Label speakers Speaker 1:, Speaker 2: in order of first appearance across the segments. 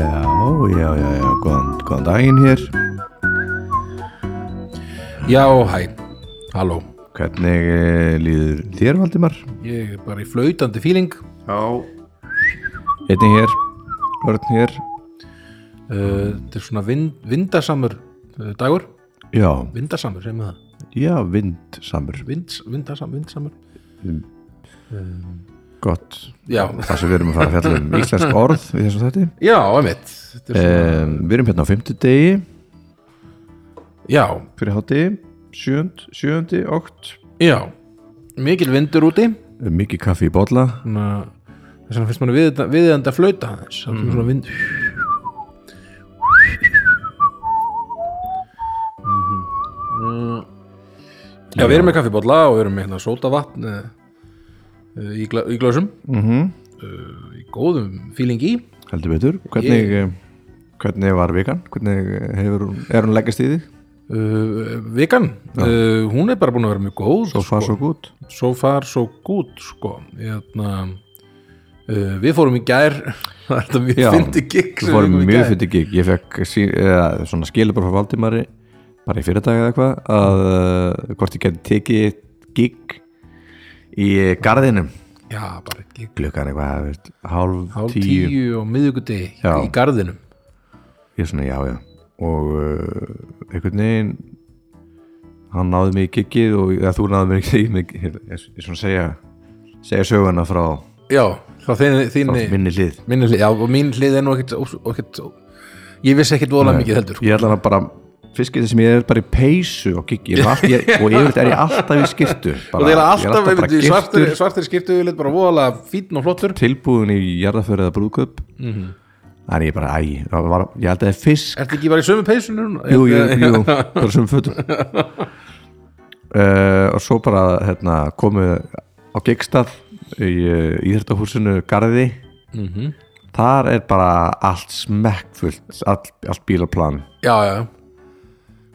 Speaker 1: já, já, já, góðan, góðan daginn hér
Speaker 2: Já, hæ, halló
Speaker 1: Hvernig eh, líður þér, Valdimar?
Speaker 2: Ég er bara í flautandi fíling
Speaker 1: Já Einnig hér, Örn hér
Speaker 2: uh, Þetta er svona vind, vindasamur uh, dagur
Speaker 1: Já,
Speaker 2: Vindasamur, segjum við það
Speaker 1: já, vindsamur
Speaker 2: Vind, Vindasam, Vindasamur
Speaker 1: Gott,
Speaker 2: Já,
Speaker 1: það sem við erum að fara að fjalla um íslensk orð í þessum þætti
Speaker 2: já, einmitt Þetta er svona,
Speaker 1: um, Við erum hérna á fimmtudegi
Speaker 2: Já,
Speaker 1: fyrir hátí sjönd, sjöndi, ótt
Speaker 2: já Mikil vindur úti
Speaker 1: Mikið kaffi í bolla
Speaker 2: svona, Þess vegna finnst manni við, viðeðandi að flauta aðeins Það er svona vind Mhm. Já, við erum með kaffibólla og við erum með hérna sótavatn eh, eh, í, gla, í glösum Eh,
Speaker 1: mm
Speaker 2: Mhm. í góðum fílingi
Speaker 1: Heldur betur, hvernig, ég... hvernig var vikan? Hvernig eh, hefur hún, er hún leggast í því?
Speaker 2: uh, vikan uh, hún er bara búin að vera mjög góð
Speaker 1: Svo far,
Speaker 2: sko.
Speaker 1: svo gút
Speaker 2: so far so good sko. Jæna, uh, við fórum í gær það er þetta mjög
Speaker 1: Já,
Speaker 2: fyndi gig
Speaker 1: Við fórum í mjög fyrir gig Ég fekk sí, eða, svona skilabur frá Valdimari bara í fyrirtæki eða eitthvað að uh, hvort ég geti tekið gig í garðinum
Speaker 2: já, bara eitt gig
Speaker 1: klukkan eitthvað þú veist, hálf,
Speaker 2: hálf
Speaker 1: tíu.
Speaker 2: tíu, og miðugudegi
Speaker 1: Já.
Speaker 2: í garðinum
Speaker 1: Ég svona já já og uh, einhvern veginn hann náði mig í giggið og eða, þú náði mig í giggið ég, ég, ég svona segja segja söguna frá,
Speaker 2: já, þá þinni,
Speaker 1: frá
Speaker 2: þinni
Speaker 1: minni hlið
Speaker 2: minni hlið, já, og mín hlið er nú ekkit, ó- ekkit ó- ég vissi ekkit vola mikið heldur sko.
Speaker 1: ég ætla að bara fiskir sem ég er bara í peysu og giggi og yfirleitt er ég alltaf í skirtu bara,
Speaker 2: og það er
Speaker 1: ég
Speaker 2: alltaf, alltaf
Speaker 1: bara
Speaker 2: svartir,
Speaker 1: giftur
Speaker 2: svartir skiptu við bara vola fítn og flottur
Speaker 1: tilbúin í jarðaförið að brúðköp
Speaker 2: Mhm.
Speaker 1: þannig ég bara æ það var, ég held að það er fisk
Speaker 2: Ertu ekki bara í sömu peysunum?
Speaker 1: jú, jú, jú, bara sem fötum uh, og svo bara hérna, komið á gigstað í uh, íþrættahúsinu Garði
Speaker 2: Mhm.
Speaker 1: þar er bara allt smekkfullt allt, allt bílaplan
Speaker 2: Já, já,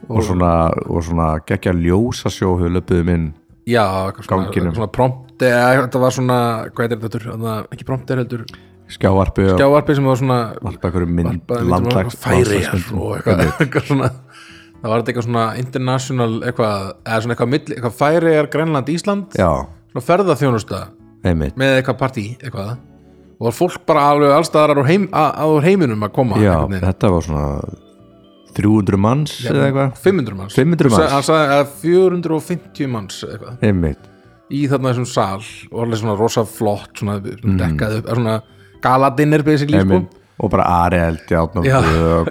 Speaker 1: og svona, og svona geggja ljósasjó hefur um löpuðum inn
Speaker 2: já, eitthvað svona,
Speaker 1: Ganginum.
Speaker 2: eitthvað svona prompt eða þetta var svona, hvað heitir þetta aftur? Þarna, ekki prompter heldur,
Speaker 1: skjávarpi og
Speaker 2: gjávarpi sem var svona
Speaker 1: varpa einhverju mynd
Speaker 2: varpað-
Speaker 1: landlags
Speaker 2: færiðar
Speaker 1: landslagsmyndum.
Speaker 2: og eitthvað, eitthvað svona það var þetta eitthvað svona international eitthvað, eða svona eitthvað, milli, eitthvað færiðar Grænland, Ísland,
Speaker 1: já,
Speaker 2: svona ferðaþjónusta
Speaker 1: einmitt
Speaker 2: með eitthvað partí, eitthvað og var fólk bara alveg allstaðar á heim, að, að úr heiminum að koma
Speaker 1: já,
Speaker 2: einhvern veginn.
Speaker 1: þetta var svona 300 manns eða eitthvað
Speaker 2: 500 manns
Speaker 1: 500 manns.
Speaker 2: Hann sagði að 450 manns eitthvað
Speaker 1: einmitt
Speaker 2: í sko. þarna þessum sal og alveg svona rosa flott svona mm. dekkað upp, svona galadinner basically sko.
Speaker 1: Einmitt. og bara Arield Járnum
Speaker 2: Já.
Speaker 1: Böök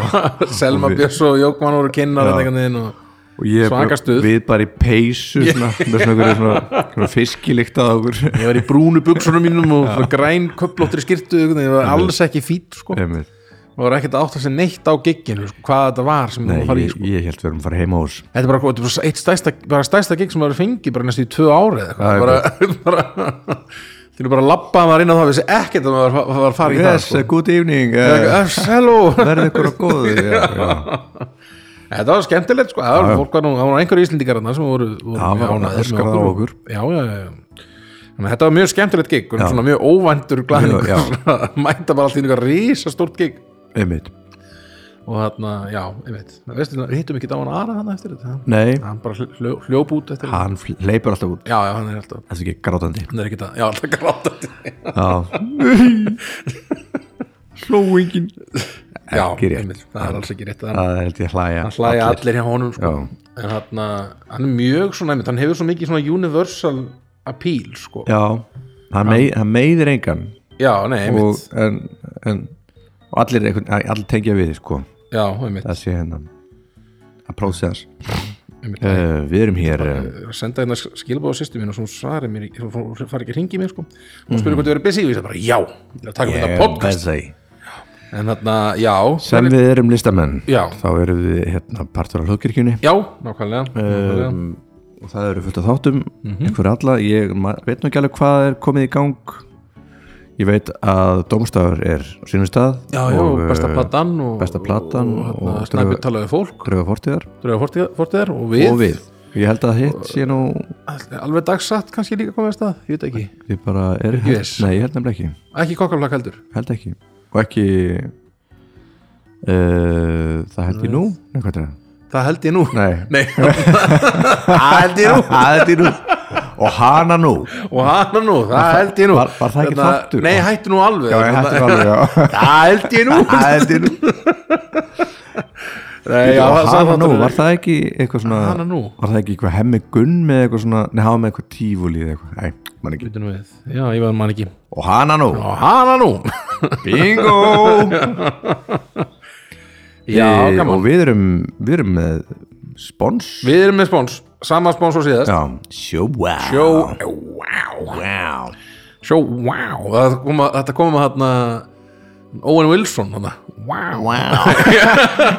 Speaker 2: Selma Björns og Jókman voru kynnar þetta einhvern veginn og
Speaker 1: og, og ég,
Speaker 2: Svaka stuð.
Speaker 1: við bara í peysu svona, með svona, einhverju svona, svona fiskilíkt að okkur
Speaker 2: ég var í brúnu buksunum mínum og svona græn köplóttri skirtu einhvern veginn, ég var alls ekki fít sko. og
Speaker 1: Einmitt.
Speaker 2: var ekkert að átta sér neitt á gigginu sko, hvað þetta var sem
Speaker 1: Nei,
Speaker 2: það var í
Speaker 1: ég,
Speaker 2: sko.
Speaker 1: ég held við erum að fara heima hús
Speaker 2: þetta er bara, þetta er bara eitt stæsta, bara stæsta gigg sem maður fengi bara næstu í tvö ári eða
Speaker 1: Já,
Speaker 2: eitthvað bara, bara til að bara labbaða maður inn á það vissi ekkert að maður var að fara í
Speaker 1: yes,
Speaker 2: það sko.
Speaker 1: good evening uh,
Speaker 2: Yes, hello
Speaker 1: verði ykkur að góðu já, já.
Speaker 2: Þetta var skemmtilegt sko, það var fólk var nú, það voru einhverju íslendingar þarna sem voru, voru
Speaker 1: Já, var
Speaker 2: ánægðir með
Speaker 1: öskrað á okkur.
Speaker 2: Já, já, já, já. Þannig að þetta var mjög skemmtilegt gig, og svona mjög óvæntur glæðningur,
Speaker 1: Já, já.
Speaker 2: mæta bara allt í einhver risastórt gig
Speaker 1: einmitt
Speaker 2: og þarna, já, ég veit, veistu, við hittum ekki dáan aðra hann eftir þetta, hann-
Speaker 1: nei,
Speaker 2: hann bara hljó- hljó, hljóp út eftir
Speaker 1: hann fl- hleypur alltaf út
Speaker 2: Já, já, hann er alltaf,
Speaker 1: þetta er ekki grátandi
Speaker 2: hann er ekki það, já, alltaf grátandi
Speaker 1: hlóingin
Speaker 2: Já,
Speaker 1: Ekki rétt.
Speaker 2: einmitt, það er alls ekki rétt að hann
Speaker 1: það held ég hlæja
Speaker 2: hann hlæja allir hjá honum sko.
Speaker 1: Já.
Speaker 2: en hann, hann er mjög svona einmitt, hann hefur svo mikið svona universal appeal sko.
Speaker 1: já, hann, mei, hann meiðir engan
Speaker 2: já, nei, einmitt
Speaker 1: og, en, en, og allir, einhvern- allir tengja við sko
Speaker 2: Já, einmitt,
Speaker 1: það sé hérna að prósess
Speaker 2: einmitt. Ég
Speaker 1: uh, við erum hér uh,
Speaker 2: er að senda hérna skilbáðu sýstu mín og svo hún svarir mér, í- hún hún fari ekki að ringi mér sko hún
Speaker 1: Mhm.
Speaker 2: spyrir hvort ég verið busy og ég sagði bara já ég er að taka yeah, þetta podcast
Speaker 1: busy.
Speaker 2: en þarna, já,
Speaker 1: eh, sem við erum listamenn
Speaker 2: Já.
Speaker 1: þá erum við hérna partur af hlugkirkjunni
Speaker 2: já, nákvæmlega, nákvæmlega.
Speaker 1: Ehm, og það eru fullt af þáttum mm
Speaker 2: Mhm.
Speaker 1: alla, ég ma- veit nú ekki alveg hvað er komið í gang ég veit að Dómstafur er á sínum stað eh,
Speaker 2: já, já, besta platan og,
Speaker 1: besta platan
Speaker 2: og, og,
Speaker 1: og
Speaker 2: og snæpjum talaði við fólk
Speaker 1: Gröfa Fortíðar
Speaker 2: dröðu fortið, fortið er og við,
Speaker 1: og við, ég held að hitt sé nú
Speaker 2: alveg dagsatt kannski líka komið að stað, ég veit ekki
Speaker 1: ég bara er,
Speaker 2: Yes.
Speaker 1: nei, ég held nefnilega ekki
Speaker 2: ekki kokkaflakk heldur,
Speaker 1: held ekki og ekki uh, það held ég nú Nei, hvað er það?
Speaker 2: það held ég nú
Speaker 1: Nei,
Speaker 2: Nei, það held ég nú
Speaker 1: það held ég nú og hana nú
Speaker 2: og hana nú, það held ég nú
Speaker 1: Var- var það ekki
Speaker 2: Þarna-
Speaker 1: þáttur?
Speaker 2: Nei, hættu nú alveg
Speaker 1: Já, ég hætti alveg, já.
Speaker 2: Það held ég nú
Speaker 1: það held ég nú
Speaker 2: Nei, já,
Speaker 1: og
Speaker 2: það-
Speaker 1: hana nú,
Speaker 2: þáttur er-
Speaker 1: var það ekki eitthvað svona
Speaker 2: Hana nú.
Speaker 1: var það ekki eitthvað hemmi gunn með eitthvað svona nei, hafa með eitthvað tífúlið eitthvað Nei, man ekki
Speaker 2: Bíddu nú við. Já, ég var mann ekki
Speaker 1: og hana nú,
Speaker 2: Og hana nú
Speaker 1: bingo
Speaker 2: Já,
Speaker 1: Eh,
Speaker 2: gaman
Speaker 1: og við erum, við erum með spons
Speaker 2: Við erum með spóns, sama spóns og síðast
Speaker 1: já, sjó, wow
Speaker 2: Sjó, wow
Speaker 1: wow
Speaker 2: Sjó, wow Það koma, Þetta kom að hérna Owen Wilson hana. Wow,
Speaker 1: Wow.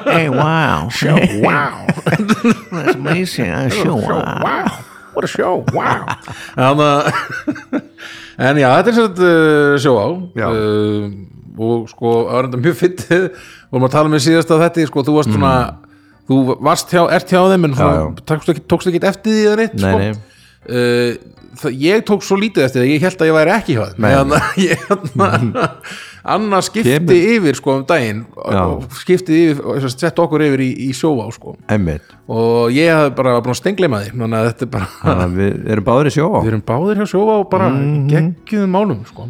Speaker 1: hey, wow.
Speaker 2: show, wow
Speaker 1: That's amazing. I show.
Speaker 2: Show, wow What a show, wow en, uh, en já, þetta er sett uh, sjó á
Speaker 1: Já.
Speaker 2: uh, og sko, það var enda mjög fyndið vorum að tala um með síðast að þetta sko, þú varst svona, þú varst hjá, ert hjá þeim en
Speaker 1: Mm. já.
Speaker 2: svona, tókst ekki, tókst ekki eftir því eða neitt
Speaker 1: Nei,
Speaker 2: sko.
Speaker 1: nei.
Speaker 2: Uh, það, ég tók svo lítið eftir því ég held að ég væri ekki hjá þeim
Speaker 1: Nei.
Speaker 2: en ég annars skipti
Speaker 1: Kemur-
Speaker 2: yfir sko um daginn
Speaker 1: Já.
Speaker 2: skipti yfir, sett okkur yfir í, í sjóvá sko
Speaker 1: Einmitt.
Speaker 2: og ég hafði bara búin að stengleima því þannig að þetta er bara,
Speaker 1: Þannig að við erum báðir í sjó.
Speaker 2: við erum báðir hjá sjófa og bara
Speaker 1: Mhm.
Speaker 2: mm geggjum málum sko.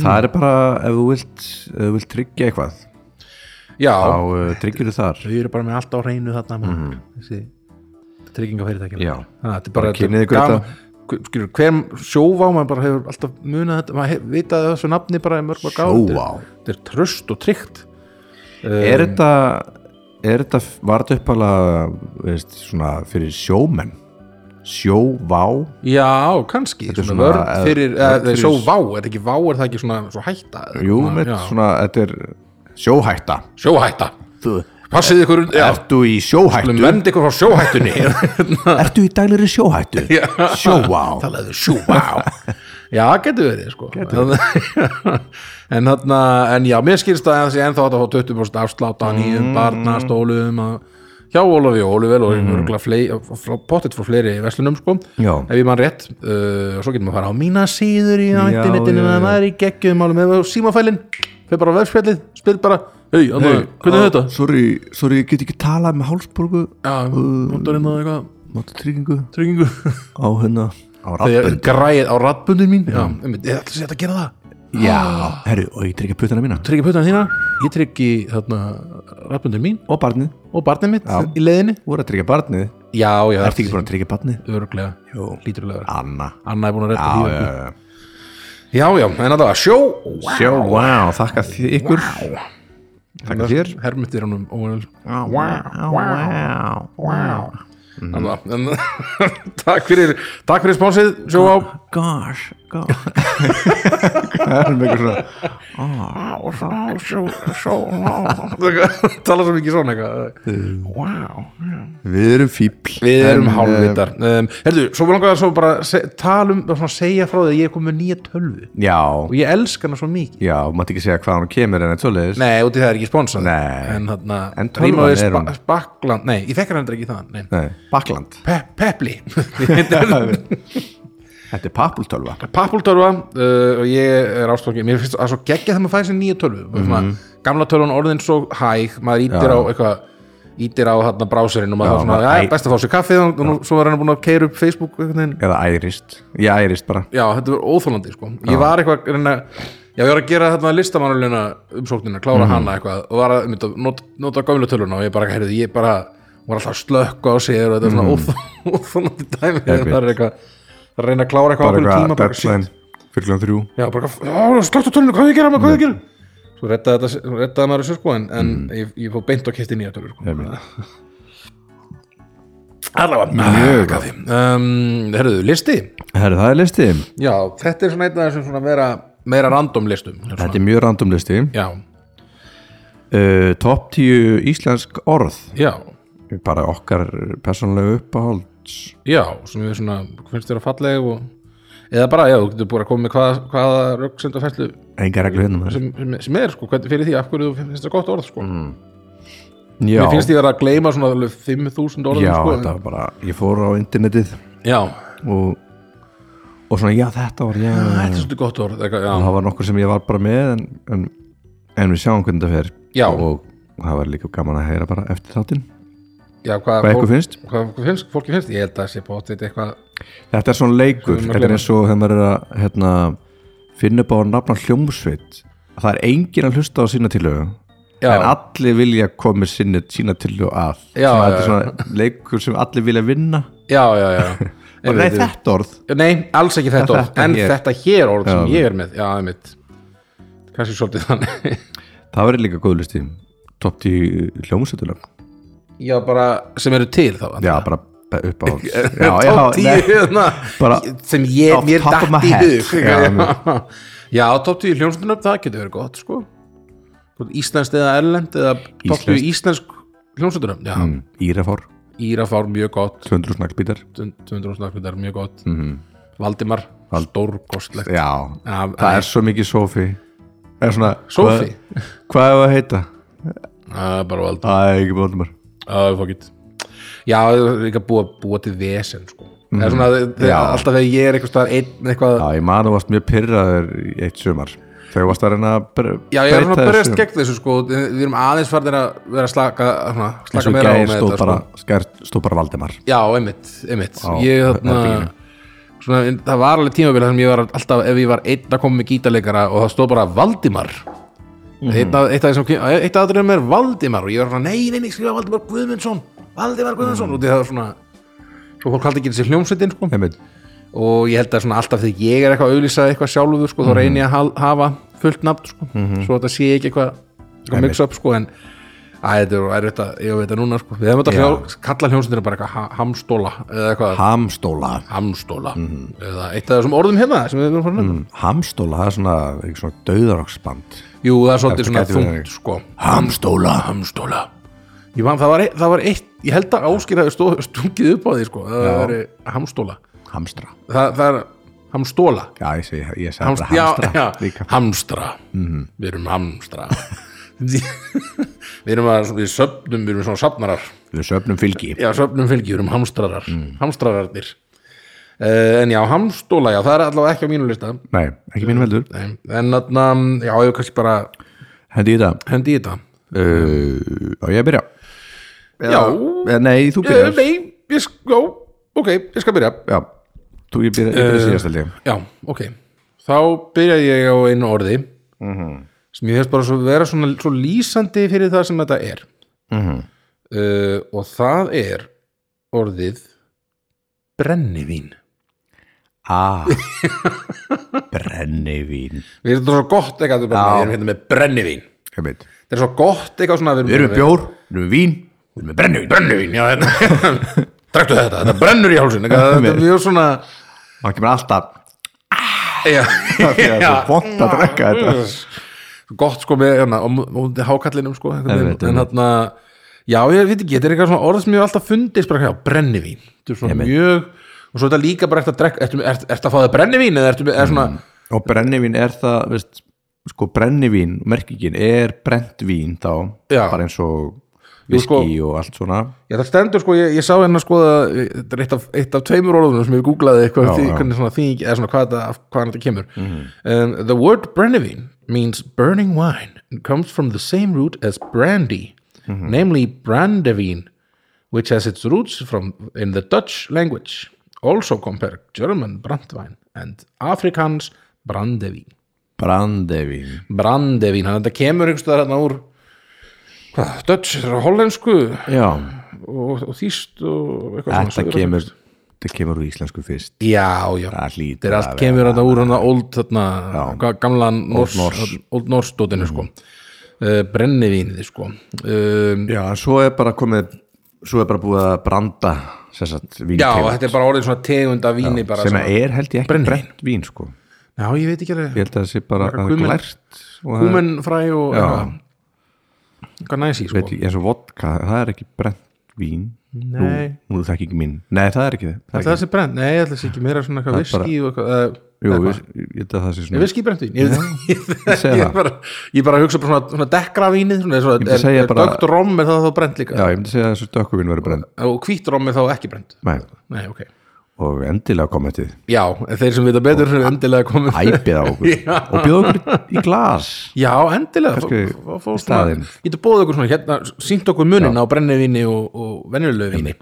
Speaker 1: Það er bara, ef þú vilt, ef þú vilt tryggja eitthvað,
Speaker 2: já,
Speaker 1: þá uh, tryggjur þú þar.
Speaker 2: við erum bara með allt á hreinu þarna mm. þessi tryggingafyrirtækjum
Speaker 1: Mhm. Já.
Speaker 2: þetta er bara
Speaker 1: Bara kynnið ykkur
Speaker 2: gaman- skilur, hver sjófa maður bara hefur alltaf munað þetta, maður hef, vitað þessu nafni bara í mörg mörg ár.
Speaker 1: Sjóvá.
Speaker 2: þetta er tröst og tryggt Eh,
Speaker 1: er þetta, er þetta, var þetta uppalega, veist, svona fyrir sjómenn? Sjóvá?
Speaker 2: já, kannski,
Speaker 1: er
Speaker 2: svona,
Speaker 1: svona,
Speaker 2: vörn
Speaker 1: eh,
Speaker 2: fyrir,
Speaker 1: vörn
Speaker 2: fyrir
Speaker 1: fyrir-
Speaker 2: sjóvá, er þetta ekki vá er það ekki svona, svona hætta
Speaker 1: Jú, mitt,
Speaker 2: Ah, já.
Speaker 1: svona, þetta er sjóhætta.
Speaker 2: sjóhætta,
Speaker 1: Þú,
Speaker 2: passið ykkur já,
Speaker 1: ertu í sjóhættu?
Speaker 2: vernd ykkur frá sjóhættunni
Speaker 1: Ertu í daglegri sjóhættu?
Speaker 2: Já.
Speaker 1: Sjóvá.
Speaker 2: talaðu sjúvá já, getur verið sko getur. en þarna, en já, mér skilst að það sé ennþá hægt að fá 20% afslátt á nýjum barnastólum að, hjá Ólafi og Ólivel og mm. pottet frá fleiri verslunum sko
Speaker 1: Já.
Speaker 2: ef ég mann rétt uh, og svo getur maður að fara á mína síður í
Speaker 1: Já,
Speaker 2: internetinu
Speaker 1: já, já.
Speaker 2: eða maður í geggjum málum eða símafælin, fyrir bara á vefspjallið spyr bara, hei, hey, hvernig er þetta?
Speaker 1: Ah, Sorry, sorry, ég get ekki talað með hálsbólgu
Speaker 2: já, notar hérna eitthvað
Speaker 1: Máttatryggingu
Speaker 2: tryggingu
Speaker 1: á hérna Á
Speaker 2: þegar
Speaker 1: rattbönd
Speaker 2: græð á rattbundin mín já, einmitt, ég ætla að setja að gera það
Speaker 1: Já, herru, og ég tryggja putana mína
Speaker 2: tryggja putana þína, ég tryggi þarna rafbundur mín
Speaker 1: Og barnið,
Speaker 2: og barnið mitt í leiðinni
Speaker 1: voru að tryggja barnið
Speaker 2: já, já,
Speaker 1: Ertu ekki búin að tryggja barnið?
Speaker 2: öruglega,
Speaker 1: Jú,
Speaker 2: lítur að vera
Speaker 1: Anna
Speaker 2: Anna er búin að retta
Speaker 1: Já,
Speaker 2: því
Speaker 1: já,
Speaker 2: já,
Speaker 1: já
Speaker 2: já, en að það var sjó wow.
Speaker 1: Sjó, wow, þakka þið ykkur Þakka þér
Speaker 2: hermutir honum óvel
Speaker 1: Wow, wow, wow
Speaker 2: mm. takk fyrir takk fyrir spánsið, sjó á
Speaker 1: Gosh, gosh Það er með eitthvað svona Oh.
Speaker 2: tala svo mikið svona eitthvað wow
Speaker 1: Við erum eh, fíbl
Speaker 2: Við erum hálfvitar um, Herðu, svo langar það svo bara að se- tala um og svona segja frá því að ég er komið með nýja tölvu
Speaker 1: Já,
Speaker 2: og ég elska hana svo mikið
Speaker 1: já, mátti ekki segja hvaðan hún kemur en þetta svoleiðis
Speaker 2: Nei, úti það er ekki sponsor
Speaker 1: Nei.
Speaker 2: En þarna
Speaker 1: En tölvan
Speaker 2: Rímaði
Speaker 1: er
Speaker 2: spa-
Speaker 1: hún.
Speaker 2: Spakland, nei, ég fekk hann heldur ekki það nei.
Speaker 1: Nei, Bakland
Speaker 2: Pe Pepli Þetta er
Speaker 1: Þetta er pappultölva
Speaker 2: Pappultölva uh, og ég er ástofnir Mér finnst það svo geggja þegar maður fæði sér nýja tölvu mm Gamla tölvan orðin svo hæg maður ítir
Speaker 1: Já.
Speaker 2: á eitthvað ítir á hérna brásurinn og maður
Speaker 1: Já,
Speaker 2: þá svona,
Speaker 1: maður-
Speaker 2: já, best að fá sér kaffið og nú, svo var hann búin að keira upp Facebook einhvern veginn.
Speaker 1: Eða ærist, ég ærist bara
Speaker 2: Já, þetta var óþólandi sko. Ég var eitthvað að reyna, já, ég var að gera þarna listamannulina umsóknina,
Speaker 1: Mhm.
Speaker 2: klára hana eitthvað og var að um, nota, nota gömlu töluna og ég bara, heyrðu, ég bara var alltaf að slökka á sér og þetta er svona
Speaker 1: Mhm.
Speaker 2: mm. óþólandi dæmi
Speaker 1: Einmitt.
Speaker 2: það er eitthvað að reyna að klára eitthvað
Speaker 1: bara
Speaker 2: ákveðin
Speaker 1: eitthvað
Speaker 2: tíma bara, shit.
Speaker 1: deadline fyrir kljóðan þrjú
Speaker 2: Já, bara, já, slökkt á tölunum, hvað á ég að gera maður, hvað á ég að
Speaker 1: Mhm.
Speaker 2: gera Svo rettaði þetta- svo rettaði maður þessu sko en, en ég, ég fór beint og kæfti nýja tölur sko. Allavega, mjög gaffi um, Herðu, listi?
Speaker 1: Herru, það er listi
Speaker 2: Já, þetta er svona einn af þessum svona vera, meira random listum svona.
Speaker 1: Þetta er mjög random listi
Speaker 2: Já,
Speaker 1: uh, Top 10 íslensk orð
Speaker 2: já,
Speaker 1: bara okkar persónlega uppáhalds
Speaker 2: já svona við svona, finnst þér að falleg og eða bara, já, þú getur búin að koma með hvaða, hvaða röggsendafærslu
Speaker 1: Engar reglur hérna maður.
Speaker 2: sem, sem, sem er, sko, hvernig fyrir því af hverju þú finnst það gott orð, sko
Speaker 1: Mm, Já,
Speaker 2: Mér finnst því vera að gleyma svona alveg 5.000 orðum,
Speaker 1: já
Speaker 2: sko
Speaker 1: þetta var bara ég fór á internetið
Speaker 2: Já,
Speaker 1: og, og svona, já þetta var já,
Speaker 2: þetta er svolítið gott orð, eitthvað, já
Speaker 1: það var nokkur sem ég var bara með en, en, en við sjáum hvernig þetta fer
Speaker 2: Já.
Speaker 1: og það var líka gaman að heyra bara eftir þáttinn
Speaker 2: Já, hvað,
Speaker 1: Hvað ykkur finnst?
Speaker 2: Hvað ykkur finnst, fólki finnst? Ég held að það sé bóttið eitthvað
Speaker 1: Þetta er svona leikur,
Speaker 2: Sem við erum að
Speaker 1: þetta er
Speaker 2: gleyma.
Speaker 1: eins og þegar maður er að hérna, finna upp á nafna hljómsveit það er engin að hlusta á sína tilögu
Speaker 2: Já.
Speaker 1: en allir vilja koma með sinni, sína tilögu að
Speaker 2: Já,
Speaker 1: Svona, þetta
Speaker 2: já,
Speaker 1: er svona leikur sem allir vilja vinna
Speaker 2: Já, já, já
Speaker 1: og
Speaker 2: Einmitt,
Speaker 1: nei, þetta orð
Speaker 2: Nei, alls ekki þetta orð,
Speaker 1: Þetta
Speaker 2: en
Speaker 1: hér.
Speaker 2: þetta hér orð sem
Speaker 1: Já.
Speaker 2: ég er með, já, það er mitt kannski svolítið þannig
Speaker 1: það verður líka góð listi top 10 hljómsveitulög
Speaker 2: Já, bara sem eru til þá
Speaker 1: já, bara upp á já, já,
Speaker 2: Top 10
Speaker 1: nei,
Speaker 2: hérna,
Speaker 1: bara
Speaker 2: sem ég,
Speaker 1: off
Speaker 2: mér
Speaker 1: top of my
Speaker 2: datt í
Speaker 1: head.
Speaker 2: hug hérna.
Speaker 1: Já,
Speaker 2: Já, já top 10 hljómsundunum, það getur verið gott, sko Hvort Íslenskt eða Erlend eða top 10 íslensk hljómsundunum Já,
Speaker 1: mm, Írafár,
Speaker 2: Írafár mjög gott
Speaker 1: 200 snaglbítar
Speaker 2: 200 snakkuðar, mjög gott
Speaker 1: Mhm.
Speaker 2: Valdimar, stórkostlegt
Speaker 1: já,
Speaker 2: Já,
Speaker 1: það er svo mikið Sofi það er svona
Speaker 2: Sophie?
Speaker 1: hvað, hvað er að heita?
Speaker 2: Já, bara Valdimar
Speaker 1: það er ekki bóðumar
Speaker 2: Já, fuck it Já, það er líka búa, búa til vesen sko. Það er svona, þegar,
Speaker 1: Mhm. Já.
Speaker 2: alltaf þegar ég er eitthvað einn eitthvað,
Speaker 1: Já, ég man að þú varst mjög pyrraður í eitt sumar þegar þú varst að reyna að bre-
Speaker 2: já, ég er svona
Speaker 1: breyta
Speaker 2: að berjast
Speaker 1: þessu.
Speaker 2: gegn þessu sko, við við erum aðeins farnir að vera að slaka, svona,
Speaker 1: eins
Speaker 2: slaka
Speaker 1: og
Speaker 2: meira á
Speaker 1: gæði
Speaker 2: með
Speaker 1: stóð
Speaker 2: þetta
Speaker 1: bara,
Speaker 2: sko.
Speaker 1: sko. stóð bara Valdimar
Speaker 2: Já, einmitt, einmitt
Speaker 1: Á hérna,
Speaker 2: ég, þarna,
Speaker 1: herberginu.
Speaker 2: svona, en það var alveg tímabil þar sem ég var alltaf, ef ég var einn að koma með gítarleikara og það stóð bara Valdimar
Speaker 1: Mhm.
Speaker 2: Eitt af- eitt af þessum- eitt aðrið með er Valdimar og ég var svona, nei, nei, nei, skrifa Valdimar Guðmundsson Valdimar Guðmundsson
Speaker 1: Mhm.
Speaker 2: og því það var svona svo fólk haldi ekki þessi hljómsveitin sko.
Speaker 1: Einmitt.
Speaker 2: og ég held að svona alltaf þegar ég er eitthvað að auðlýsa eitthvað sjálfur sko,
Speaker 1: Mhm.
Speaker 2: þá reynir ég að hal- hafa fullt nafn sko, svo þetta sé ekki eitthvað, eitthvað mix up sko, en Æ, þetta er erfitt að, ég veit það núna sko. við hefum þetta
Speaker 1: Já.
Speaker 2: hljó, kalla hljómsveitina bara eitthvað ha- hamstóla eða eitthvað,
Speaker 1: Hamstóla
Speaker 2: hamstóla
Speaker 1: Mhm.
Speaker 2: eða eitt af þessum orðum hérna sem við erum farin að nefna.
Speaker 1: Mm, Hamstóla, það er svona, ekki svona döðaroksband
Speaker 2: Jú, það er svolítið svona
Speaker 1: gæti verið
Speaker 2: þungt
Speaker 1: þannig.
Speaker 2: sko.
Speaker 1: Hamstóla
Speaker 2: hamstóla ég, man, það, var, eitt- það var eitt, ég held að Áskir hafi stó- stungið upp á því sko. það
Speaker 1: Já.
Speaker 2: var hamstóla
Speaker 1: Hamstra
Speaker 2: það, það er hamstóla
Speaker 1: Já, ég segi, ég segi
Speaker 2: Hamst,
Speaker 1: hamstra, hamstra
Speaker 2: já, já,
Speaker 1: líka Mhm.
Speaker 2: hamstra við erum hamstra við erum að við söfnum, við erum svona safnarar
Speaker 1: Við söpnum fylgi
Speaker 2: já, söfnum fylgi, við erum hamstrarar
Speaker 1: Mhm.
Speaker 2: hamstrararnir uh, en já, hamstóla, já, það er allavega ekki á mínu lista
Speaker 1: Nei, ekki mínum heldur
Speaker 2: Nei, en þarna, já, ég kannski bara
Speaker 1: Hendi í það
Speaker 2: hendi í þetta
Speaker 1: uh, Á ég að byrja?
Speaker 2: já,
Speaker 1: Eh, Nei, þú
Speaker 2: uh,
Speaker 1: byrjar
Speaker 2: nei, ég, sk- já, ok, ég skal byrja
Speaker 1: Já, þú ég byrja, ég byrja síðast held ég
Speaker 2: já, ok, þá byrja ég á einu orði
Speaker 1: Mhm.
Speaker 2: sem ég hefst bara svo vera svona svo lýsandi fyrir það sem þetta er
Speaker 1: Mhm.
Speaker 2: uh, og það er orðið brennivín
Speaker 1: Ah Brennivín
Speaker 2: við erum þetta svo gott eitthvað þetta er bara
Speaker 1: Já.
Speaker 2: svona, við erum hérna með brennivín
Speaker 1: Einmitt
Speaker 2: þetta er svo gott eitthvað svona
Speaker 1: Við erum með bjór, við erum með vín, við erum með brennivín
Speaker 2: brennivín, já hérna drektu þetta, þetta brennur í hálsinn eitthvað, þetta er mjög svona
Speaker 1: Það kemur alltaf
Speaker 2: já,
Speaker 1: af því að það er vond að drekka þetta
Speaker 2: gott sko með hérna, og, og hákallinum sko einhvern
Speaker 1: Einmitt,
Speaker 2: veginn. en hérna já, ég veit ekki, þetta er eitthvað svona orð sem ég hef alltaf fundist bara hérna, brennivín, þetta er svona mjög og svo er þetta líka bara eftir að drekka ertu, ertu, ertu að fá það brennivín eða ertu, er svona
Speaker 1: Og brennivín er það, veist sko brennivín, merkingin er brent vín þá,
Speaker 2: Já.
Speaker 1: bara eins og
Speaker 2: Jú, sko-
Speaker 1: viski og allt svona
Speaker 2: já, það stendur sko, ég, ég sá hérna sko að þetta er eitt af, eitt af tveimur orðunum sem ég googlaði eitthvað
Speaker 1: Já,
Speaker 2: því,
Speaker 1: já. Mhm.
Speaker 2: hvernig svona þýðing eða svona hvað þetta, hvað þetta kemur um, the word brennivín means burning wine and comes from the same root as brandy
Speaker 1: Mhm.
Speaker 2: namely brandevin which has its roots from in the Dutch language also compare German brandwein and Afrikaans brandevin
Speaker 1: Brandevín
Speaker 2: brandevin, þannig að þetta kemur einhvers staðar hérna úr hvað, Dutch, þetta er hollensku
Speaker 1: Já,
Speaker 2: og, og þýst og eitthvað
Speaker 1: þetta
Speaker 2: suður-
Speaker 1: kemur þetta kemur úr íslensku fyrst
Speaker 2: já,
Speaker 1: Það
Speaker 2: já, þetta
Speaker 1: hlýtur
Speaker 2: er allt kemur þetta úr hann old, þarna, hvað, gamla Norse-
Speaker 1: Norse. Mm.
Speaker 2: old norsdótinu sko uh, brennivínið sko um,
Speaker 1: Já, en svo er bara komið svo er bara búið að branda sem sagt,
Speaker 2: já,
Speaker 1: víntegund,
Speaker 2: þetta er bara orðið svona tegund af víni bara
Speaker 1: sem
Speaker 2: svona-
Speaker 1: er held ég ekki
Speaker 2: Brennivín.
Speaker 1: brent vín sko,
Speaker 2: já, ég veit ekki
Speaker 1: ég
Speaker 2: alveg
Speaker 1: held að það sé bara
Speaker 2: Bara
Speaker 1: að
Speaker 2: kumin-
Speaker 1: glært og það
Speaker 2: húmen fræ og
Speaker 1: Já.
Speaker 2: eitthvað eitthvað næs í sko
Speaker 1: veit ég, eins og vodka, það er ekki brent vín nú,
Speaker 2: Nei.
Speaker 1: nú er það ekki mín nei, það er ekki það, Mhm. það
Speaker 2: það
Speaker 1: er
Speaker 2: er þessi brenn, nei, ég ætla þessi ekki meira svona eitthvað
Speaker 1: Það er bara-
Speaker 2: viski og eitthvað eða-
Speaker 1: ekki, jú,
Speaker 2: eða
Speaker 1: við, ég held að það sé svona
Speaker 2: Ég viski brentvín ég, ég,
Speaker 1: ég segi
Speaker 2: ég,
Speaker 1: það.
Speaker 2: bara, ég bara hugsa bara svona, svona dekkra vínið svona,
Speaker 1: Ég
Speaker 2: svona,
Speaker 1: myndi segja
Speaker 2: er, er
Speaker 1: bara-
Speaker 2: dögt rom er það þá brent líka
Speaker 1: já, ég myndi segja að þessu dökkuvín verið brent
Speaker 2: og hvít rom er þá ekki brent
Speaker 1: nei,
Speaker 2: Nei, ok
Speaker 1: og og endilega kommentið
Speaker 2: já, en þeir sem vita betur eru endilega komið
Speaker 1: æpið á okkur og bjóða okkur í glas
Speaker 2: já, endilega
Speaker 1: Kannski í staðinn.
Speaker 2: getur bóðið okkur svona, hérna, sínt okkur munin á brennivíni og, og venjulegu víni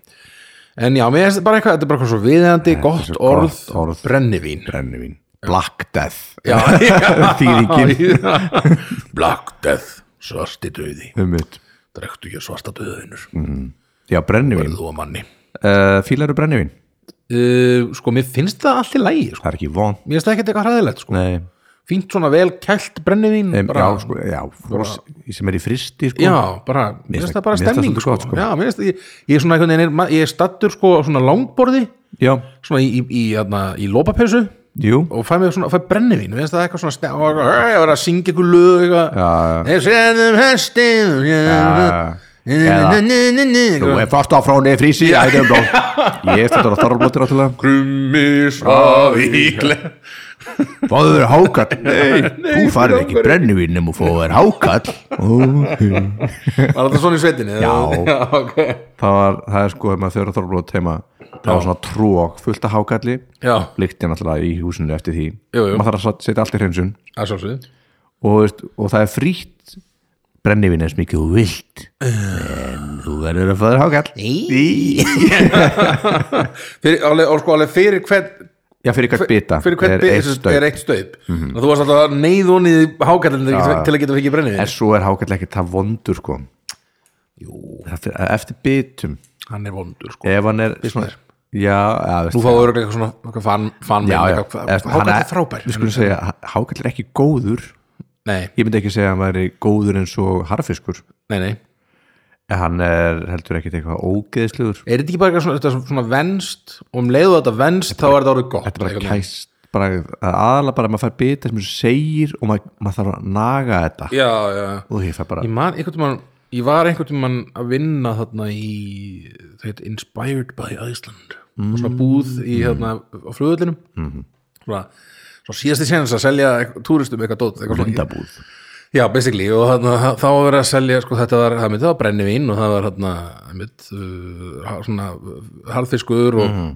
Speaker 2: en já, mér finnst bara eitthvað, þetta er bara eitthvað svo viðandi gott
Speaker 1: svo
Speaker 2: orð,
Speaker 1: gott orð.
Speaker 2: brennivín
Speaker 1: brennivín, Black Death
Speaker 2: já,
Speaker 1: Þýðingin.
Speaker 2: black death svarti döði,
Speaker 1: um mitt
Speaker 2: drektu ekki svarta döðinur
Speaker 1: Mm. já, brennivín,
Speaker 2: þú að manni
Speaker 1: uh, fílaru brennivín
Speaker 2: uh, sko, mér finnst það allt í lægi sko.
Speaker 1: það er ekki von
Speaker 2: mér finnst það ekkert eitthvað hræðilegt sko.
Speaker 1: Nei,
Speaker 2: fínt svona vel kælt brennivín
Speaker 1: em,
Speaker 2: bara,
Speaker 1: já, sko, já, fros, sem er í fristi sko.
Speaker 2: já, bara, mér finnst
Speaker 1: finnst-
Speaker 2: það bara
Speaker 1: mér finnst það
Speaker 2: stemning
Speaker 1: svolítið
Speaker 2: sko.
Speaker 1: gott, sko.
Speaker 2: já, mér finnst það, ég, ég er svona einhvern veginn er, ma- ég er stattur sko á svona langborði
Speaker 1: já,
Speaker 2: svona í, í, í, í, í lópapeysu
Speaker 1: jú
Speaker 2: og fæ mig svona, fæ brennivín mér finnst það eitthvað svona stem, og ég var að syngja ykkur lög eitthvað
Speaker 1: já,
Speaker 2: ég um séðum hestin
Speaker 1: Já. Þú
Speaker 2: eða
Speaker 1: er fast á fróni frísi Ég er þetta á þorflóttir áttúrulega
Speaker 2: krummis af íkle
Speaker 1: Fáðu þér hákall Nei, þú farið ekki brennivín nema þú fáðu þér hákall Ó,
Speaker 2: var þetta svona í svetinni? eða?
Speaker 1: Já.
Speaker 2: já ok
Speaker 1: Það var, það er sko ef maður þegar þorflótt heima Það var svona trók fullt af hákalli
Speaker 2: já,
Speaker 1: Líkti náttúrulega í húsinu eftir því
Speaker 2: Jú, jú.
Speaker 1: Maður þarf að sat- setja allt í hreinsun
Speaker 2: að sjálfsögðu
Speaker 1: og, þú veist, og það er frítt brennivín eins mikið og þú vilt En þú verður að fá þér hákall Í.
Speaker 2: fyrir, alveg, og sko alveg fyrir hvern
Speaker 1: Já, fyrir hvert bita
Speaker 2: fyrir hvern
Speaker 1: er
Speaker 2: bið
Speaker 1: eitt
Speaker 2: þessu-
Speaker 1: staup. Mhm.
Speaker 2: er eitt staup og þú varst alltaf að neyð honið hákallin til að geta fyrir brennið
Speaker 1: en svo er hákall ekki það vondur sko Jú. eftir bitum
Speaker 2: hann er vondur sko
Speaker 1: ef hann er svona, já, já,
Speaker 2: þú
Speaker 1: veist,
Speaker 2: fáður örglega eitthvað svona eitthvað fan, fan
Speaker 1: já, já,
Speaker 2: hákall er frábær
Speaker 1: við skulum segja, hákall er ekki góður
Speaker 2: nei,
Speaker 1: ég myndi ekki segja að hann væri góður eins og harfiskur
Speaker 2: nei, nei
Speaker 1: en hann er heldur ekkit eitthvað ógeðsluður
Speaker 2: er þetta ekki bara eitthvað svona, þetta er svona venst og um leiðu þetta venst þá er þetta orðið gott
Speaker 1: þetta er bara
Speaker 2: einhvern veginn.
Speaker 1: kæst bara að aðalega bara að maður fær bita sem þú segir og maður, maður þarf að naga þetta
Speaker 2: já, já
Speaker 1: og ég fær bara
Speaker 2: ég man einhvern tímann ég var einhvern tímann að vinna þarna í það heit Inspired by Iceland svona búð í hérna á flugullinum svona, svona síðasti séns að selja ekk- túristum eitthvað dót eitthvað svona-
Speaker 1: hundabúð
Speaker 2: já, basically, og þarna, þá- þá var verið að selja sko, þetta var, það myndi, það var brennivín og það var þarna, einmitt, uh, ha- svona uh, harðfiskur og,
Speaker 1: Mhm.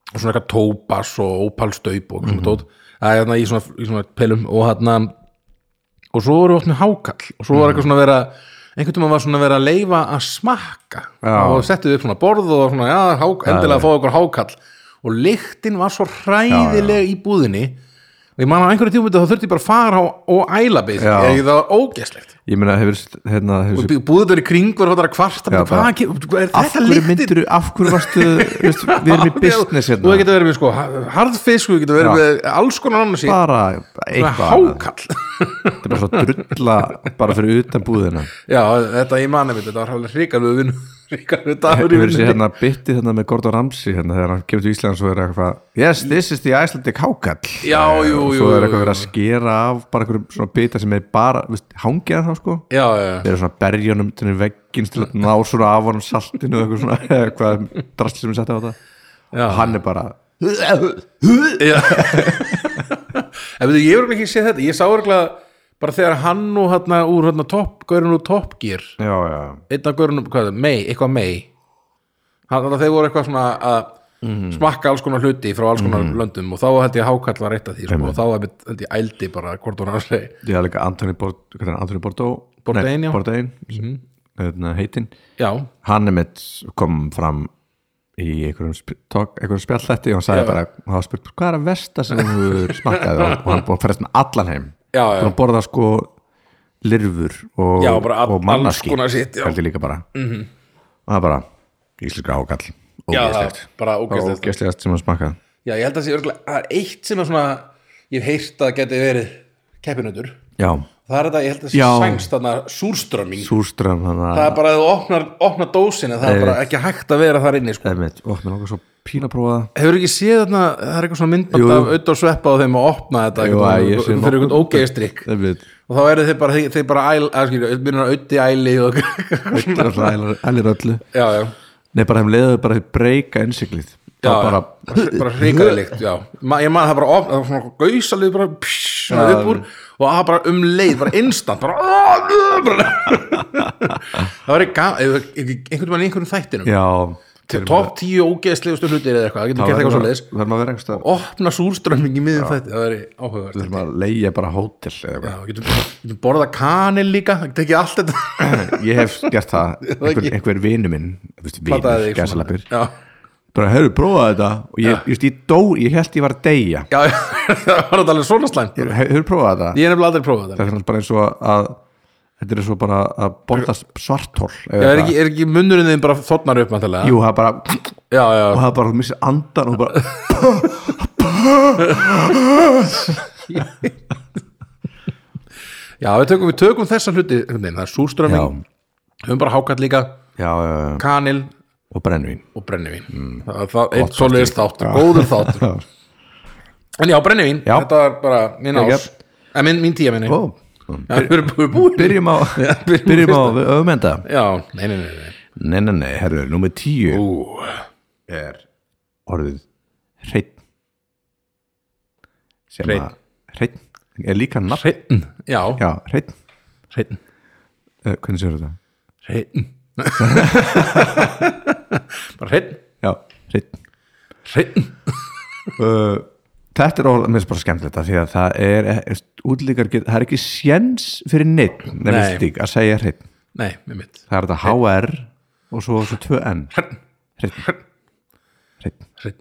Speaker 2: og svona eitthvað tópas og ópalstaup og svona tót, það er þarna í svona, í svona pelum og þarna og svo voru oft með hákall og svo
Speaker 1: Mhm.
Speaker 2: var eitthvað svona að vera einhvern tímann var svona að vera að leifa að smakka
Speaker 1: Já.
Speaker 2: og settu upp svona borð og svona, já, hák, endilega að fá okkur hákall og lyktin var svo hræðileg í búðinni og ég man á einhverju tímum þá þurfti ég bara að fara á- og æla basically
Speaker 1: Já.
Speaker 2: Ég, það var ógeslegt
Speaker 1: ég meina hefur, hérna, hefur
Speaker 2: Bú- Búðið þar í kring var hóttar að kvarta
Speaker 1: Já,
Speaker 2: bara,
Speaker 1: bara-
Speaker 2: Hvað ge- er
Speaker 1: af
Speaker 2: þetta
Speaker 1: hverju
Speaker 2: líktin?
Speaker 1: myndir af hverju varstu veist, við erum í business
Speaker 2: Þú
Speaker 1: hérna
Speaker 2: getur verið með sko ha- harðfisk Þú getur verið
Speaker 1: Já.
Speaker 2: með alls konar annars í
Speaker 1: bara eitthvað annað.
Speaker 2: Hákall
Speaker 1: þetta er bara svo drulla bara fyrir utan búðina
Speaker 2: Já, þetta ég mani mitt Þetta var hálflega hrikalöðu vinn Hrikalöðu dagur í
Speaker 1: hefur sér
Speaker 2: vinnunni
Speaker 1: hérna bytti hérna með Gordon Ramsay hérna þegar hann kemur til Ísland svo er eitthvað yes this is the Icelandic hákall
Speaker 2: Já, jú,
Speaker 1: og
Speaker 2: jú,
Speaker 1: svo
Speaker 2: jú,
Speaker 1: er eitthvað
Speaker 2: jú.
Speaker 1: verið að skera af bara einhverjum svona bytta sem er bara veist, hangið hann þá sko
Speaker 2: Já, já,
Speaker 1: þeir eru svona berjunum til veggins til að ná svona af honum saltinu og eitthvað svona eitthvað drastl sem er sett á þetta
Speaker 2: Já.
Speaker 1: og hann er bara
Speaker 2: já En veitu, ég verður ekki séð þetta Ég sá örgulega bara þegar hann og hérna úr hérna topp Gaurinn úr Top Gear
Speaker 1: já já
Speaker 2: einn af görunum, hvað er það, mei, eitthvað mei hann þannig að þeir voru eitthvað svona að smakka alls konar hluti frá alls konar löndum og þá held ég að hákall var eitt af því sko, og þá Mhm. einmitt held ég ældi bara hvort hún hans leið
Speaker 1: ég er líka Anthony, Bord, hvað er hann, Anthony Bordeaux
Speaker 2: Bourdain, já. Mhm.
Speaker 1: Bordein mm -hmm. heitin
Speaker 2: já,
Speaker 1: hann er mitt kom fram í einhverjum, sp- talk, einhverjum spjallhætti og hann sagði bara, og hann spurt hvað er að versta sem þú hefur smakkað og og hann búið að ferðast með allan heim
Speaker 2: Já, já.
Speaker 1: hann borða sko lirfur og,
Speaker 2: Já, bara all-
Speaker 1: og mannaski
Speaker 2: alls konar shit, já. Mhm.
Speaker 1: held ég líka bara -hmm. og það er bara íslenska ákall
Speaker 2: já það,
Speaker 1: ógeðslegt
Speaker 2: bara ógæstlegt
Speaker 1: ógeðslegast sem hann smakkað
Speaker 2: já, ég held að það sé örgulega, það er eitt sem er svona ég hef heyrt að geti verið keppinötur,
Speaker 1: já,
Speaker 2: það er þetta, ég held að það
Speaker 1: Já.
Speaker 2: sé sænst þarna súrströmming
Speaker 1: súrström þannig
Speaker 2: það
Speaker 1: að
Speaker 2: er bara að þú opnar, opnar dósina það er bara ekki hægt að vera þar inni sko.
Speaker 1: það er mitt, ó, mér langar svo pína að prófa það
Speaker 2: Hefur ekki séð þarna, það er eitthvað svona myndband
Speaker 1: Jú.
Speaker 2: af auðvitað og sveppa á þeim að opna þetta
Speaker 1: Jú,
Speaker 2: einhvern
Speaker 1: að ég
Speaker 2: veginn
Speaker 1: sé nokkuð-
Speaker 2: fyrir einhvern ógeðstrykk
Speaker 1: Það er mitt
Speaker 2: og þá eru þeir bara, þeir, þeir bara æl, að skilja, myndir að auði æli og
Speaker 1: Þetta er alltaf allir öllu
Speaker 2: já, já,
Speaker 1: Nei, bara þeim leiðu bara að breyka innsiklið
Speaker 2: já,
Speaker 1: Það var bara
Speaker 2: já. bara hrikalegt, já Ma, ég maður það bara opna, það var svona gausalið bara pss, svona upp úr og það bara um leið, bara instant bara, bara. það var ekki einhvern veginn í einhvern þættinum
Speaker 1: Já,
Speaker 2: til topp tíu ógeðslegustu hlutir eða eitthvað, það getur gert eitthvað svo leiðis
Speaker 1: Það er maður að vera einhverstað
Speaker 2: opna súrströmming í miðum þetta, það er áhugavert
Speaker 1: Við þurfum að leigja bara hótel eða
Speaker 2: Já, getum, getum borðað kanil líka það tekið allt þetta
Speaker 1: eitthvað. Ég hef gert það, einhver, einhver vinu minn veist,
Speaker 2: Plataði
Speaker 1: Vinur,
Speaker 2: þig svona.
Speaker 1: gæsalapir
Speaker 2: já,
Speaker 1: Bara, herru, prófaði þetta Og ég, just, ég dó, ég held ég var að deyja
Speaker 2: já, já, það var þetta alveg svona slæmt ég
Speaker 1: Hefur prófaði þetta?
Speaker 2: er nefnilega aldrei prófað þetta
Speaker 1: Það er svona bara eins og að Þetta er eins og bara að borða svartól
Speaker 2: Já, er, ekki, er ekki munnurinn þinn bara þotnar upp mæntalega?
Speaker 1: Jú, það er bara
Speaker 2: Já, já,
Speaker 1: og það bara missir andan og bara
Speaker 2: já við, tökum, við tökum þessa hluti einhvern veginn, það er súrströmming, höfum bara hákat líka
Speaker 1: já, já, já,
Speaker 2: kanil
Speaker 1: og brennvín
Speaker 2: og brennivín mm. það, það, eitt svoleiðist þáttur, góður þáttur en já, brennivín,
Speaker 1: Já.
Speaker 2: þetta var bara mín ás
Speaker 1: Geggjað.
Speaker 2: en minn, mín tíja minni já,
Speaker 1: Ó,
Speaker 2: við erum búin, búin.
Speaker 1: byrjum á
Speaker 2: byrjum á
Speaker 1: byrjum á öfumenda
Speaker 2: já, nei, nei, nei, nei.
Speaker 1: nei, nei, nei, herru, nummer tíu
Speaker 2: Ú,
Speaker 1: er orðið hreinn sem
Speaker 2: Hreinn.
Speaker 1: að hreinn er líka nafn
Speaker 2: hreinn já,
Speaker 1: já, hreinn,
Speaker 2: hreinn
Speaker 1: Eh, hvernig séu þetta?
Speaker 2: hreinn bara hreinn,
Speaker 1: já, hreinn
Speaker 2: hreinn
Speaker 1: Uh, þetta er orðið, mér finnst bara skemmtilegt af því að það er, er útlíkar get, það er ekki séns fyrir neitt
Speaker 2: Nei.
Speaker 1: nefnist lík að segja hreinn
Speaker 2: nei, með mitt
Speaker 1: það er þetta HR og svo, svo 2N
Speaker 2: hreinn,
Speaker 1: hreinn hreinn
Speaker 2: hreinn,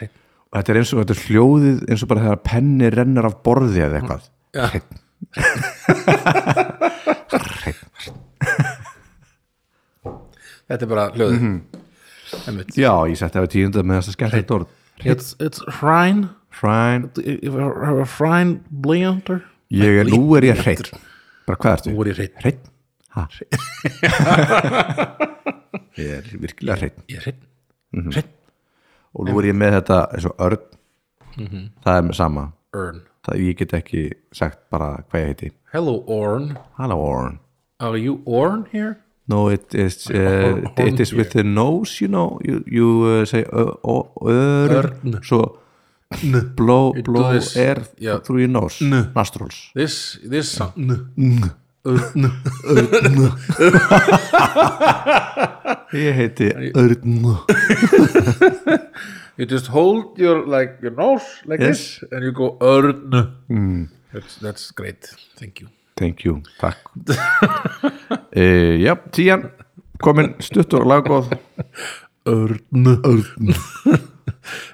Speaker 2: hreinn
Speaker 1: og þetta er eins og þetta er hljóðið eins og bara þegar penni rennar af borði eða eitthvað
Speaker 2: Já.
Speaker 1: hreinn
Speaker 2: þetta er bara hljóðið mm
Speaker 1: Mhm.
Speaker 2: -hmm.
Speaker 1: já, ég setti af tíunda með þess að skemmt þetta orð
Speaker 2: it's, it's hrine
Speaker 1: hrein,
Speaker 2: hrine blíjandur
Speaker 1: ég er, nú er ég hreinn bara hvað ertu?
Speaker 2: Nú er ég hreinn.
Speaker 1: hreinn, ha ég er virkilega hreinn
Speaker 2: ég er hreinn,
Speaker 1: Mhm.
Speaker 2: hreinn
Speaker 1: og nú er ég með þetta eins og örn
Speaker 2: Mhm.
Speaker 1: það er með sama
Speaker 2: Örn
Speaker 1: það, ég get ekki sagt bara hvað ég heiti
Speaker 2: Hello, Orn.
Speaker 1: hello Orn
Speaker 2: Are you Orn here?
Speaker 1: No, it is uh, it is with the nose, you know. You you uh, say ö- ö- örn, svo blow blow
Speaker 2: this.
Speaker 1: air
Speaker 2: Yeah.
Speaker 1: through your nose, nostrils.
Speaker 2: This, this sound. N.
Speaker 1: Ég heiti örn.
Speaker 2: You just hold your like your nose like
Speaker 1: Yes. Mm.
Speaker 2: this and you go Örn. That's, that's great. Thank you.
Speaker 1: Thank you, takk. uh, já, tían, komin stuttur og laggóð.
Speaker 2: Örn. Örn.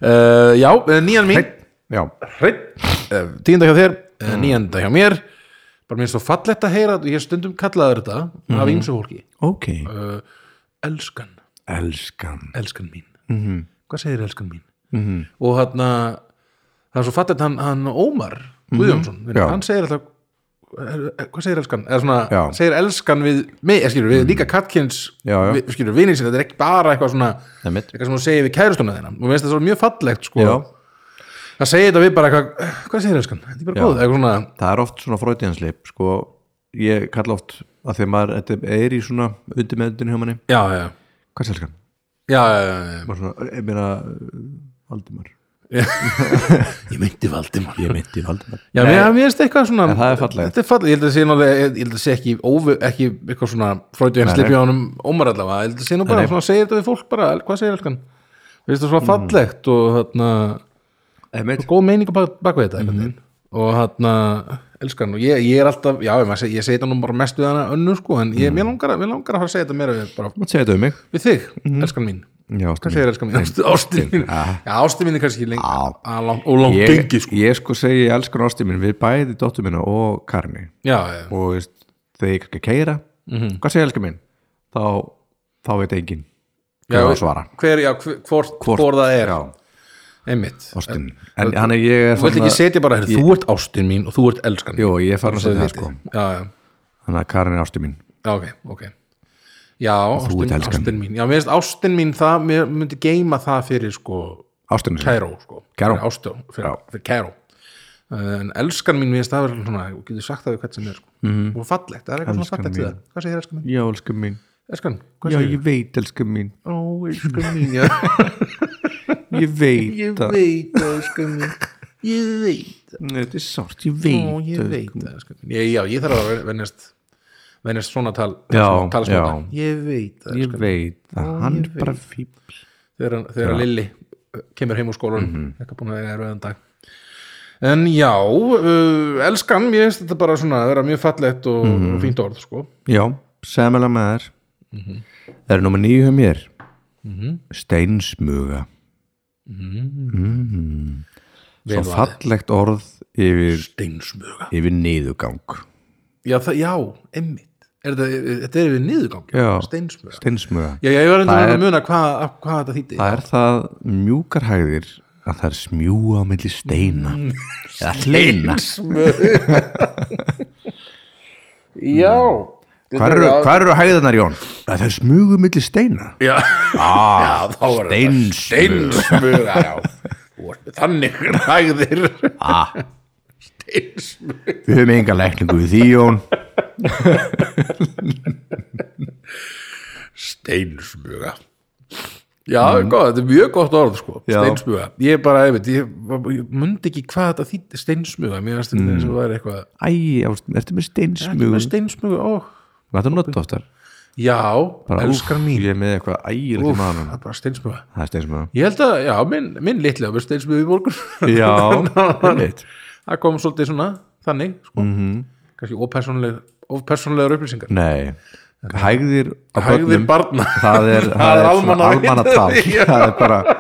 Speaker 2: uh, já, eh, nýjan mín.
Speaker 1: Já,
Speaker 2: Hreinn. Uh, tíunda hjá þér, uh, níunda hjá mér. Bara mér er svo fallegt að heyra, ég er stundum kallaður þetta af ýmsu fólki.
Speaker 1: ok.
Speaker 2: Uh, Mhm. elskan,
Speaker 1: Elskan.
Speaker 2: elskan mín. -hmm. Hvað segir elskan mín? -hmm. Og hann það er svo fattið hann, hann Ómar Guðjónsson, mm
Speaker 1: Já.
Speaker 2: hann segir alltaf "Er- er- hvað segir elskan? Eða svona,
Speaker 1: Já.
Speaker 2: segir elskan við, með, skilur, við líka kattkins,
Speaker 1: Já, já.
Speaker 2: við- skilur, vinir sinni þetta er ekki bara eitthvað svona,
Speaker 1: Það er mitt.
Speaker 2: eitthvað sem hún segir við kærustuna þeirna, og mér finnst það svo mjög fallegt sko.
Speaker 1: Já,
Speaker 2: það segir þetta við bara eitthvað "Eh, hvað segir elskan? Þetta er bara
Speaker 1: Já.
Speaker 2: góð, eitthvað svona
Speaker 1: það er oft svona fröðiðanslip, sko. Ég kalla oft að þegar maður þetta er í svona undir meðundinu hjá manni.
Speaker 2: já, já,
Speaker 1: Hvað selskan?
Speaker 2: já, já, já, já.
Speaker 1: bara svona, ég meina uh, Valdimar
Speaker 2: ég myndi Valdimar
Speaker 1: ég meinti Valdimar
Speaker 2: Já, mér, mér finnst eitthvað svona
Speaker 1: En það er fallegt.
Speaker 2: Þetta er fallegt, ég held að sé, nálega, ég held að sé ekki, óvi, ekki eitthvað svona fröðu en
Speaker 1: Nei,
Speaker 2: slipja
Speaker 1: nei.
Speaker 2: honum ómar allavega Ég held að sé nú bara,
Speaker 1: nei.
Speaker 2: svona segir þetta við fólk bara el- Hvað segir elskan? Mér finnst það svona fallegt og þarna
Speaker 1: Einmitt.
Speaker 2: Góð meining á bak, bak við þetta mm
Speaker 1: Mhm.
Speaker 2: -hmm. Og þarna, elskan Og ég, ég er alltaf, já, ég, seg, ég segi þetta nú bara mest við hana önnu sko En
Speaker 1: Mhm.
Speaker 2: ég, mér, langar, að- mér langar að fara að segja þetta meira við, bara,
Speaker 1: Mátt segja þetta um mig
Speaker 2: við þig, elskan mín
Speaker 1: Já, ástin
Speaker 2: Hvað segir elskan mín? Ástu- Ástin mín Já, ástin mín er kannski lengi
Speaker 1: Já.
Speaker 2: að langt- Og langt
Speaker 1: ég,
Speaker 2: gengi sko
Speaker 1: ég sko segi ég elskan ástin mín við bæði dóttur minna og Karni
Speaker 2: Já, já,
Speaker 1: og veist, þegar ég ekki keira hvað segja elskan mín þá, þá veit enginn
Speaker 2: Já,
Speaker 1: hvað það svara
Speaker 2: hver, já, hver, hvort, hvort, það er
Speaker 1: já,
Speaker 2: einmitt,
Speaker 1: ástin en hann er ég er
Speaker 2: þú vilt ekki setja bara hér, þú ert ástin mín og þú ert elskan
Speaker 1: jú, ég er farin að
Speaker 2: Svo
Speaker 1: segja það
Speaker 2: þið
Speaker 1: sko
Speaker 2: vitið. já, já,
Speaker 1: þannig að Karni er ástin mín
Speaker 2: já, ok, ok já, ástin,
Speaker 1: ert elskan
Speaker 2: ástin mín já, mér finnst ástin mín, það, mér myndi geima það fyrir sko,
Speaker 1: ástin er
Speaker 2: kæró sko.
Speaker 1: Kæró.
Speaker 2: fyrir ástjó, fyrir, fyrir kæró en elskan mín, mér finnst það verið svona þú getur sagt það við hvert sem er sko. mm -hmm. og fallegt, það er eitthvað svona
Speaker 1: Mhm. Elskan
Speaker 2: fallegt við það hvað segir elskan mín?
Speaker 1: já, elskan mín
Speaker 2: Elskan, hvað
Speaker 1: já,
Speaker 2: segir?
Speaker 1: ég veit elskan mín
Speaker 2: Ó, elskan mín, já
Speaker 1: ég
Speaker 2: ég
Speaker 1: veit að
Speaker 2: veit, það, elskan mín ég veit
Speaker 1: þetta er sárt, ég
Speaker 2: Ó,
Speaker 1: veit
Speaker 2: ég
Speaker 1: að-
Speaker 2: veit það, sko. ég, já, ég þarf að venjast venjast svona tal
Speaker 1: Já,
Speaker 2: talsmáta.
Speaker 1: já.
Speaker 2: ég veit það
Speaker 1: ég veit að hann er bara fíbl
Speaker 2: þegar, þegar Lilli uh, kemur heim úr skólan
Speaker 1: Mhm.
Speaker 2: ekki búin að vera erfiðan dag en já, uh, elskan mér finnst þetta bara svona, það er mjög fallegt og,
Speaker 1: Mhm.
Speaker 2: og fínt orð sko
Speaker 1: já, semilega með þær
Speaker 2: Mhm.
Speaker 1: það er nummer nýju hjá mér steinsmuga Mhm.
Speaker 2: Vel
Speaker 1: svo
Speaker 2: Mhm. valið.
Speaker 1: fallegt orð yfir,
Speaker 2: steinsmuga
Speaker 1: yfir niðugang
Speaker 2: já, það, já, emmitt er þetta, e, þetta er við niðurgangi,
Speaker 1: Já.
Speaker 2: steinsmuga
Speaker 1: steinsmuga
Speaker 2: já, já, ég var endur
Speaker 1: Það
Speaker 2: að muna hvað, af- hvað þetta þýtti
Speaker 1: það er það mjúkar hægðir að það er smjúa melli steina eða hleina
Speaker 2: Mm. steinsmuga já
Speaker 1: hvar eru, hvar eru hægðarnar Jón? Að það er smugu melli steina
Speaker 2: já,
Speaker 1: Ah,
Speaker 2: já, þá var þetta
Speaker 1: steinsmuga
Speaker 2: steinsmuga, já Þú ert með þannig hægðir
Speaker 1: Ah.
Speaker 2: steinsmuga
Speaker 1: við höfum enga lækningu við því Jón
Speaker 2: steinsmuga já, góð, þetta er mjög gott orð sko,
Speaker 1: Mm. Já.
Speaker 2: steinsmuga ég bara, ég veit, ég, ég mundi ekki hvað þetta þýtti steinsmuga, mér finnst þetta
Speaker 1: Mm.
Speaker 2: eins og það er eitthvað
Speaker 1: Æ, já, ertu með steinsmugu
Speaker 2: með steinsmuga, ó,
Speaker 1: Hvað það nota oftar?
Speaker 2: já,
Speaker 1: Bara,
Speaker 2: elskar
Speaker 1: úff,
Speaker 2: mín
Speaker 1: Ég er með eitthvað ægilegt í
Speaker 2: Úff,
Speaker 1: maðanum
Speaker 2: það er bara steinsmuga
Speaker 1: Það er steinsmuga
Speaker 2: ég held að, já, minn, minn litlega með steinsmuga í morgun
Speaker 1: Já, einmitt.
Speaker 2: það kom svolítið svona, þannig sko. mm
Speaker 1: Mhm.
Speaker 2: -hmm. kannski ópersónuleg ópersónulegar upplýsingar
Speaker 1: Nei, hægðir á börnum
Speaker 2: hægðir barna
Speaker 1: Það er,
Speaker 2: Það er
Speaker 1: svona
Speaker 2: almannavill.
Speaker 1: almannatal
Speaker 2: Já.
Speaker 1: Það er bara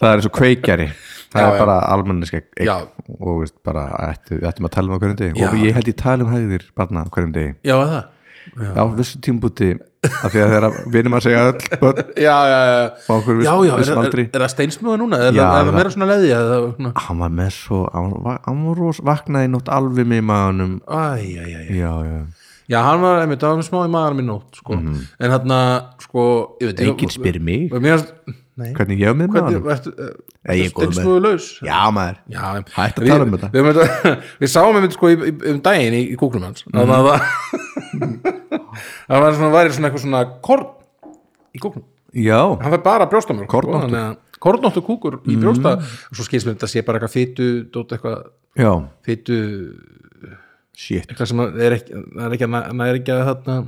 Speaker 1: Það er eins og kveikjari Það
Speaker 2: Já,
Speaker 1: er
Speaker 2: já.
Speaker 1: bara almanniska
Speaker 2: Já.
Speaker 1: og veist, bara, ættu, við ættum að tala um á hverjum degi
Speaker 2: Já.
Speaker 1: og ég held ég tala um hægðir barna á hverjum degi
Speaker 2: já, er það
Speaker 1: á vissu tímbúti af því að þeirra vinum að segja öll börn
Speaker 2: já, já, já,
Speaker 1: á okkur
Speaker 2: já, já, er,
Speaker 1: vissum
Speaker 2: er,
Speaker 1: aldri
Speaker 2: er það steinsmuga núna er,
Speaker 1: Já,
Speaker 2: það, er það
Speaker 1: það-
Speaker 2: meira svona leði að það, svona,
Speaker 1: hann var með svo hann var, hann var ros, vaknaði í nótt alveg með maðanum
Speaker 2: æ, æ, æ, æ.
Speaker 1: já, já,
Speaker 2: já, hann var einmitt, það var smá í maður minn nótt sko.
Speaker 1: Mhm.
Speaker 2: en hann sko, ég veit
Speaker 1: enginn spyr mig
Speaker 2: mér varst, nei,
Speaker 1: hvernig ég er með maðanum
Speaker 2: hvernig varst
Speaker 1: Nei, ég er góður með.
Speaker 2: steinsmuga laus
Speaker 1: já maður,
Speaker 2: já,
Speaker 1: Hætt að
Speaker 2: við-
Speaker 1: tala um þetta.
Speaker 2: við, við, við sáum einmitt sko í, í, um daginn í, í kúknum
Speaker 1: Mhm.
Speaker 2: hans mm. það var það var svona, væri svona eitthvað svona korn í kúknum
Speaker 1: já,
Speaker 2: hann fær bara brjóstamjólk sko,
Speaker 1: Kornóttu.
Speaker 2: þannig að- kornóttu kúkur í
Speaker 1: Mhm.
Speaker 2: brjósta svo skilst mér þetta sé bara eitthvað fytu dót eitthvað
Speaker 1: já
Speaker 2: fytu
Speaker 1: shit,
Speaker 2: eitthvað sem er ekki, það er ekki, að- það er ekki að þarna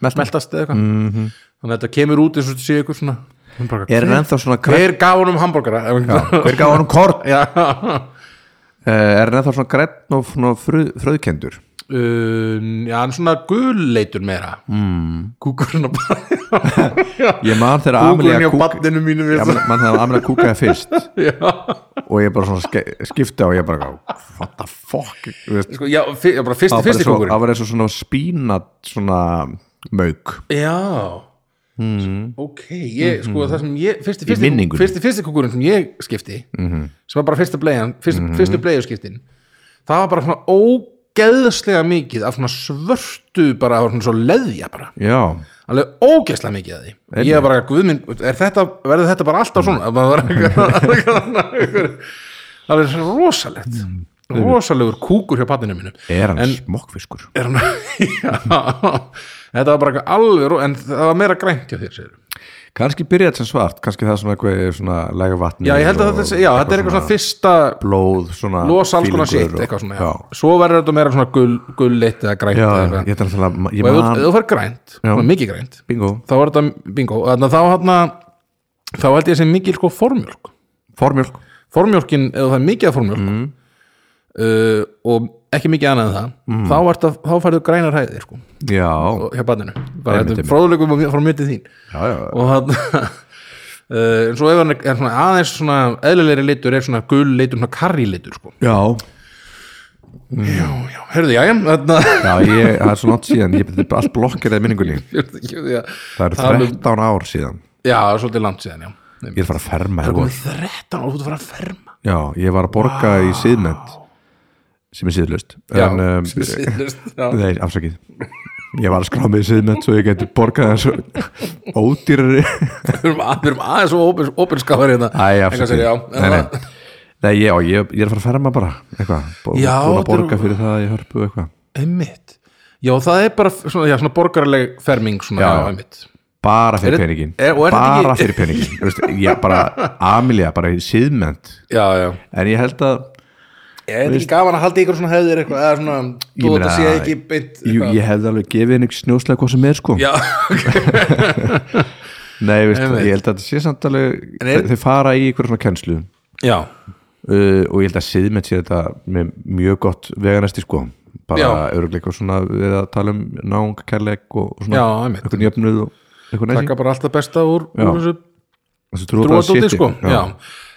Speaker 1: melta
Speaker 2: meltast eða eitthvað
Speaker 1: Mhm.
Speaker 2: þannig að þetta kemur út eins og þetta sé eitthvað svona Hún bara,
Speaker 1: er hann ennþá svona græn
Speaker 2: hver gaf honum hambúrgara
Speaker 1: hver gaf honum kort
Speaker 2: já
Speaker 1: Eh, er hann ennþá svona græn og svona fröð, fröðkendur
Speaker 2: Um, já, hann er svona gulleitur meira mm. kúkurinn og bara
Speaker 1: ég man þegar
Speaker 2: kúkurinn
Speaker 1: Amelia
Speaker 2: hjá
Speaker 1: kúk
Speaker 2: banninu mínu við
Speaker 1: ég man man þegar Amelia kúkaði fyrst
Speaker 2: já,
Speaker 1: og ég bara svona ske- skipti og ég bara what the fuck Þú veist,
Speaker 2: sko, já, fyr, já bara
Speaker 1: það
Speaker 2: fyrsti,
Speaker 1: var bara
Speaker 2: fyrsti
Speaker 1: svo-
Speaker 2: kúkurinn
Speaker 1: það var eins og svona spínat svona mauk
Speaker 2: Já Ok, ég, sko það sem ég fyrsti, fyrsti,
Speaker 1: minningunni.
Speaker 2: fyrsti, fyrsti kúkurinn sem ég skipti sem var bara fyrsta bleiðan fyrst, fyrstu bleiðuskiptin það var bara svona ógeðslega mikið af svona svörtu bara það var svona svo leðja bara
Speaker 1: já,
Speaker 2: alveg ógeðslega mikið að því ég var bara, guðminn, er þetta verður þetta bara alltaf svona mm. var, það er svona rosalegt rosalegur kúkur hjá pattinu mínu
Speaker 1: Mm. er hann smokkfiskur
Speaker 2: er hann já, þetta var bara eitthvað alveg ró- en það var meira grænt hjá þér segirðu.
Speaker 1: kannski byrjaði þetta sem svart, kannski það er svona eitthvað svona læga vatni
Speaker 2: já ég held að þetta, sé- já, þetta er eitthvað svona fyrsta
Speaker 1: blóð, svona
Speaker 2: losa alls konar
Speaker 1: fílingur
Speaker 2: sitt
Speaker 1: og-
Speaker 2: eitthvað svona, já.
Speaker 1: já,
Speaker 2: svo verður þetta meira svona gull, gull leitt eða grænt
Speaker 1: já,
Speaker 2: eða
Speaker 1: já,
Speaker 2: eitthvað.
Speaker 1: ég þarf að ég
Speaker 2: og ef þú-
Speaker 1: man,
Speaker 2: ef þú fær grænt,
Speaker 1: Já.
Speaker 2: svona mikið grænt
Speaker 1: bingo,
Speaker 2: þá var þetta bingo þannig að þá hann þá held ég sem mikil sko formjölk
Speaker 1: formjölk
Speaker 2: formjölkin, ef það er mikið af formjölk uh, og ekki mikið annað en það, þá, var þetta, þá færðu grænar hæðir sko,
Speaker 1: já,
Speaker 2: og- hjá barninu bara
Speaker 1: Einmitt,
Speaker 2: þetta er
Speaker 1: einmitt.
Speaker 2: fróðuleikum frá mér til þín
Speaker 1: já, já,
Speaker 2: og hann Uh, en svo ef hann er, er svona aðeins svona eðlilegri litur er svona gul litur, svona karri litur sko.
Speaker 1: já
Speaker 2: já, já, heyrðu, já, já þarna,
Speaker 1: já, ég, það er svo langt síðan ég byrði allt blokkir eða minningunni það eru
Speaker 2: um-
Speaker 1: 13 ár síðan
Speaker 2: já, svolítið langt síðan, já
Speaker 1: ég er að fara að ferma
Speaker 2: það
Speaker 1: hér
Speaker 2: komið 13 og þú ert að fara að ferma
Speaker 1: já, ég var að borga í síðmend sem er síðlust
Speaker 2: já,
Speaker 1: en, um,
Speaker 2: sem síðlist, já.
Speaker 1: Nei, afsakið Ég var að skrá mig í siðmennt svo ég geti borgað þessu ódýrari
Speaker 2: við erum að- við erum aðeins og ópinskafari hérna
Speaker 1: Æ,
Speaker 2: En hvað segir
Speaker 1: afsakið
Speaker 2: ég, já,
Speaker 1: Nei, nei, nei ég, já, ég, ég er að fara að ferma bara eitthvað, bú-
Speaker 2: Já,
Speaker 1: búin
Speaker 2: þetta
Speaker 1: að borga
Speaker 2: er-
Speaker 1: fyrir það í hörpu eitthvað
Speaker 2: einmitt já, það er bara svona, já, svona borgarleg ferming svona,
Speaker 1: Já.
Speaker 2: já, einmitt
Speaker 1: bara fyrir
Speaker 2: Er-
Speaker 1: peningin
Speaker 2: er- og er þetta
Speaker 1: bara
Speaker 2: ekki-
Speaker 1: fyrir peningin Þú veist, ég bara, Amelia, bara í siðmennt
Speaker 2: já, já,
Speaker 1: en ég held að
Speaker 2: er þetta ekki gaman að halda í ykkur svona hefðir eitthvað, eða svona, þú
Speaker 1: Ég
Speaker 2: þetta
Speaker 1: meina-
Speaker 2: sé ekki beint
Speaker 1: Jú,
Speaker 2: eitthvað.
Speaker 1: ég hefði alveg gefið henni snjóslega hvað sem er sko
Speaker 2: Já,
Speaker 1: Nei, veist,
Speaker 2: Einmitt.
Speaker 1: ég held að þetta sé samt alveg
Speaker 2: En er-
Speaker 1: þau fara í einhverjum svona kennslu uh,
Speaker 2: já,
Speaker 1: og ég held að siðmenn sé þetta með mjög gott veganesti sko bara
Speaker 2: Já.
Speaker 1: örugleika svona við að tala um náunga kærleik og, og
Speaker 2: já,
Speaker 1: svona
Speaker 2: einmitt
Speaker 1: einhvern jöfnuð og einhvern næsing
Speaker 2: taka bara alltaf besta úr,
Speaker 1: Já.
Speaker 2: úr þessu
Speaker 1: þessu trúa
Speaker 2: drúa dóti, sko já.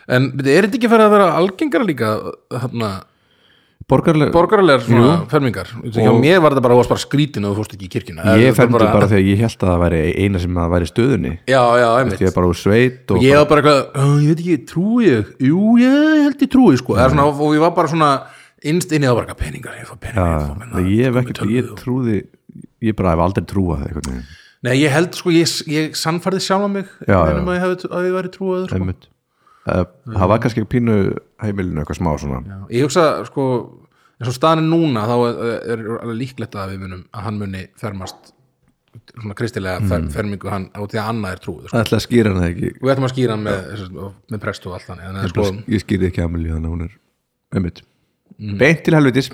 Speaker 2: En byrju, er þetta ekki farið að vera algengara líka þarna,
Speaker 1: borgarlega
Speaker 2: borgaralegar svona fermingar Hjá
Speaker 1: Og-
Speaker 2: mér var þetta bara, varst bara skrítin og þú fórst ekki í kirkjuna
Speaker 1: ég
Speaker 2: Þetta var
Speaker 1: fermdi bara... þegar ég held að það væri eina sem það væri í stöðunni
Speaker 2: Já, já, einmitt
Speaker 1: ég er bara úr sveit og
Speaker 2: ég var bara eitthvað, "Ó, ég veit ekki, trúi ég jú, ég held ég trúi sko mm. svona, og ég var bara svona innst inni á bara eitthvað, peningar, ég fór peningar, ég fór
Speaker 1: bara,
Speaker 2: peningar
Speaker 1: ég hef ekkert, ég trúði ég bara hef aldrei trúað einhvern veginn
Speaker 2: nei, ég held sko, ég, ég sannfærði sjálfa mig
Speaker 1: Já, já.
Speaker 2: einhvern veginn um að ég, hef, að ég væri trúið sko.
Speaker 1: einmitt Uh, það var kannski pínu heimilinu eitthvað smá svona
Speaker 2: Mm. Já, ég hugsa sko eins og staðan er núna þá er, er alveg líklegt að við munum að hann muni fermast svona kristilega
Speaker 1: Mm.
Speaker 2: fer, fermingu hann og því að annað er trúið sko.
Speaker 1: Það ætla að skýra hana ekki
Speaker 2: og við ætlum að skýra hann með, með prest og allt þannig þannig að sko,
Speaker 1: Ég skýri ekki Amelie þannig að hún er einmitt
Speaker 2: Mm.
Speaker 1: Beint til helvitis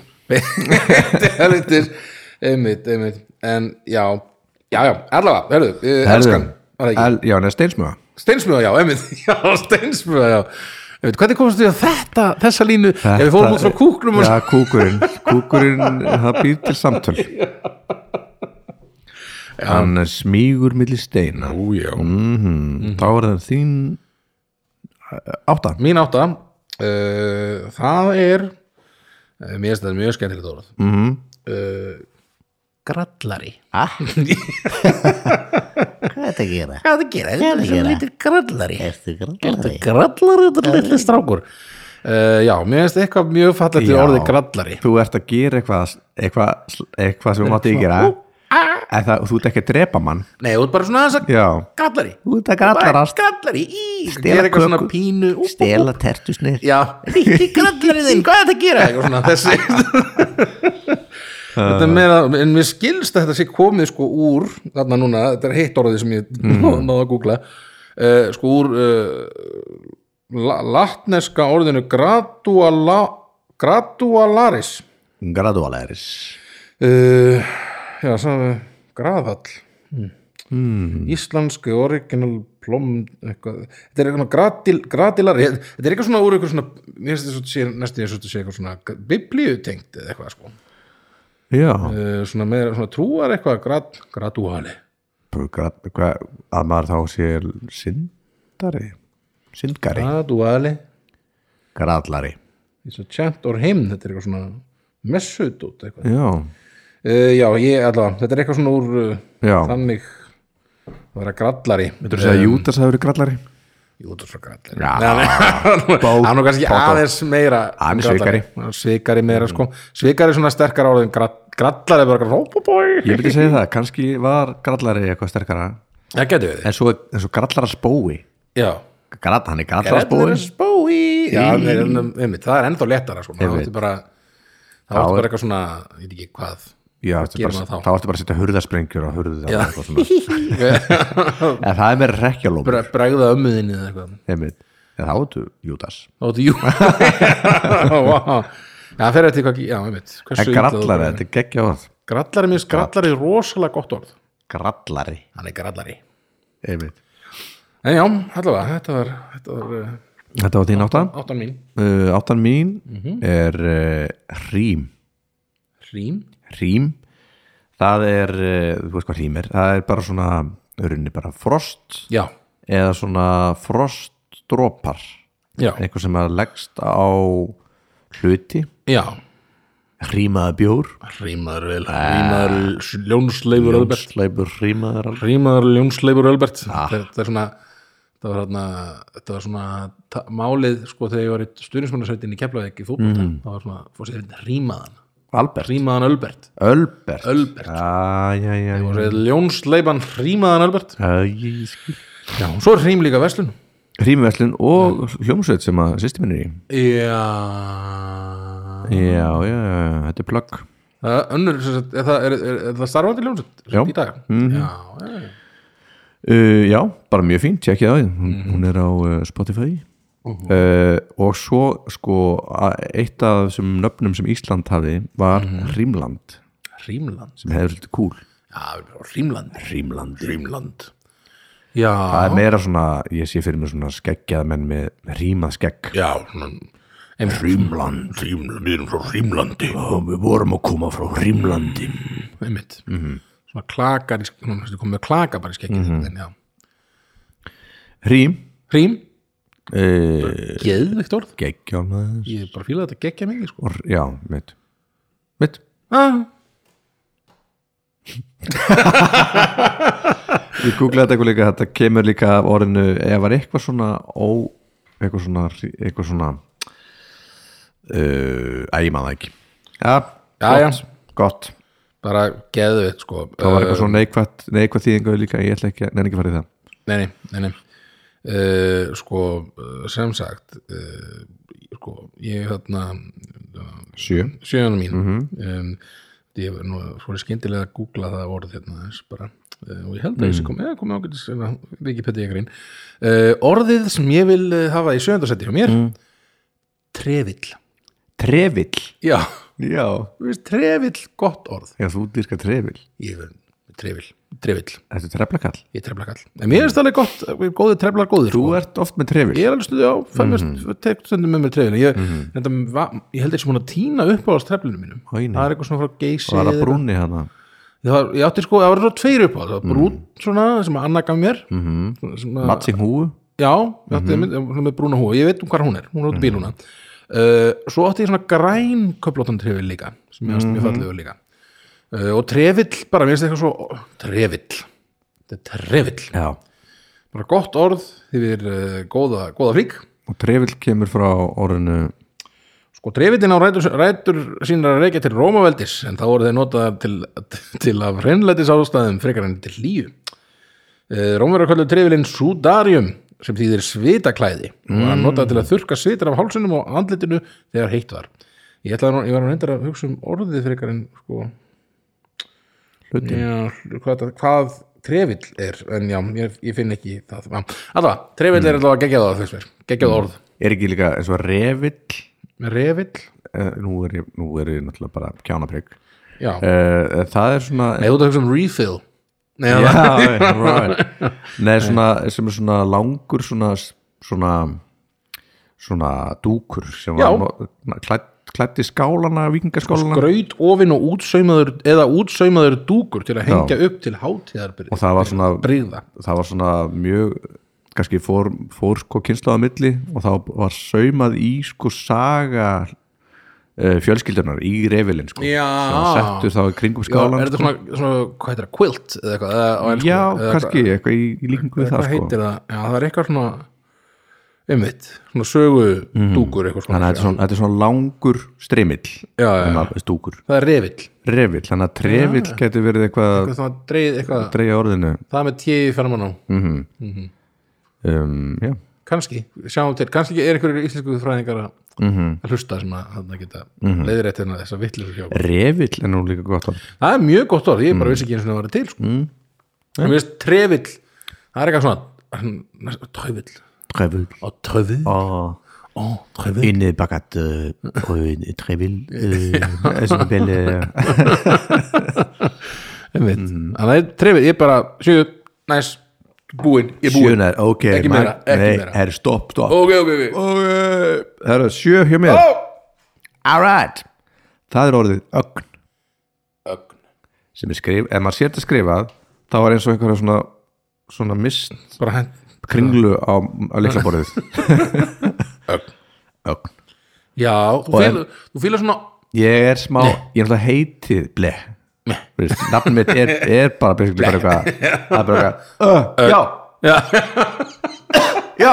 Speaker 2: helvitir einmitt, einmitt en já, já, já, allavega, herðu, eh, elskan var það ekki?
Speaker 1: El, Já, hann er steinsmöða
Speaker 2: steinsmjöða, já, einmitt, já, steinsmjöða já, einmitt, hvernig komast því að þetta þessa línu, ef við fórum út frá kúknum og
Speaker 1: Já, kúkurinn Kúkurinn, það býr til samtöl Hann er smígur milli steina
Speaker 2: Ú, já.
Speaker 1: mm
Speaker 2: Mhm.
Speaker 1: Þá er það þín eh, Átta
Speaker 2: mín átta uh, það er uh, mér finnst þetta mjög skemmtilegt orð mm -hmm. uh, grallari
Speaker 3: Ha? Hvað er þetta að gera?
Speaker 2: hvað er það að gera, þetta er svo
Speaker 3: gera?
Speaker 2: lítir grallari
Speaker 3: Ertu grallari?
Speaker 2: grallari, þetta er lítið strákur uh, já, mér finnst eitthvað mjög fallegt í
Speaker 1: Já.
Speaker 2: orðið grallari
Speaker 1: Þú ert að gera eitthvað eitthvað, eitthvað sem þú mátti ekki gera En það, þú ert ekki að drepa mann
Speaker 2: nei, þú ert bara svona aðeins að
Speaker 1: Já,
Speaker 2: grallari
Speaker 3: Þú ert að grallarast
Speaker 2: grallari, í,
Speaker 3: Stela
Speaker 2: gera eitthvað svona
Speaker 3: köku.
Speaker 2: pínu ú,
Speaker 3: Stela tertusnir
Speaker 2: já, lítir grallari þinn hvað er þetta að gera, eitthvað svona þessi þetta er meira en mér skilst að þetta sé komið sko úr þarna núna, þetta er heitt orðið sem ég mm. náða að googla uh, sko úr uh, la, latneska orðinu graduala, gradualaris
Speaker 1: gradualeris
Speaker 2: uh, já, svona graðall mm. íslensku Hmm. original plom eitthvað, þetta er eitthvað gratil, gratilari þetta er eitthvað svona úr eitthvað svona mér finnst þetta sé næstu ég sé eitthvað svona biblíutengt eða eitthvað sko
Speaker 1: Já
Speaker 2: uh, svona meira, svona trúar eitthvað grad, gradúali
Speaker 1: Bara grat- hvað- að maður þá sé syndari syndgari,
Speaker 2: gradúali
Speaker 1: grallari
Speaker 2: eins og tjent or heim þetta er eitthvað svona messut út eitthvað
Speaker 1: já,
Speaker 2: uh, já, ég allavega, þetta er eitthvað svona úr uh,
Speaker 1: já
Speaker 2: þannig að vera grallari Eh,
Speaker 1: þú veist að Jútas hafi verið grallari
Speaker 2: Jú, þú er svo grallari
Speaker 1: Já.
Speaker 2: Nei, nei,
Speaker 1: Bó-
Speaker 2: hann er nú kannski
Speaker 1: Tóta.
Speaker 2: aðeins meira
Speaker 1: Hann er
Speaker 2: grallari. Hann er svikari meira sko svikari er svona sterkar orðin grallari er bara rópubói
Speaker 1: ég myndi segja það, kannski var grallari eitthvað sterkara
Speaker 2: það getur við
Speaker 1: en svo, en svo grallara spói
Speaker 2: já
Speaker 1: Grall, hann er grallara
Speaker 2: grallari
Speaker 1: spói
Speaker 2: spói já, nei, en- einmitt, það er ennþá léttara sko það
Speaker 1: Einmitt.
Speaker 2: er bara
Speaker 1: Já,
Speaker 2: það er
Speaker 1: er-
Speaker 2: bara eitthvað svona ég veit ekki hvað
Speaker 1: já, ertu
Speaker 2: Gerum
Speaker 1: bara,
Speaker 2: það þá.
Speaker 1: þá ertu bara að setja hurðarsprengjur á hurðu
Speaker 2: Já.
Speaker 1: það en það er meira rekkjálóm
Speaker 2: Bre- bregða ömmuðinni eða eitthvað
Speaker 1: en þá ertu Jútas
Speaker 2: Óttu, jú Vá. Já, það fer eftir hvað Já, einmitt Hversu
Speaker 1: en
Speaker 2: illa þú-
Speaker 1: grallari, þetta er geggjáð
Speaker 2: Grallari, mér finnst grallari rosalega gott orð
Speaker 1: grallari,
Speaker 2: Hann er grallari
Speaker 1: einmitt
Speaker 2: En já, allavega, þetta var, þetta var uh,
Speaker 1: þetta var þín áttan
Speaker 2: áttan mín
Speaker 1: uh, áttan mín er uh, rím
Speaker 2: Rím
Speaker 1: rím það er, uh, þú veist hvað rím er það er bara svona, örinni bara frost
Speaker 2: Já,
Speaker 1: eða svona frostdropar
Speaker 2: já,
Speaker 1: eitthvað sem að leggst á hluti
Speaker 2: já
Speaker 1: rímaða bjór
Speaker 2: Rímaður vel, rímaður ljónsleifur Ölbert
Speaker 1: sleipur rímaðar alveg
Speaker 2: Rímaður ljónsleifur Ölbert Þetta er svona Þetta var, hana, þetta var svona ta- málið sko þegar ég var í stuðnismannasveitin í Keflavík í fótbolta, það var svona, fórst ég þetta rímaðan
Speaker 1: Albert,
Speaker 2: rímaðan Ölbert,
Speaker 1: Ölbert
Speaker 2: Ölbert.
Speaker 1: já, já, já, já.
Speaker 2: ljónsleipan rímaðan Ölbert
Speaker 1: Æ, ég skil.
Speaker 2: Já, og svo er hrím líka verslun
Speaker 1: Rímverslun og hljómsveit sem að sýsti minn er í
Speaker 2: Já
Speaker 1: já, já, já, þetta er plögg
Speaker 2: Það er önnur, sem sagt, er það, er, er, er það starfandi ljónsett
Speaker 1: Já. Mhm.
Speaker 2: í dag? Mm. Já, já, já. Mhm.
Speaker 1: uh, já, bara mjög fín, tjekkið á því hún, hún er á uh, Spotify uh, og svo sko að eitt af þessum nöfnum sem Ísland hafi var
Speaker 2: Mhm.
Speaker 1: Rímland
Speaker 2: Rímland
Speaker 1: sem hefur svolítið kúl
Speaker 2: Já, við erum á Rímlandi
Speaker 1: Rímland
Speaker 2: Rímland Já,
Speaker 1: það er meira svona, ég sé fyrir mér svona skeggjað menn með rímað skegg
Speaker 2: já en Rímland, Rímland, við erum frá Rímlandi
Speaker 1: og við vorum að koma frá Rímlandi
Speaker 2: Mm. einmitt
Speaker 1: Mhm.
Speaker 2: svona klakar, í sk- svona næstu komið með klaka bara í skekkið mm -hmm.
Speaker 1: Rím
Speaker 2: Hrím,
Speaker 1: uh,
Speaker 2: geðvikt orð
Speaker 1: geggjað maður.
Speaker 2: ég er bara fíla þetta gekkja mingi sko.
Speaker 1: Or- já, mitt mitt
Speaker 2: ah,
Speaker 1: Ég googlaði þetta eitthvað líka, þetta kemur líka af orðinu, ef var eitthvað svona ó, eitthvað svona eitthvað svona uh, æ, ég maður það ekki Já,
Speaker 2: Já,
Speaker 1: gott, gott
Speaker 2: bara geðvikt sko.
Speaker 1: Það var eitthvað svona neikvætt, neikvætt þýðingu líka, ég ætla ekki, að- nenni ekki að fara í það
Speaker 2: Eh, Nei, nei, nei, nei. Uh, sko, eh, sem sagt uh, sko, ég hérna
Speaker 1: Sjö
Speaker 2: sjöðanum mín
Speaker 1: Mhm.
Speaker 2: um, ég var nú fór ég skyndilega að googla það orð hérna þess bara uh, og ég held að
Speaker 1: Mhm.
Speaker 2: ég sé komið, eða komið ágætis hérna, Wikipedia grein uh, orðið sem ég vil eh, hafa í sjöðandarsætti hjá mér
Speaker 1: Mhm.
Speaker 2: trefill
Speaker 1: Trefill
Speaker 2: já,
Speaker 1: Já
Speaker 2: þú veist trefill gott orð
Speaker 1: Já, þú dyrka trefill
Speaker 2: ég vil trefill, trefill,
Speaker 1: Þetta er treflakall
Speaker 2: ég er treflakall en mér finnst alveg gott, eh, góðir treflar góðir sko.
Speaker 1: Þú ert Mhm. oft með trefill
Speaker 2: ég er alveg stuðið á stundum með mér trefinu ég, mm -hmm. ég held ekki svona að tína upp á treflinu mínum
Speaker 1: Mhm. Oj, nei.
Speaker 2: það er eitthvað svona frá geysi
Speaker 1: Og það er að
Speaker 2: eða-
Speaker 1: brúnni hana
Speaker 2: það var, ég átti sko, það var svona tveir upp á það var brún svona sem að Anna gaf mér mm -hmm. sem að,
Speaker 1: Matsing húu
Speaker 2: já, ég átti mm -hmm. með brúna húa ég veit um hvað hún er, hún er átti bíluna uh, svo átti ég svona græn köflóttan trefil líka, sem ég átti mjög fallegu líka uh, og trefill bara, mér finnst eitthvað svo trefill, þetta er trefill
Speaker 1: Já
Speaker 2: bara gott orð yfir uh, góða, góða frík
Speaker 1: Og trefill kemur frá orðinu
Speaker 2: Sko trefillin á rætur, rætur sínar að reykja til Rómaveldis en þá voru þeir notaðar til, til af hreinlætis ástæðum frekar enn til hlýju. Eh, Rómverjar köllu trefillin sudarium sem þýðir svitaklæði og var notað til að þurrka svitar af hálsunum og andlitinu þegar heitt var. Ég, ætlaði, nú- ég var nú reyndar að hugsa um orðið frekar en sko,
Speaker 1: hluti
Speaker 2: já, hvað, þetta- hvað trefill er, en já, ég, ég finn ekki það. Alltaf, trefill er allavega geggjað orð, fyrst mér, geggjað orð.
Speaker 1: Er ekki líka eins og refill
Speaker 2: Refill,
Speaker 1: Eh, nú er ég, nú er ég náttúrulega bara kjánaprygg
Speaker 2: já.
Speaker 1: uh, það er svona
Speaker 2: Nei, þú ert að hugsa um refill. Nei,
Speaker 1: Já,
Speaker 2: það-
Speaker 1: right. Nei, svona, sem er svona langur svona, svona svona dúkur sem
Speaker 2: Já.
Speaker 1: var no- klædd, klæddi skálana, vikingaskálana
Speaker 2: graut ofin og útsaumaður eða útsaumaður dúkur til að hengja upp til hátíðarbyrði
Speaker 1: og það var svona
Speaker 2: brigða
Speaker 1: það var svona mjög kannski fór, fór sko kynslaða milli og þá var saumað í sko saga uh, fjölskyldunar í refilinn sko
Speaker 2: Já.
Speaker 1: sem settur þá í kringum
Speaker 2: Já, er
Speaker 1: skálan
Speaker 2: þetta svona, svona, hvað heitir það, quilt eða eitthvað, eða, á ensku,
Speaker 1: sko. Já,
Speaker 2: eða
Speaker 1: kannski, eitthvað í, í líkingu við
Speaker 2: hvað,
Speaker 1: það
Speaker 2: hvað
Speaker 1: sko
Speaker 2: heitir það, já það er eitthvað svona einmitt, svona sögu dúkur eitthvað
Speaker 1: Mhm. þannig að þetta
Speaker 2: svona,
Speaker 1: er svona, þetta er svona langur stremill
Speaker 2: Já, já, já.
Speaker 1: stúkur,
Speaker 2: það er refill
Speaker 1: revill þannig að trevill getur verið eitthvað að
Speaker 2: Hvað það dreið eitthvað,
Speaker 1: dreigja orðinu
Speaker 2: það með tíði færman á,
Speaker 1: Mhm. um, já,
Speaker 2: kannski, sjáum til kannski er einhverjir íslensku fræðingar að
Speaker 1: Mhm.
Speaker 2: að hlusta sem að þarna geta mm -hmm. leiðrétt hérna þessa vitlu hjá
Speaker 1: revill er nú líka gott orð
Speaker 2: Það er mjög gott orð, ég bara vissi ekki eins og það var til sko. mm. Mér finnst trefill Það er eitthvað svona Tröfill
Speaker 1: trevill
Speaker 2: Og tröfill
Speaker 1: og
Speaker 2: Og tröfill
Speaker 1: inni bakat og uh, trevill uh, sem beli
Speaker 2: Þannig að trefill, ég bara Sjöðu, næs, búinn Ég er búinn
Speaker 1: sjönar, ok
Speaker 2: Ekki meira,
Speaker 1: Mark-
Speaker 2: ekki
Speaker 1: nei,
Speaker 2: meira.
Speaker 1: herru, stopp, stopp
Speaker 2: Ok, ok, ok
Speaker 1: okay. herru, Øh, sjö hjá mér
Speaker 2: Ó!
Speaker 1: Oh! all right það er orðið ögn
Speaker 2: Ögn
Speaker 1: sem er skrif, ef maður sér þetta skrifað þá er eins og einhverja svona svona mist
Speaker 2: Bara henn
Speaker 1: kringlu á, á liklaborðið
Speaker 2: Ögn
Speaker 1: ögn
Speaker 2: Já, þú fílar, þú fílar svona
Speaker 1: ég er smá, ég er alltaf heitið ble Vist, nafnum mitt er, er bara basically bara eitthvað það er bara eitthvað, uh,
Speaker 2: Já,
Speaker 1: já, já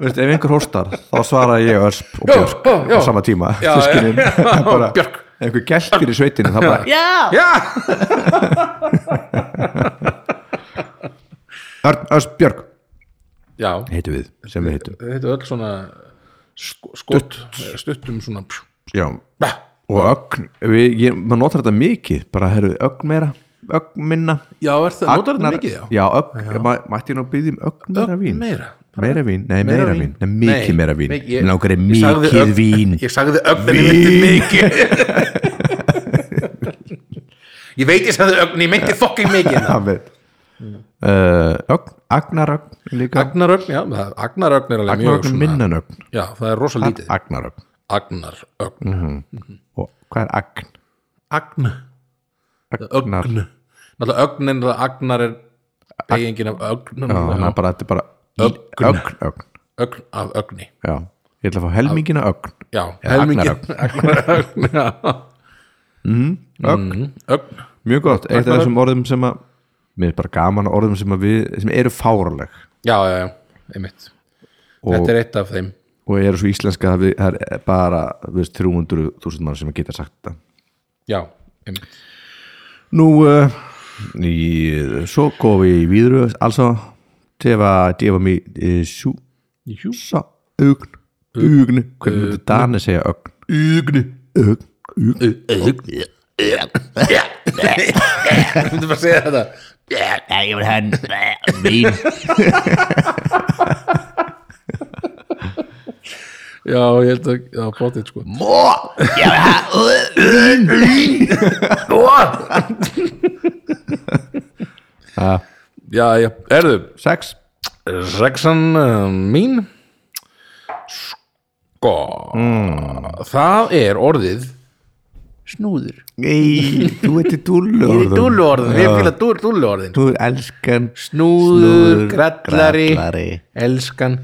Speaker 1: Vist, ef einhver hóstar, þá svara ég ösp og björk
Speaker 2: já, já.
Speaker 1: á sama tíma
Speaker 2: Já,
Speaker 1: Systkinin,
Speaker 2: já.
Speaker 1: það er bara,
Speaker 2: Björk.
Speaker 1: einhver gæltir í sveitinu það er bara,
Speaker 3: Já
Speaker 2: já
Speaker 1: Örn, ösp, björk
Speaker 2: Já
Speaker 1: heitum við, sem við heitum
Speaker 2: Þetta er öll svona sko- Skott Stuttum svona
Speaker 1: já, og ögn, við, ég, maður notar þetta mikið bara, herru, ögn meira, ögn minna
Speaker 2: Já, er það, notar þetta
Speaker 1: Agnar-
Speaker 2: mikið já
Speaker 1: já, ögn, já. mætti ég nú að byggja um ögn meira vín
Speaker 2: meira
Speaker 1: meira vín, nei meira
Speaker 2: vín?
Speaker 1: vín, nei mikið
Speaker 2: Nei,
Speaker 1: meira vín
Speaker 2: mikið-
Speaker 1: mér langar er
Speaker 2: Ég sagði
Speaker 1: mikið
Speaker 2: ögn-
Speaker 1: vín
Speaker 2: Ég sagði ögninni myndi mikið Ég veit ég sagði ögninni myndi fucking mikið
Speaker 1: Það veit. Uh, ögn, Agnarögn líka
Speaker 2: Agnarögn, já, það- Agnarögn er alveg mjög
Speaker 1: Agnarögn
Speaker 2: svona
Speaker 1: minnanögn
Speaker 2: Já, það er rosa lítið
Speaker 1: Agnarögn
Speaker 2: Agnarögn
Speaker 1: Mm. og hvað er agn?
Speaker 2: Agn
Speaker 1: Agnar.
Speaker 2: Ögn Náttúrulega ögnin, það agnar er eigingin af ögn
Speaker 1: Já, hann er bara, þetta er bara
Speaker 2: Ögn.
Speaker 1: ögn, ögn.
Speaker 2: Ögn af ögni
Speaker 1: Já, ég ætla að fá helmingina ögn
Speaker 2: Já,
Speaker 1: Eða agnarögn. Mm-hmm.
Speaker 2: Agnarögn, já
Speaker 1: Ögn,
Speaker 2: Mm, Ögn,
Speaker 1: mjög gott, eitt af
Speaker 2: Agnarögn.
Speaker 1: þessum orðum sem að mér er bara gaman að orðum sem að við sem eru fáraleg
Speaker 2: já, já, já, einmitt Þetta
Speaker 1: og,
Speaker 2: er eitt af þeim
Speaker 1: og eru svo íslenska að við, það er bara þú veist, 300.000 mann sem að geta sagt þetta
Speaker 2: Já, einmitt
Speaker 1: Nú, uh, í, svo går vi videre, altså, det var, det var mit øh, syv,
Speaker 2: Jú.
Speaker 1: så øgn, øgne, kunne det darne sagde øgn, øgne, øgn, øgn,
Speaker 2: Ég myndi bara segja þetta
Speaker 3: Já, ég vil hafa en vín
Speaker 2: Já, ég held að, já, bótið sko
Speaker 3: Mó, ég vil hafa
Speaker 2: Já, já, erðu
Speaker 1: seks,
Speaker 2: Rexan uh, mín Sko Mm. Það er orðið Snúður
Speaker 1: nej, du er det dulle
Speaker 2: Ég er dúllu orðin, ég fíla dúl, dúllu orðin
Speaker 1: Du elsker en
Speaker 2: Snúður,
Speaker 1: Snúður,
Speaker 2: grallari,
Speaker 3: grallari.
Speaker 2: Elskan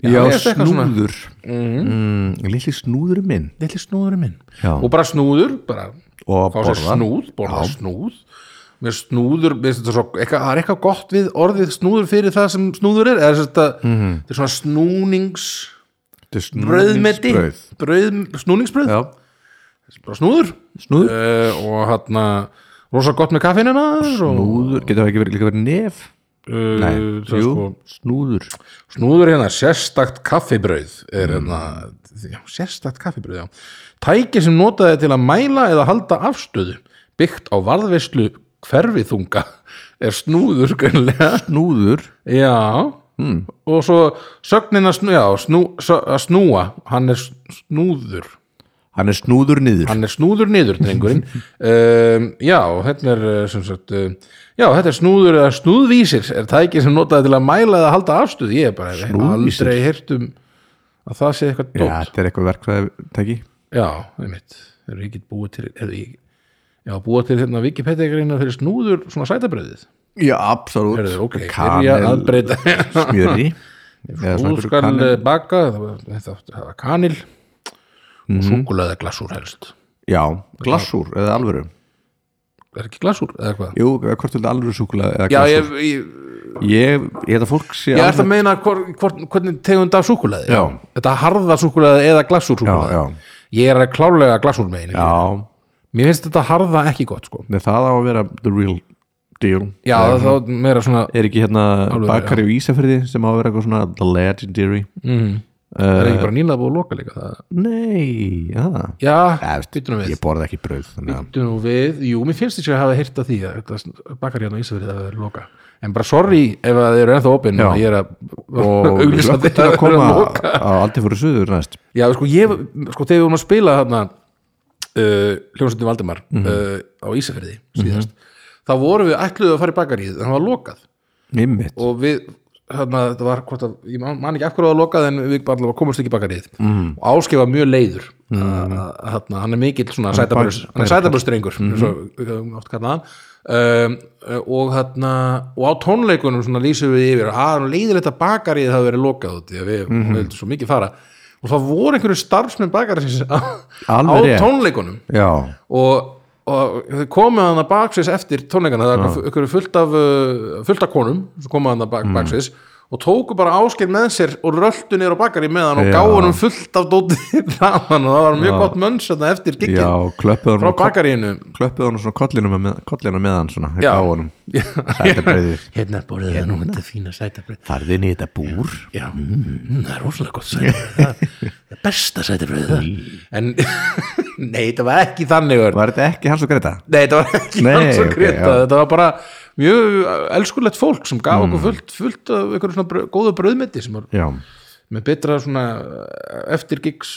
Speaker 1: Já,
Speaker 2: mér finnst eitthvað svona. Mhm.
Speaker 1: snúður mm, Lilli snúður minn
Speaker 2: Lilli snúðurinn minn
Speaker 1: Já.
Speaker 2: Og bara snúður, bara
Speaker 1: Og
Speaker 2: fá sér
Speaker 1: borða.
Speaker 2: snúð, borða snúð Mér snúður, mér finnst þetta svo eitthvað, það er eitthvað gott við orðið snúður fyrir það sem snúður er eða sem þetta, þetta er svona snúnings
Speaker 1: Þetta er
Speaker 2: brauðmeti,
Speaker 1: Mhm. snúningsbrauð.
Speaker 2: brauð, snúningsbrauð
Speaker 1: Já,
Speaker 2: bara snúður
Speaker 1: snúður
Speaker 2: uh, og hann rosa gott með kaffinu maður og
Speaker 1: Snúður, getur það ekki verið, líka verið nef
Speaker 2: uh,
Speaker 1: Nei,
Speaker 2: það er
Speaker 1: jú,
Speaker 2: sko,
Speaker 1: snúður
Speaker 2: snúður hérna sérstakt kaffibrauð er hérna, já, sérstakt kaffibrauð já. tæki sem notaði til að mæla eða halda afstöðu byggt á varðveislu hverfiþunga er snúður greinlega
Speaker 1: Snúður
Speaker 2: já og svo sögnin að snúa, já, snú, sö- að snúa hann er snúður
Speaker 1: Hann er snúður niður
Speaker 2: hann er snúður niður drengurinn um, já, þetta er uh, sem sagt, uh, já, þetta er snúður eða snúðvísir er tæki sem notaði til að mæla eða halda afstuð, ég er bara hef
Speaker 1: Snúðvísir?
Speaker 2: aldrei heyrt um að það sé eitthvað
Speaker 1: Já,
Speaker 2: dótt já,
Speaker 1: þetta er eitthvað verkfæðatæki
Speaker 2: já einmitt, er ekki búið til er ég, já, búið til hérna Wikipedia greina fyrir snúður svona sætabröðið
Speaker 1: Já, absolutt
Speaker 2: Herðu, ok, byrja að
Speaker 1: Kanel,
Speaker 2: breyta
Speaker 1: smjöri Eða svona
Speaker 2: Þú
Speaker 1: einhverju
Speaker 2: skal eh,
Speaker 1: kanel-
Speaker 2: kanil. baka það- þetta það var kanil
Speaker 1: Mhm.
Speaker 2: og súkulaði glasúr helst
Speaker 1: Já, glassúr eða alvöru
Speaker 2: er ekki glasúr eða hvað?
Speaker 1: Jú, eða hvort vildi alvöru súkulega eða
Speaker 2: Já,
Speaker 1: glassúr
Speaker 2: ég, ég,
Speaker 1: Ég, ég held að fólk sé
Speaker 2: Ég
Speaker 1: alveg-
Speaker 2: ætla að meina hvort, hvort, hvernig tegund af súkulaði
Speaker 1: Já.
Speaker 2: Þetta harða súkulaði eða glassúrsúkulaði
Speaker 1: Já, já.
Speaker 2: Ég er að klálega glassúr megin
Speaker 1: Já,
Speaker 2: Mér finnst þetta harða ekki gott sko
Speaker 1: með það á að vera the real deal
Speaker 2: Já, það er þá meira svona
Speaker 1: Er ekki hérna
Speaker 2: Alvöru,
Speaker 1: bakari og ísafyrði sem á að vera eitthvað svona the legendary
Speaker 2: mm, Það
Speaker 1: Eh,
Speaker 2: er ekki bara nýlega búið að loka líka það
Speaker 1: Nei, já
Speaker 2: Já,
Speaker 1: Efst,
Speaker 2: byttu nú við
Speaker 1: Ég borða ekki brauð þannig að
Speaker 2: Byttu nú við, jú, mér finnst þetta að hafa heyrt að því að þetta bakar hérna á Ísafrið að það er loka En bara sorry ef að þið eru ennþá opinn
Speaker 1: Já.
Speaker 2: og ég er að
Speaker 1: Og við
Speaker 2: auglýsa
Speaker 1: lögum til
Speaker 2: þetta
Speaker 1: að
Speaker 2: að vera
Speaker 1: koma
Speaker 2: að loka
Speaker 1: á aldrei fyrir suður næst
Speaker 2: Já, sko, ég, sko, þegar við vorum að spila þarna uh, hljómsveitin Valdimar uh, á Ísafjörði síðast, þá vorum við ætluðu að fara í bakaríð, en það var lokað
Speaker 1: Mimmit
Speaker 2: og við, þarna, þetta var hvort að, ég man, man ekki af hverju það var lokað en við bara allavega komumst ekki í bakaríð mm. og Áskei var mjög leiður mm. þarna, hann er mikill svona sætabröðs- hann er sætabröðsdrengur mm -hmm. oft kallað hann Um, og þarna og á tónleikunum svona lýsum við yfir að leiðilegt að bakarið hafi verið lokað út því að við mm vildum svo mikið fara og það voru einhverju starfsmenn bakariðsins á, á
Speaker 1: Alveg rétt.
Speaker 2: tónleikunum
Speaker 1: Já,
Speaker 2: og, og þau komu hann að baksviðs eftir tónleikana, það var ykkur fullt af uh, fullt af konum sem komu hann að
Speaker 1: Mm.
Speaker 2: bak, baksviðs og tóku bara áskeið með sér og röltu niður á bakari með hann og
Speaker 1: Já.
Speaker 2: gáðu hann fullt af dóti þaðan og það var mjög gott mönns þarna eftir
Speaker 1: já,
Speaker 2: giggin
Speaker 1: klöppuð
Speaker 2: frá
Speaker 1: hann
Speaker 2: bakaríinu
Speaker 1: klöppuð hann svona kollina með, kollina með hann svona,
Speaker 2: Já.
Speaker 1: á honum sætabreyðið,
Speaker 2: hérna er borðið það nú þetta fína sætabröð
Speaker 1: farðið inn í þetta búr
Speaker 2: já, mm, það er rosalega gott sætabröð það það er besta sætabröð en nei, þetta var ekki þannig Örn.
Speaker 1: var þetta ekki hans og Greta?
Speaker 2: Nei, þetta var ekki
Speaker 1: Nei,
Speaker 2: hans og
Speaker 1: ok,
Speaker 2: Greta
Speaker 1: já. Mm.
Speaker 2: Þetta var bara mjög uh, elskulegt fólk sem gaf okkur fullt, fullt af einhverju svona bröð, góðu bröðmeti sem var
Speaker 1: já,
Speaker 2: með betra svona eftir gigs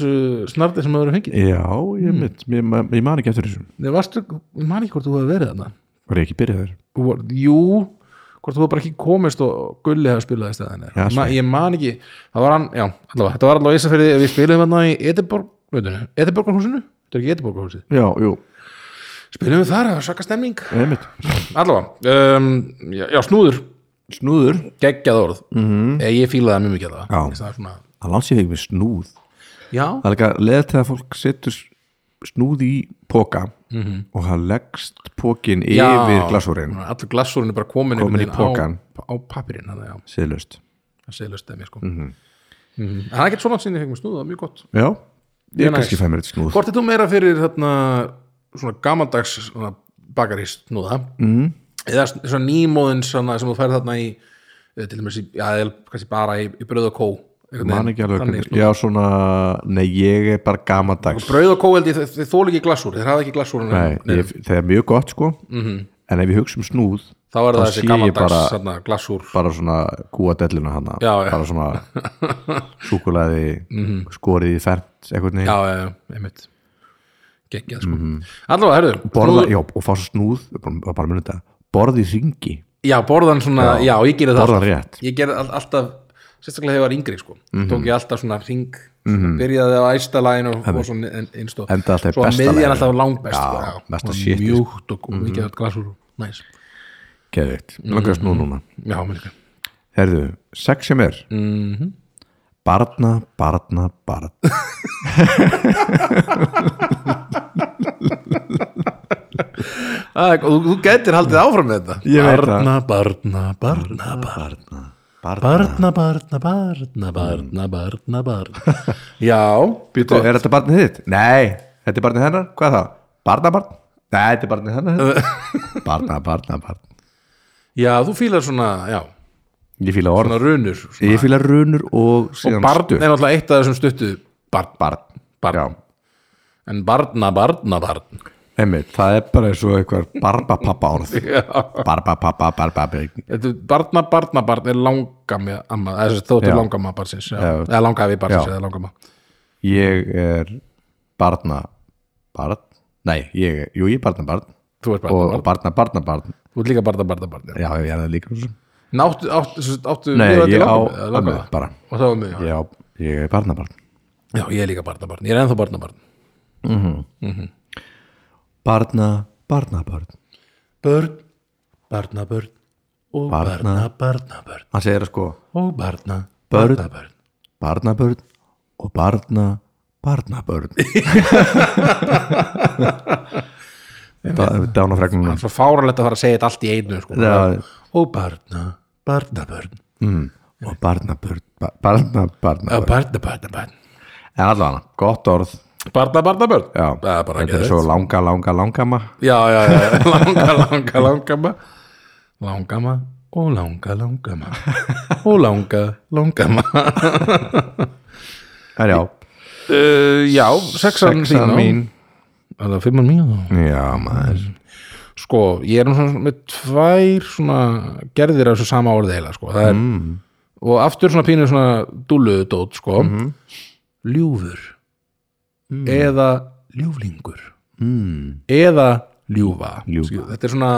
Speaker 2: snardi sem það voru fengið
Speaker 1: já, ég mitt
Speaker 2: Mm.
Speaker 1: ég, ma- ég man ekki eftir þessu,
Speaker 2: Nei, varstu, ég man ekki hvort þú hefði verið þarna
Speaker 1: var ég ekki byrjaður
Speaker 2: Þú var, jú, hvort þú hefði bara ekki komist og Gulli hefði spilaði stæðan
Speaker 1: Já,
Speaker 2: Ma, ég man ekki, það var hann, já allavega, þetta var allavega ísa fyrir við spilaðum þarna í Ediborg, veitunum, Ediborgarhúsinu þetta er ekki Ediborgarhúsið,
Speaker 1: já, jú,
Speaker 2: spilaðum við þar, það var svaka stemning
Speaker 1: ég mitt
Speaker 2: allavega, um, já, já, snúður
Speaker 1: snúður,
Speaker 2: geggjað orð, mm ég, ég fílaði það mjög mikið allavega.
Speaker 1: Mhm. Já.
Speaker 2: Mér finnst það svona,
Speaker 1: að lansi þig með snúð
Speaker 2: já,
Speaker 1: það er líka leðið til að fólk setur snúð í póka og það leggst pókin
Speaker 2: Mhm. já
Speaker 1: yfir glasúrin
Speaker 2: allir glassúrin er bara komin,
Speaker 1: Komin
Speaker 2: einhvern
Speaker 1: í
Speaker 2: veginn á, á papirinn, þannig já
Speaker 1: síðlust
Speaker 2: það segir löst dæmi sko. mm
Speaker 1: Mhm.
Speaker 2: -hmm. en það er ekkert svona sinni fengið snúð, það er mjög gott
Speaker 1: já, ég
Speaker 2: Mjög næs.
Speaker 1: kannski fæ mér eitt snúð
Speaker 2: hvort er þú meira fyrir þarna, svona gamaldags svona, bakari snúða mm. eða sn- svona nýmóðin svona, sem þú færð þarna í eh, til dæmis, í, já, eða kannski bara í, í bröð og kó einhvern
Speaker 1: man
Speaker 2: veginn.
Speaker 1: ekki alveg
Speaker 2: Þannig
Speaker 1: hvernig,
Speaker 2: snúð.
Speaker 1: já svona nei, ég er bara gamadags
Speaker 2: brauð og kó held ég, þið- þið þóla ekki glassúr þið hafa ekki glassúr
Speaker 1: nei, ég, það er mjög gott sko en ef ég hugsa um snúð
Speaker 2: Mhm. þá er það
Speaker 1: þá
Speaker 2: þessi
Speaker 1: sé ég
Speaker 2: gamaldags
Speaker 1: bara-
Speaker 2: bara... glassúr
Speaker 1: bara svona kúadelluna hana
Speaker 2: Já, já.
Speaker 1: bara svona súkulaði skorið í fernt eitthvað
Speaker 2: já,
Speaker 1: neginn
Speaker 2: eh, einmitt geggjað sko allavega, herðu,
Speaker 1: Mhm. borða,
Speaker 2: snúð-
Speaker 1: já, og fá svo snúð bara, bara munið þetta, borða í ringi
Speaker 2: já, borðan svona, já, ég gerði það
Speaker 1: borða rétt
Speaker 2: ég gerði all, alltaf sérstaklega þegar ég var yngri sko
Speaker 1: Mhm.
Speaker 2: tók ég alltaf svona ring byrjaði á æsta lægin og, og svona einstóð
Speaker 1: Enda Mhm. alltaf í
Speaker 2: svo að
Speaker 1: besta
Speaker 2: miðjan
Speaker 1: laginu.
Speaker 2: alltaf langbest
Speaker 1: Já,
Speaker 2: bara,
Speaker 1: besta
Speaker 2: Og
Speaker 1: shitið, sko.
Speaker 2: mjúkt og og mikið mm -hmm. glasur og næs
Speaker 1: Geðvikt, langar að snúð núna
Speaker 2: já, mér líka
Speaker 1: Herðu, sex sem er mm -hmm. Barna, barna, barna
Speaker 2: Æ, og þú, þú getur haldið áfram með þetta
Speaker 1: Ég veit það.
Speaker 2: barna, barna, barna, barna
Speaker 1: Barna, barna
Speaker 2: barna, barna, barna, barna, barna, barna já, sko,
Speaker 1: Býtu, er þetta barnið þitt? Nei, þetta er barnið hennar, hvað er það? Barna, barn? Nei, þetta er barnið hennar Barna, barna, barn
Speaker 2: já, þú fílar svona já,
Speaker 1: Ég fíla
Speaker 2: svona
Speaker 1: orð,
Speaker 2: runur svona.
Speaker 1: ég fíla runur og
Speaker 2: og
Speaker 1: síðan
Speaker 2: barn
Speaker 1: stutt
Speaker 2: er náttúrulega eitt af þessum stuttu barn,
Speaker 1: Barn,
Speaker 2: Barn.
Speaker 1: já
Speaker 2: en barna, barna, barn
Speaker 1: Einmitt, það er bara eins og eitthvað barbapappa orð Barbapappa, barbapappa
Speaker 2: Þetta er barna, barna, barn er langamma amma, eða þess að þóttu
Speaker 1: Já.
Speaker 2: langamma barnsins já.
Speaker 1: Já.
Speaker 2: eða langafi barnsins
Speaker 1: Já.
Speaker 2: eða langamma
Speaker 1: Ég er barna, barn Nei, ég, jú, ég er barna, barn
Speaker 2: þú ert barna,
Speaker 1: og
Speaker 2: barn,
Speaker 1: barna, barna, barn
Speaker 2: þú ert líka barna, barna, barn já.
Speaker 1: Já, ég er það líka svo sem.
Speaker 2: En áttu, áttu, áttu, áttu
Speaker 1: Nei,
Speaker 2: lifandi
Speaker 1: ég á
Speaker 2: langamma- eða
Speaker 1: ömmu
Speaker 2: langamma?
Speaker 1: bara
Speaker 2: og það var mjög, já.
Speaker 1: Já, ég er barnabarn
Speaker 2: já, ég er líka barna, barn ég er ennþá barna, barn
Speaker 1: Barna, barnabarn
Speaker 2: börn, barna, börn og
Speaker 1: Barna. barna,
Speaker 2: barna, börn
Speaker 1: Hann segir sko
Speaker 2: og barna,
Speaker 1: Börn.
Speaker 2: barna, börn
Speaker 1: barnabörn og barna, barnabörn Dánafregnum
Speaker 2: svo fáralegt að fara að segja þetta allt í einu sko.
Speaker 1: Já.
Speaker 2: og barna, barna, börn
Speaker 1: og barnabörn ba- Barna, barnabörn
Speaker 2: barna, barna, barn
Speaker 1: En allavega, gott orð
Speaker 2: barna, barna, börn
Speaker 1: Já,
Speaker 2: það er
Speaker 1: þetta
Speaker 2: bara
Speaker 1: er
Speaker 2: geðveikt.
Speaker 1: svo langa, langa, langama
Speaker 2: já, já, já, já, langa, langa, langama langama og langa, langama og langa, langama
Speaker 1: En já,
Speaker 2: uh, já, sexan
Speaker 1: sexa
Speaker 2: þín á-
Speaker 1: mín
Speaker 2: eða fimman mín á.
Speaker 1: Já, maður
Speaker 2: sko, ég er nú svona með tvær svona gerðir af þessu sama orðið heila sko, það er og aftur svona pínu svona dúluðu dót sko, ljúfur eða ljúflingur mm. eða ljúfa
Speaker 1: Ljúfa.
Speaker 2: Skil- þetta er svona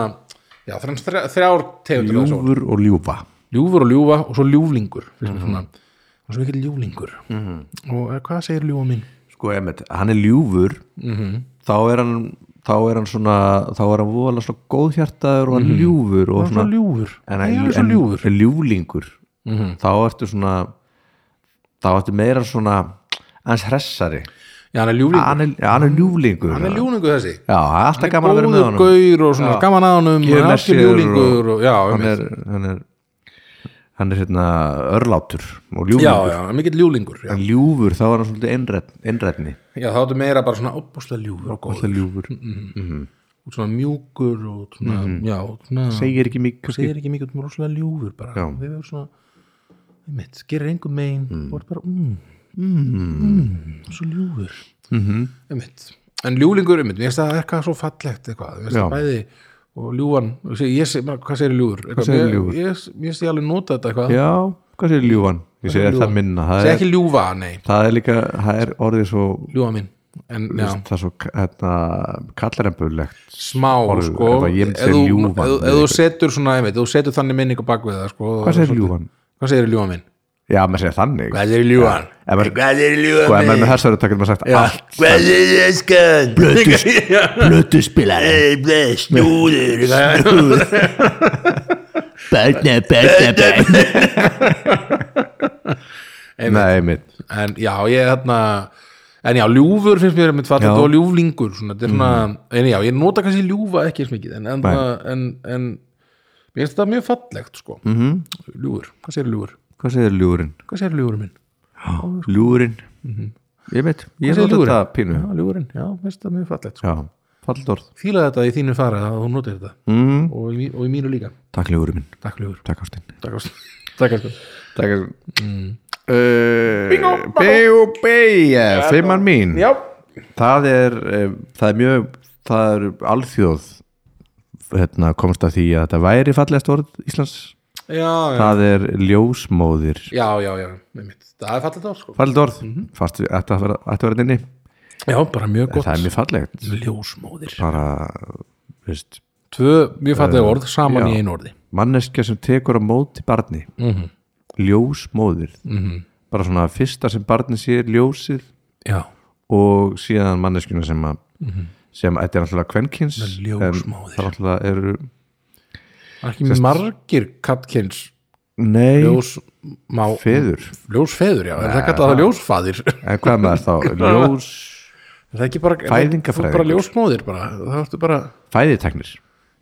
Speaker 2: já, þrjá, þrjá, þrjár tegundur af þessu orði.
Speaker 1: Ljúfur og ljúfa
Speaker 2: ljúfur og ljúfa og svo ljúflingur finnst
Speaker 1: Mhm.
Speaker 2: mér svona, og svo ekki ljúflingur og eh, hvað segir ljúfa mín?
Speaker 1: Sko, emitt, hann er ljúfur
Speaker 2: Mhm.
Speaker 1: þá er hann þá er hann svona, þá er hann voðalega svona góðhjartaður og hann ljúfur og
Speaker 2: Mhm. Svo
Speaker 1: svona,
Speaker 2: ljúfur,
Speaker 1: en,
Speaker 2: Nei, hann
Speaker 1: en,
Speaker 2: er svo ljúfur Mhm.
Speaker 1: en ljúflingur þá ertu svona þá ertu meira svona aðeins hressari
Speaker 2: já, hann er ljúflingur,
Speaker 1: hann er, hann er ljúflingur
Speaker 2: Ah, hann er ljúflingur þessi
Speaker 1: já, það er alltaf gaman að vera með
Speaker 2: góður
Speaker 1: honum
Speaker 2: gaur og svona gaman að honum
Speaker 1: Gefur
Speaker 2: hann er
Speaker 1: með
Speaker 2: algjör
Speaker 1: sér
Speaker 2: ljúflingur og, já,
Speaker 1: hann
Speaker 2: einmitt.
Speaker 1: er, hann er hann er hérna örlátur og ljúflingur
Speaker 2: já, já, hann er mikill ljúflingur já.
Speaker 1: en ljúfur þá er hann svolítið einrætt- einrænni
Speaker 2: já, þá ertu meira bara svona opbúslega ljúfur og góður
Speaker 1: alltaf ljúfur,
Speaker 2: og svona mjúkur og svona, já, og svona
Speaker 1: Mhm. segir ekki mikið kannski.
Speaker 2: segir ekki mikið, þú er rosalega ljúfur bara
Speaker 1: Já.
Speaker 2: við erum svona mitt, gerir engum megin og er bara mm, mm, mm, svo ljúfur
Speaker 1: Mhm.
Speaker 2: mm -hmm. en ljúflingur, einmitt, mér finnst það eitthvað svo fallegt eitthvað, mér finnst
Speaker 1: Já.
Speaker 2: það bæði og ljúfan, og seg, ég seg, bara, hvað segir ljúfur? Eitthvað,
Speaker 1: segirðu
Speaker 2: ég-
Speaker 1: ljúfur?
Speaker 2: Ég, ég sé alveg nota þetta eitthvað
Speaker 1: já, hvað segir ljúfan? Ég segi
Speaker 2: Ljúfan.
Speaker 1: það minna það
Speaker 2: Seg
Speaker 1: er,
Speaker 2: ekki ljúfa, nei,
Speaker 1: það er líka, það er orðið svo
Speaker 2: ljúfa mín en já,
Speaker 1: það er svo hérna, kallarembulegt
Speaker 2: smá
Speaker 1: orðið,
Speaker 2: sko
Speaker 1: ef að ég myndi
Speaker 2: ef þú-
Speaker 1: segja ljúfan
Speaker 2: ef- ef þú setur svona, einmitt, ef þú setur þannig minningu bak við það sko,
Speaker 1: hvað segir ljúfan?
Speaker 2: hvað segir ljúfa mín?
Speaker 1: já, maður segir þannig
Speaker 2: hvað segir ljúfan?
Speaker 1: ef maður
Speaker 3: Hvað er
Speaker 1: sko, ef
Speaker 3: ljúfum?
Speaker 1: maður er með hersverðu takkir maður sagt "Ah, allt
Speaker 3: Hvað er eskan? Blötus, blötuspilar Snúður, snúður Bætna, bætna, bætna
Speaker 1: nei, mitt,
Speaker 2: en já, ég þarna en já, ljúfur finnst mér mitt fallið
Speaker 1: Já. Mm.
Speaker 2: og ljúflingur svona, þetta er svona, en já, ég nota kannski ljúfa ekki eins mikið, en, en, en, en mér finnst þetta mjög fallegt sko, mm
Speaker 1: Mhm.
Speaker 2: -hmm. ljúfur, hvað segir ljúfur?
Speaker 1: hvað segir ljúfurinn?
Speaker 2: hvað segir ljúfur minn?
Speaker 1: ljúfurinn, ég veit ég
Speaker 2: Hvað segir
Speaker 1: nota
Speaker 2: Mhm. ljúfurinn?
Speaker 1: þetta pínu
Speaker 2: Já, ljúfurinn, já, mér finnst þetta mjög fallegt sko.
Speaker 1: já, fallit orð
Speaker 2: fílaði þetta í þínu fara að þú notir þetta
Speaker 1: mm.
Speaker 2: og, í, mí- og í mínu líka,
Speaker 1: takk ljúfurinn minn,
Speaker 2: takk ljúfur
Speaker 1: takk ástinn
Speaker 2: takk ást takk ást
Speaker 1: Takk að mm. Bíó Bíó Fimman mín
Speaker 2: já,
Speaker 1: það er, eh, það er mjög það er alþjóð hérna, komst að því að þetta væri fallegast orð Íslands
Speaker 2: já, já,
Speaker 1: það er ljósmóðir
Speaker 2: já, já, já einmitt. það er fallegt á sko
Speaker 1: fallegt orð, mm -hmm. fast ætti að vera ætti að vera inni,
Speaker 2: já, bara mjög gott,
Speaker 1: það er mjög fallegt
Speaker 2: ljósmóðir
Speaker 1: bara, veist
Speaker 2: tvö mjög falleg orð saman
Speaker 1: já.
Speaker 2: í einu orði
Speaker 1: manneskja sem tekur á móti barni
Speaker 2: Mhm.
Speaker 1: ljósmóðir -hmm. bara svona fyrsta sem barni sér ljósið
Speaker 2: já,
Speaker 1: og síðan manneskjuna sem að sem þetta er náttúrulega kvenkins
Speaker 2: Mhm. ljósmóðir.
Speaker 1: það er náttúrulega eru
Speaker 2: það er ekki margir kattkins
Speaker 1: nei,
Speaker 2: ljósmá
Speaker 1: feður
Speaker 2: ljósfeður, já, er það kallað það ljósfaðir er
Speaker 1: en hvað með það þá, ljós
Speaker 2: það ekki bara,
Speaker 1: Fæðingarfræðingur.
Speaker 2: þú ert bara ljósmóðir bara, það ertu bara
Speaker 1: fæðiteknir,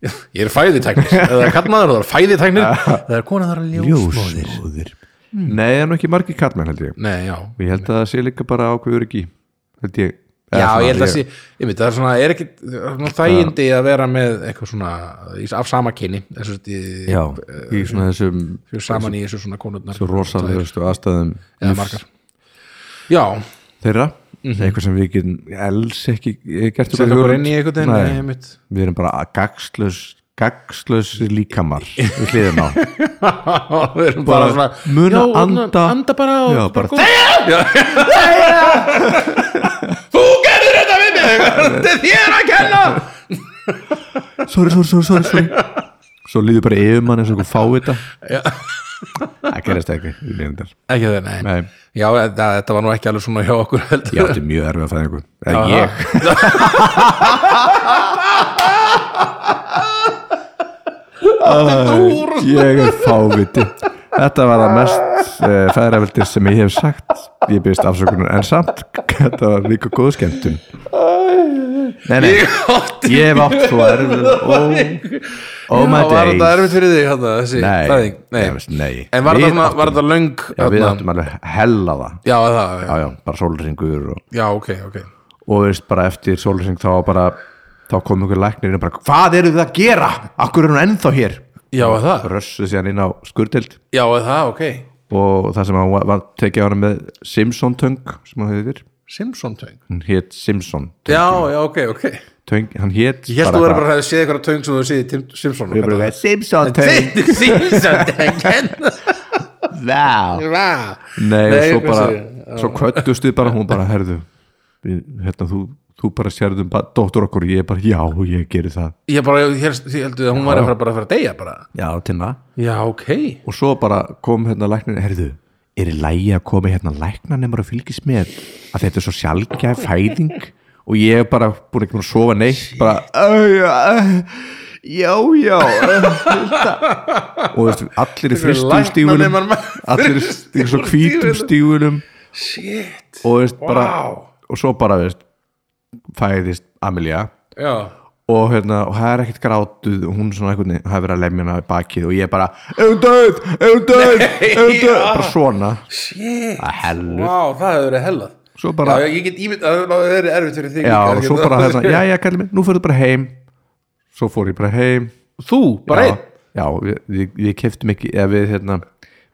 Speaker 2: ég er fæðitæknir, eða kallmaður það er fæðitæknir, það er konar það er ljósmóðir
Speaker 1: ljósmóðir
Speaker 2: Hmm.
Speaker 1: nei, það er nú ekki margir kallmenn held ég
Speaker 2: nei, já,
Speaker 1: og ég held að það sé líka bara ákveður ekki held ég Eða
Speaker 2: já,
Speaker 1: svona,
Speaker 2: ég held að sé ég veit, það er svona, er ekki það er svona þægindi að vera með eitthvað svona í- af sama kyni, þessu
Speaker 1: já,
Speaker 2: þetta
Speaker 1: í svona þessum
Speaker 2: saman í þessu svona konurnar
Speaker 1: rosalegustu aðstæðum
Speaker 2: eða margar já,
Speaker 1: þeirra eitthvað sem við getum els ekki gert
Speaker 2: setja Mhm. okkur inn í einhvern veginn nei, einmitt.
Speaker 1: við erum bara gagslaus gagslaus líkamar við hliðum á
Speaker 2: við erum bara,
Speaker 1: Bara
Speaker 2: svona
Speaker 1: muna
Speaker 2: já,
Speaker 1: anda-
Speaker 2: anda bara og
Speaker 1: Já, bara
Speaker 2: þegar þú gerður þetta við mig þetta er þér að kenna
Speaker 1: sorry, sorry, sorry, sorry, sorry. svo líður bara yfir mann eins og eitthvað fávita það gerist ekki í meðindar
Speaker 2: ekki það, nei,
Speaker 1: Nei.
Speaker 2: já, það, þetta var nú ekki alveg svona hjá okkur heldur
Speaker 1: ég átti mjög erfið að fæða einhvern eða ég Æ, ég er fáviti þetta var það mest uh, fæðraveldir sem ég hef sagt ég byrst afsökunar en samt þetta var líka góð skemmtun nei nei ég,
Speaker 2: átti
Speaker 1: hef átt svo erfið oh, oh my
Speaker 2: Já, var
Speaker 1: days
Speaker 2: þetta erfitt fyrir þig hérna, þessi
Speaker 1: Nei,
Speaker 2: fæðing?
Speaker 1: nei, veist, nei.
Speaker 2: En var
Speaker 1: Við
Speaker 2: þetta svona,
Speaker 1: áttum-
Speaker 2: var þetta löng
Speaker 1: já, við
Speaker 2: þarna?
Speaker 1: áttum alveg hella það
Speaker 2: Já, það, já,
Speaker 1: já já, bara sólringur og,
Speaker 2: já, ok, ok
Speaker 1: og veist bara eftir sólring þá bara þá kom ykkur læknir inn og bara hvað eru þið að gera? Akkur er hún ennþá hér?
Speaker 2: Já, það,
Speaker 1: Rössu síðan inn á skurdild
Speaker 2: já, það, ok
Speaker 1: og það sem hann var- var tekið á hana með Simpson töng sem hann heitir
Speaker 2: Simpson töng
Speaker 1: hann hét Simpson
Speaker 2: Já, já, ok, ok Ég
Speaker 1: töng, hann hét
Speaker 2: held þú verður bara að hefði séð eitthvað töng sem þú séð í Tim- Simpson
Speaker 1: Ég bara,
Speaker 2: Þetta-
Speaker 1: Simpson töng
Speaker 2: Simpson töng
Speaker 3: Vá
Speaker 1: Nei,
Speaker 2: Nei,
Speaker 1: og svo
Speaker 2: hvað
Speaker 1: bara,
Speaker 2: segir
Speaker 1: svo kvöttust við bara hún bara, herðu við- hérna, þú, þú bara sérðum bara, dóttur okkur, ég bara, já, ég geri það
Speaker 2: Ég bara, ég held- ég heldur að hún var að fara bara að fara að deyja bara
Speaker 1: Já, tinna
Speaker 2: Já, ok
Speaker 1: Og svo bara kom hérna læknir, herðu er í lægi að koma hérna læknar nema að fylgist með að þetta er svo sjálfgæð fæðing og ég hef bara búin ekki búin að sofa neitt bara, "Æ, æ, já, já æ, Hulda." og þú veist, allir í fristum stífunum
Speaker 2: Læknanemar-
Speaker 1: allir í í svo hvítum stífunum
Speaker 2: Shit
Speaker 1: og, veist, bara,
Speaker 2: Vá.
Speaker 1: og svo bara veist, fæðist Amelia
Speaker 2: Já
Speaker 1: og, hérna, og það er ekkert grátuð og hún svona einhvern veginn hafi verið að lemja hana í bakið og ég bara, er hún döð, er hún döð er hún döð, bara svona
Speaker 2: Shit
Speaker 1: að hellu,
Speaker 2: Vá, það hefur verið hellað
Speaker 1: svo bara
Speaker 2: Já,
Speaker 1: já,
Speaker 2: ég get ímynd að það hefur verið erfitt fyrir þig líka,
Speaker 1: og svo
Speaker 2: hérna.
Speaker 1: bara hérna, já, já, kallið minn, nú fyrir bara heim svo fór ég bara heim
Speaker 2: Þú, bara
Speaker 1: já,
Speaker 2: einn
Speaker 1: já, við, við, við keftum ekki, eða við hérna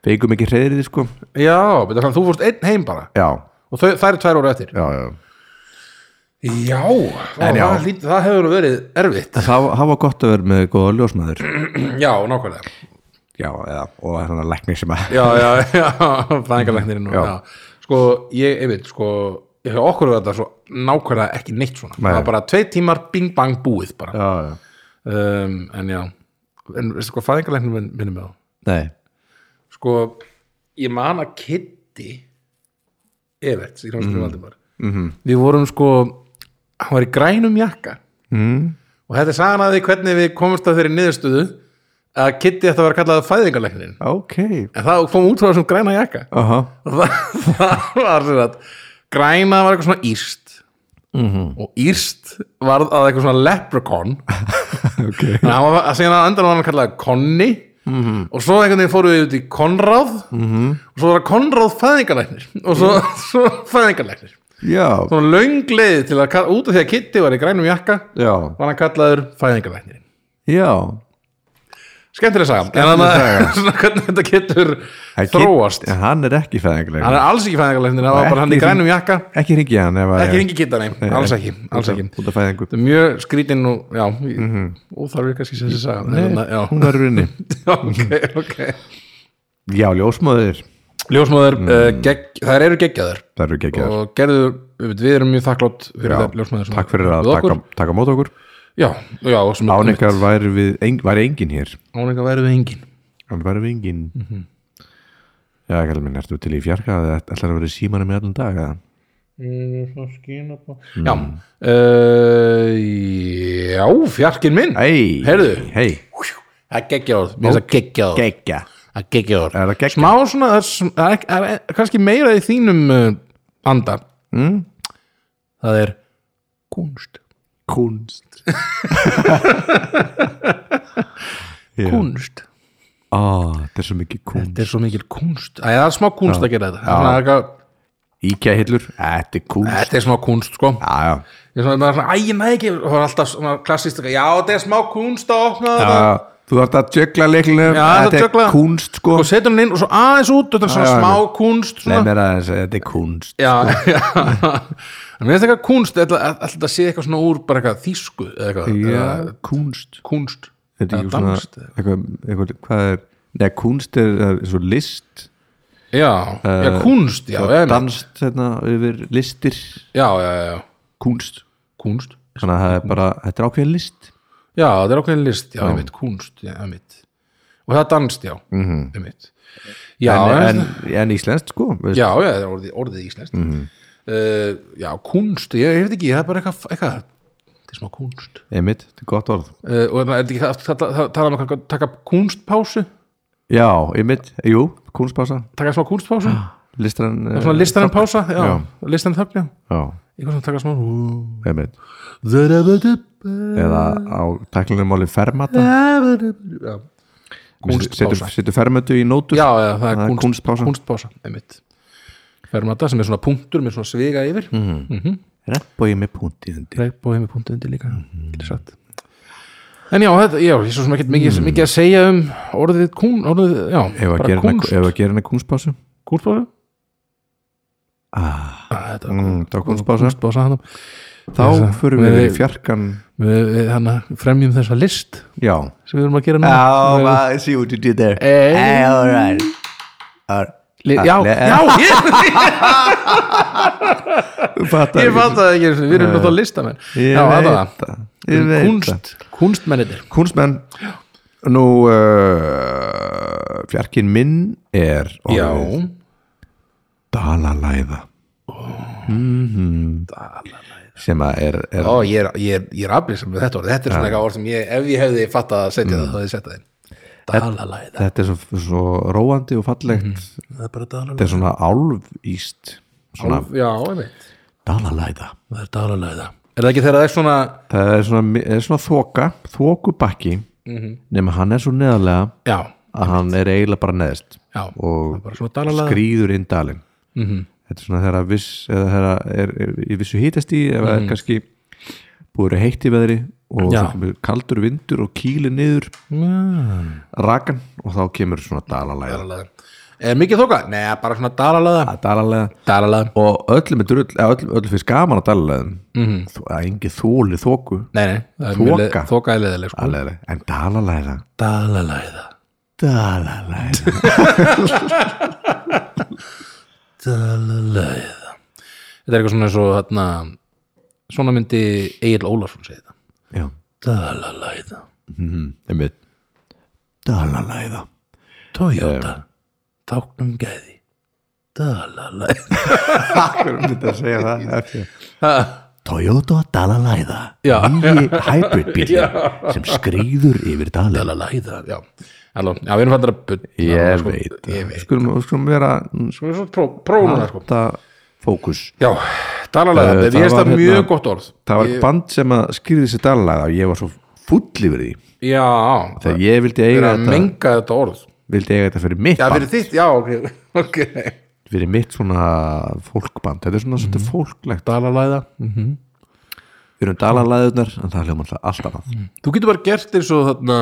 Speaker 1: feikum ekki hreyðrið, sko
Speaker 2: Já, betur þannig að þú fórst einn heim bara
Speaker 1: já,
Speaker 2: og þau, það eru tvær óra eftir
Speaker 1: já, já
Speaker 2: Já, það,
Speaker 1: já.
Speaker 2: það, lít- það hefur verið erfitt
Speaker 1: það, það var gott að vera með góða ljósmaður
Speaker 2: Já, nákvæmlega
Speaker 1: já, eða, og þannig að læknir sem að
Speaker 2: Já, já, já, fræðingalæknirinn og-
Speaker 1: Já.
Speaker 2: já. Sko, ég, einmitt, sko ég hef okkur var þetta svo nákvæmlega ekki neitt svona
Speaker 1: Nei.
Speaker 2: það var bara tvei tímar bing bang búið bara
Speaker 1: já, já.
Speaker 2: um, en já, en veistu hvað fæðingalæknir minn, minnum með á?
Speaker 1: Nei,
Speaker 2: Sko, ég man að Kitty Everts í Hrjómskrifum mm.
Speaker 1: Mhm.
Speaker 2: Valdimar -hmm. við vorum sko, hann var í grænum jakka mm.
Speaker 1: Mhm.
Speaker 2: og þetta er sagan að því hvernig við komumst að þeirri niðurstöðu að Kitty ætti að vera kallað fæðingalæknirinn
Speaker 1: ok
Speaker 2: en það kom út frá þessum græna jakka
Speaker 1: Aha.
Speaker 2: Og það, það var sem sagt græna var eitthvað svona írst -hmm. og írst varð að eitthvað svona leprechaun
Speaker 1: okay.
Speaker 2: þannig að hann var- að segja að endan var hann kallaði Conny -hmm. og svo einhvern veginn fóru við út í Konráð -hmm. og svo var Konráð fæðingalæknir og svo, svo fæðingalæknir
Speaker 1: Já,
Speaker 2: svona löng leið til að kalla- út af því að Kitty var í grænum jakka
Speaker 1: já,
Speaker 2: var hann kallaður fæðingalæknirinn
Speaker 1: já
Speaker 2: skemmtileg saga en þannig að svona hvernig þetta getur
Speaker 1: Það er
Speaker 2: þróast
Speaker 1: kid- en Hann er ekki fæðingarleg
Speaker 2: hann er alls ekki fæðingalæknir það var
Speaker 1: Ekki
Speaker 2: bara hann í
Speaker 1: hring-
Speaker 2: grænum jakka
Speaker 1: Ekki ringi hann ef að-
Speaker 2: ekki ringi kitta, nei, alls ekki, alls
Speaker 1: Út af-
Speaker 2: ekki.
Speaker 1: Út af fæðingu
Speaker 2: Þetta er mjög skrítinn og, já, mm -hmm. óþarfið kannski sem þessi saga Nei, þannig að- já,
Speaker 1: Hún verður inni
Speaker 2: ok, ok
Speaker 1: Já, ljósmóður
Speaker 2: Ljósmaður, mm. uh, gegg, þær eru geggjaðar
Speaker 1: Það eru ekki að
Speaker 2: og gerðu, við, við erum mjög þakklátt fyrir
Speaker 1: Já,
Speaker 2: það, ljósmaður sem-
Speaker 1: Takk fyrir að
Speaker 2: við okkur.
Speaker 1: taka, taka mót okkur
Speaker 2: Já, já, og sem
Speaker 1: Án ykkar væri, við, ein, væri engin hér
Speaker 2: Ánekar væri við engin
Speaker 1: Hann væri við engin
Speaker 2: Mhm.
Speaker 1: Já, ekki alveg minn, ertu til í fjarka eða ætlar að vera í símanum í allan dag eða? Mm.
Speaker 2: Já, uh, já, fjarkinn minn
Speaker 1: Hey,
Speaker 2: Heyrðu.
Speaker 1: hey,
Speaker 2: Það er geggjaður, mér finnst það geggjaður
Speaker 1: Gekkja
Speaker 2: Það er geggjaður
Speaker 1: Er það gekkja?
Speaker 2: smá svona það er sm- það er, það er kannski meira í þínum uh, anda mm. það er kunst
Speaker 1: Kunst
Speaker 2: kunst,
Speaker 1: Á, þetta er svo mikið kunst
Speaker 2: þetta er svo mikil kunst Æ, það er smá kunst að gera þetta Það er eitthvað-
Speaker 1: Íkja hillur, þetta er kunst
Speaker 2: þetta er smá kunst sko
Speaker 1: Já, já
Speaker 2: ég er svona, maður er svona, æ, ég næði ekki það var alltaf svona klassist já, þetta er smá kunst að opna þetta
Speaker 1: Já, þú þarft að jökla leiklinu
Speaker 2: Já, þetta
Speaker 1: þetta
Speaker 2: djökla.
Speaker 1: er kunst sko
Speaker 2: og setur hann inn og svo aðeins út þetta er
Speaker 1: Já,
Speaker 2: svona
Speaker 1: já,
Speaker 2: smá kunst
Speaker 1: Nei,
Speaker 2: svona.
Speaker 1: mér aðeins, þetta er kunst
Speaker 2: já, já En mér finnst eitthvað kunst, alltaf það sé eitthvað svona úr bara eitthvað þýsku eða eitthvað,
Speaker 1: Já,
Speaker 2: eða
Speaker 1: kunst
Speaker 2: kunst
Speaker 1: Þetta er
Speaker 2: eða
Speaker 1: ekki svona
Speaker 2: danst, eða-
Speaker 1: eitthvað, eitthvað, hvað er Nei, kunst er uh, svo list
Speaker 2: já,
Speaker 1: Eh,
Speaker 2: já, kunst já,
Speaker 1: og
Speaker 2: já, einmitt.
Speaker 1: danst hérna yfir listir
Speaker 2: já, já, já,
Speaker 1: kunst
Speaker 2: kunst
Speaker 1: Þannig að það er bara, þetta er ákveðin list
Speaker 2: já, það er ákveðin list, já, einmitt, kunst já, einmitt, og það er danst, já -hmm. einmitt, já
Speaker 1: Mhm. en, en, Mhm.
Speaker 2: en,
Speaker 1: en íslenskt sko veist.
Speaker 2: já, já, það er orðið, orðið íslenskt mm -hmm. já, kunst, ég, ég veit ekki það er bara eitthvað, eitthvað þetta er smá kunst
Speaker 1: Einmitt, þetta er gott orð
Speaker 2: uh, og er þetta ekki, það, það, það, það tala um að taka kunstpásu
Speaker 1: Já, einmitt, jú, kunstpása
Speaker 2: taka smá kunstpásu,
Speaker 1: Listran Ah, eh,
Speaker 2: svona listarinn pása já,
Speaker 1: Já.
Speaker 2: listarinn þögn, já
Speaker 1: Já,
Speaker 2: eitthvað svona taka smá
Speaker 1: einmitt Eða á tæklinum máli fermata
Speaker 2: já, kunstpása
Speaker 1: Setur, setur fermötu í nótur
Speaker 2: já, já, það er,
Speaker 1: Það er
Speaker 2: kunst,
Speaker 1: kunstpása.
Speaker 2: kunstpása, einmitt fermata sem er svona punktur með svona sviga yfir mm
Speaker 1: Mhm.
Speaker 2: -hmm.
Speaker 1: Reppbói með punktið undir
Speaker 2: reipbóið með punktu undir líka
Speaker 1: Mhm.
Speaker 2: getur satt en já, þetta, já, ég er svo sem ekkert mikið, mikið að segja um orðið kún, orðið, já,
Speaker 1: Mhm. Ef að
Speaker 2: bara
Speaker 1: gera hana-
Speaker 2: kunst
Speaker 1: ef að gera henni kunstpásu
Speaker 2: kunstpása ah, þetta var
Speaker 1: mm, Þá kunstpása
Speaker 2: kunstpása hann
Speaker 1: Þá
Speaker 2: Þessa-
Speaker 1: förum við
Speaker 2: við-
Speaker 1: í fjarkan
Speaker 2: við, við hann fremjum þessa list
Speaker 1: Já
Speaker 2: sem við erum að gera núna Við-
Speaker 1: I see what you did there
Speaker 2: Eh.
Speaker 1: all right
Speaker 2: Li- já,
Speaker 1: le-
Speaker 2: já, ég,
Speaker 1: eh, Fattar
Speaker 2: ég fatt það ekki við erum náttúrulega listamenn
Speaker 1: Ég
Speaker 2: já,
Speaker 1: veit
Speaker 2: þetta var það
Speaker 1: það.
Speaker 2: Við
Speaker 1: Ég
Speaker 2: erum
Speaker 1: veit það.
Speaker 2: kunst, kunstmennir
Speaker 1: Kunstmenn Nú uh, Fjarkin minn er orðið
Speaker 2: já,
Speaker 1: Dalalæða Dalalæða Sem að er, er
Speaker 2: Ó, ég er, ég er, ég er aflýsum með þetta orð Þetta er svona eitthvað orð sem ég, ef ég hefði fattað að setja það, þá hefði ég setja það Dalalæða
Speaker 1: Þetta er svo, svo róandi og fallegt
Speaker 2: Það er bara dalalæða
Speaker 1: Þetta er svona álfíst Svona
Speaker 2: Já, ég veit
Speaker 1: dalalæða
Speaker 2: Það er dalalæða Er það ekki þegar það er svona
Speaker 1: Það er svona, er svona þoka, þokubakki
Speaker 2: Mhm.
Speaker 1: nema hann er svo neðarlega
Speaker 2: Já,
Speaker 1: að hann er eiginlega bara neðst
Speaker 2: já
Speaker 1: og
Speaker 2: Bara svona Mhm. dalalæða
Speaker 1: skrýður inn dalinn Þetta er svona þegar að viss eða þegar að er, er, er vissu hítast í eða er kannski búið að heitt í veðri og
Speaker 2: Mhm. Já.
Speaker 1: svo kemur kaldur
Speaker 2: Mm.
Speaker 1: vindur og kýli niður rakan og þá kemur svona dalalæða
Speaker 2: Dalalæða Er mikið þóka? Nei, bara svona dalalaða
Speaker 1: að dalalega
Speaker 2: Dalalaða
Speaker 1: og öllum er drull, eða öllum, öllum finnst gaman að dalalegum
Speaker 2: Mhm.
Speaker 1: mm. það er engin þóli þóku
Speaker 2: Nei, nei, það er
Speaker 1: Þoka.
Speaker 2: mjög leið- þoka er leðileg sko.
Speaker 1: Alveg, en dalalæða
Speaker 2: Dalalæða
Speaker 1: dalalæða
Speaker 2: Dalalæða Þetta er eitthvað svona eins og þarna Svona myndi Egil Ólafsson segja þetta
Speaker 1: já,
Speaker 2: Dalalæða Mhm,
Speaker 1: einmitt dalalæða
Speaker 2: Toyota Táknum gæði Dalalæða
Speaker 1: hvað er um þetta að segja það Ekki.
Speaker 3: Toyota Dalalæða
Speaker 2: Já.
Speaker 3: Nýji hybridbílinn sem skrýður yfir dalinn
Speaker 2: Dalalæða, já Halló, já, við erum fannir að butt
Speaker 1: ég veit
Speaker 2: sko, Ég veit
Speaker 1: skulum, skulum vera mm,
Speaker 2: Sko, við erum svona pró- prófuna sko
Speaker 1: þetta fókus
Speaker 2: Já, dalalæða,
Speaker 1: Eh,
Speaker 2: uh,
Speaker 1: það
Speaker 2: ég veist
Speaker 1: var
Speaker 2: það mjög
Speaker 1: hérna-
Speaker 2: gott orð
Speaker 1: það var band sem að skýrði sér dalalæða og ég var svo full yfir því
Speaker 2: Já, það
Speaker 1: þegar ég vildi
Speaker 2: er
Speaker 1: eiga
Speaker 2: að
Speaker 1: þetta
Speaker 2: menga þetta orð
Speaker 1: vildi eiga þetta fyrir mitt
Speaker 2: Já,
Speaker 1: band
Speaker 2: fyrir þitt, já, ok, okay.
Speaker 1: fyrir mitt svona fólkband þetta er
Speaker 2: Mhm.
Speaker 1: svona svolítið fólklegt
Speaker 2: Dalalæða
Speaker 1: við erum dalalæðunar en það hljóðum alltaf allt annað
Speaker 2: Þú getur bara gert eins og þarna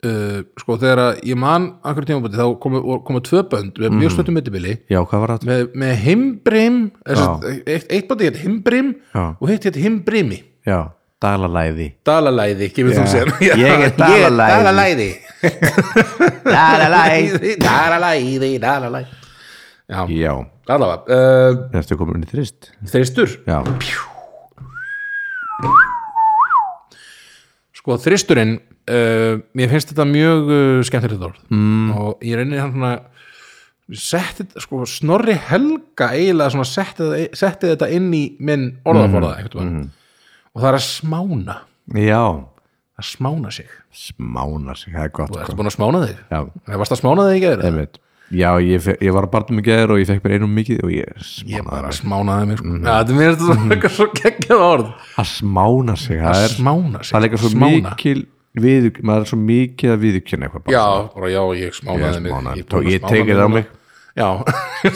Speaker 2: uh, sko þegar að ég man akkur tímabæti þá komu, voru- komu tvö bönd við
Speaker 1: Mhm.
Speaker 2: mjög sluttum mittibili
Speaker 1: já, hvað var það?
Speaker 2: með, með himbrim eða
Speaker 1: Já.
Speaker 2: sem sagt, eh, eitt, eitt bæti hétt himbrim
Speaker 1: Já.
Speaker 2: og hitt hétt himbrimi
Speaker 1: já, dalalæði
Speaker 2: Dalalæði, kemur þú sér
Speaker 1: Ég er dalalæði.
Speaker 2: Dalalæði Dalalæði,
Speaker 3: Dalalæð
Speaker 2: Dalalæði, Dalalæði Já,
Speaker 1: já,
Speaker 2: allavega uh,
Speaker 1: þetta er komin inn í þrist
Speaker 2: Þristur,
Speaker 1: já,
Speaker 2: sko þristurinn uh, mér finnst þetta mjög uh, skemmtilegt orð mm. og ég reynir hann svona setti, þetta- sko, snorri helga eiginlega svona setti, þetta- setti þetta inn í minn orðaforða mm. og það er að smána
Speaker 1: já
Speaker 2: að smána sig þú
Speaker 1: smána sig, það er gott
Speaker 2: ert
Speaker 1: sko.
Speaker 2: búin að smána þig
Speaker 1: já,
Speaker 2: Nei, varst að smána þig í geður
Speaker 1: einmitt já, ég, fe- ég var að barnum í geður og ég fekk mér einum mikið og ég
Speaker 2: ég
Speaker 1: smánaði
Speaker 2: bara
Speaker 1: mig
Speaker 2: smánaði mig sko. mm. ja, þetta mér er þetta svona eitthvað svo geggjað orð
Speaker 1: að smána sig, það
Speaker 2: að
Speaker 1: er
Speaker 2: smána sig
Speaker 1: það er eitthvað svo
Speaker 2: smána.
Speaker 1: mikil viðug, maður er svo mikið að viðugkynna eitthvað bara.
Speaker 2: já, bara já, ég smánaði
Speaker 1: Ég
Speaker 2: mig
Speaker 1: smánaði.
Speaker 2: er búin að
Speaker 1: Ég
Speaker 2: smána
Speaker 1: tek
Speaker 2: mig
Speaker 1: þetta á
Speaker 2: núna.
Speaker 1: mig.
Speaker 2: já, já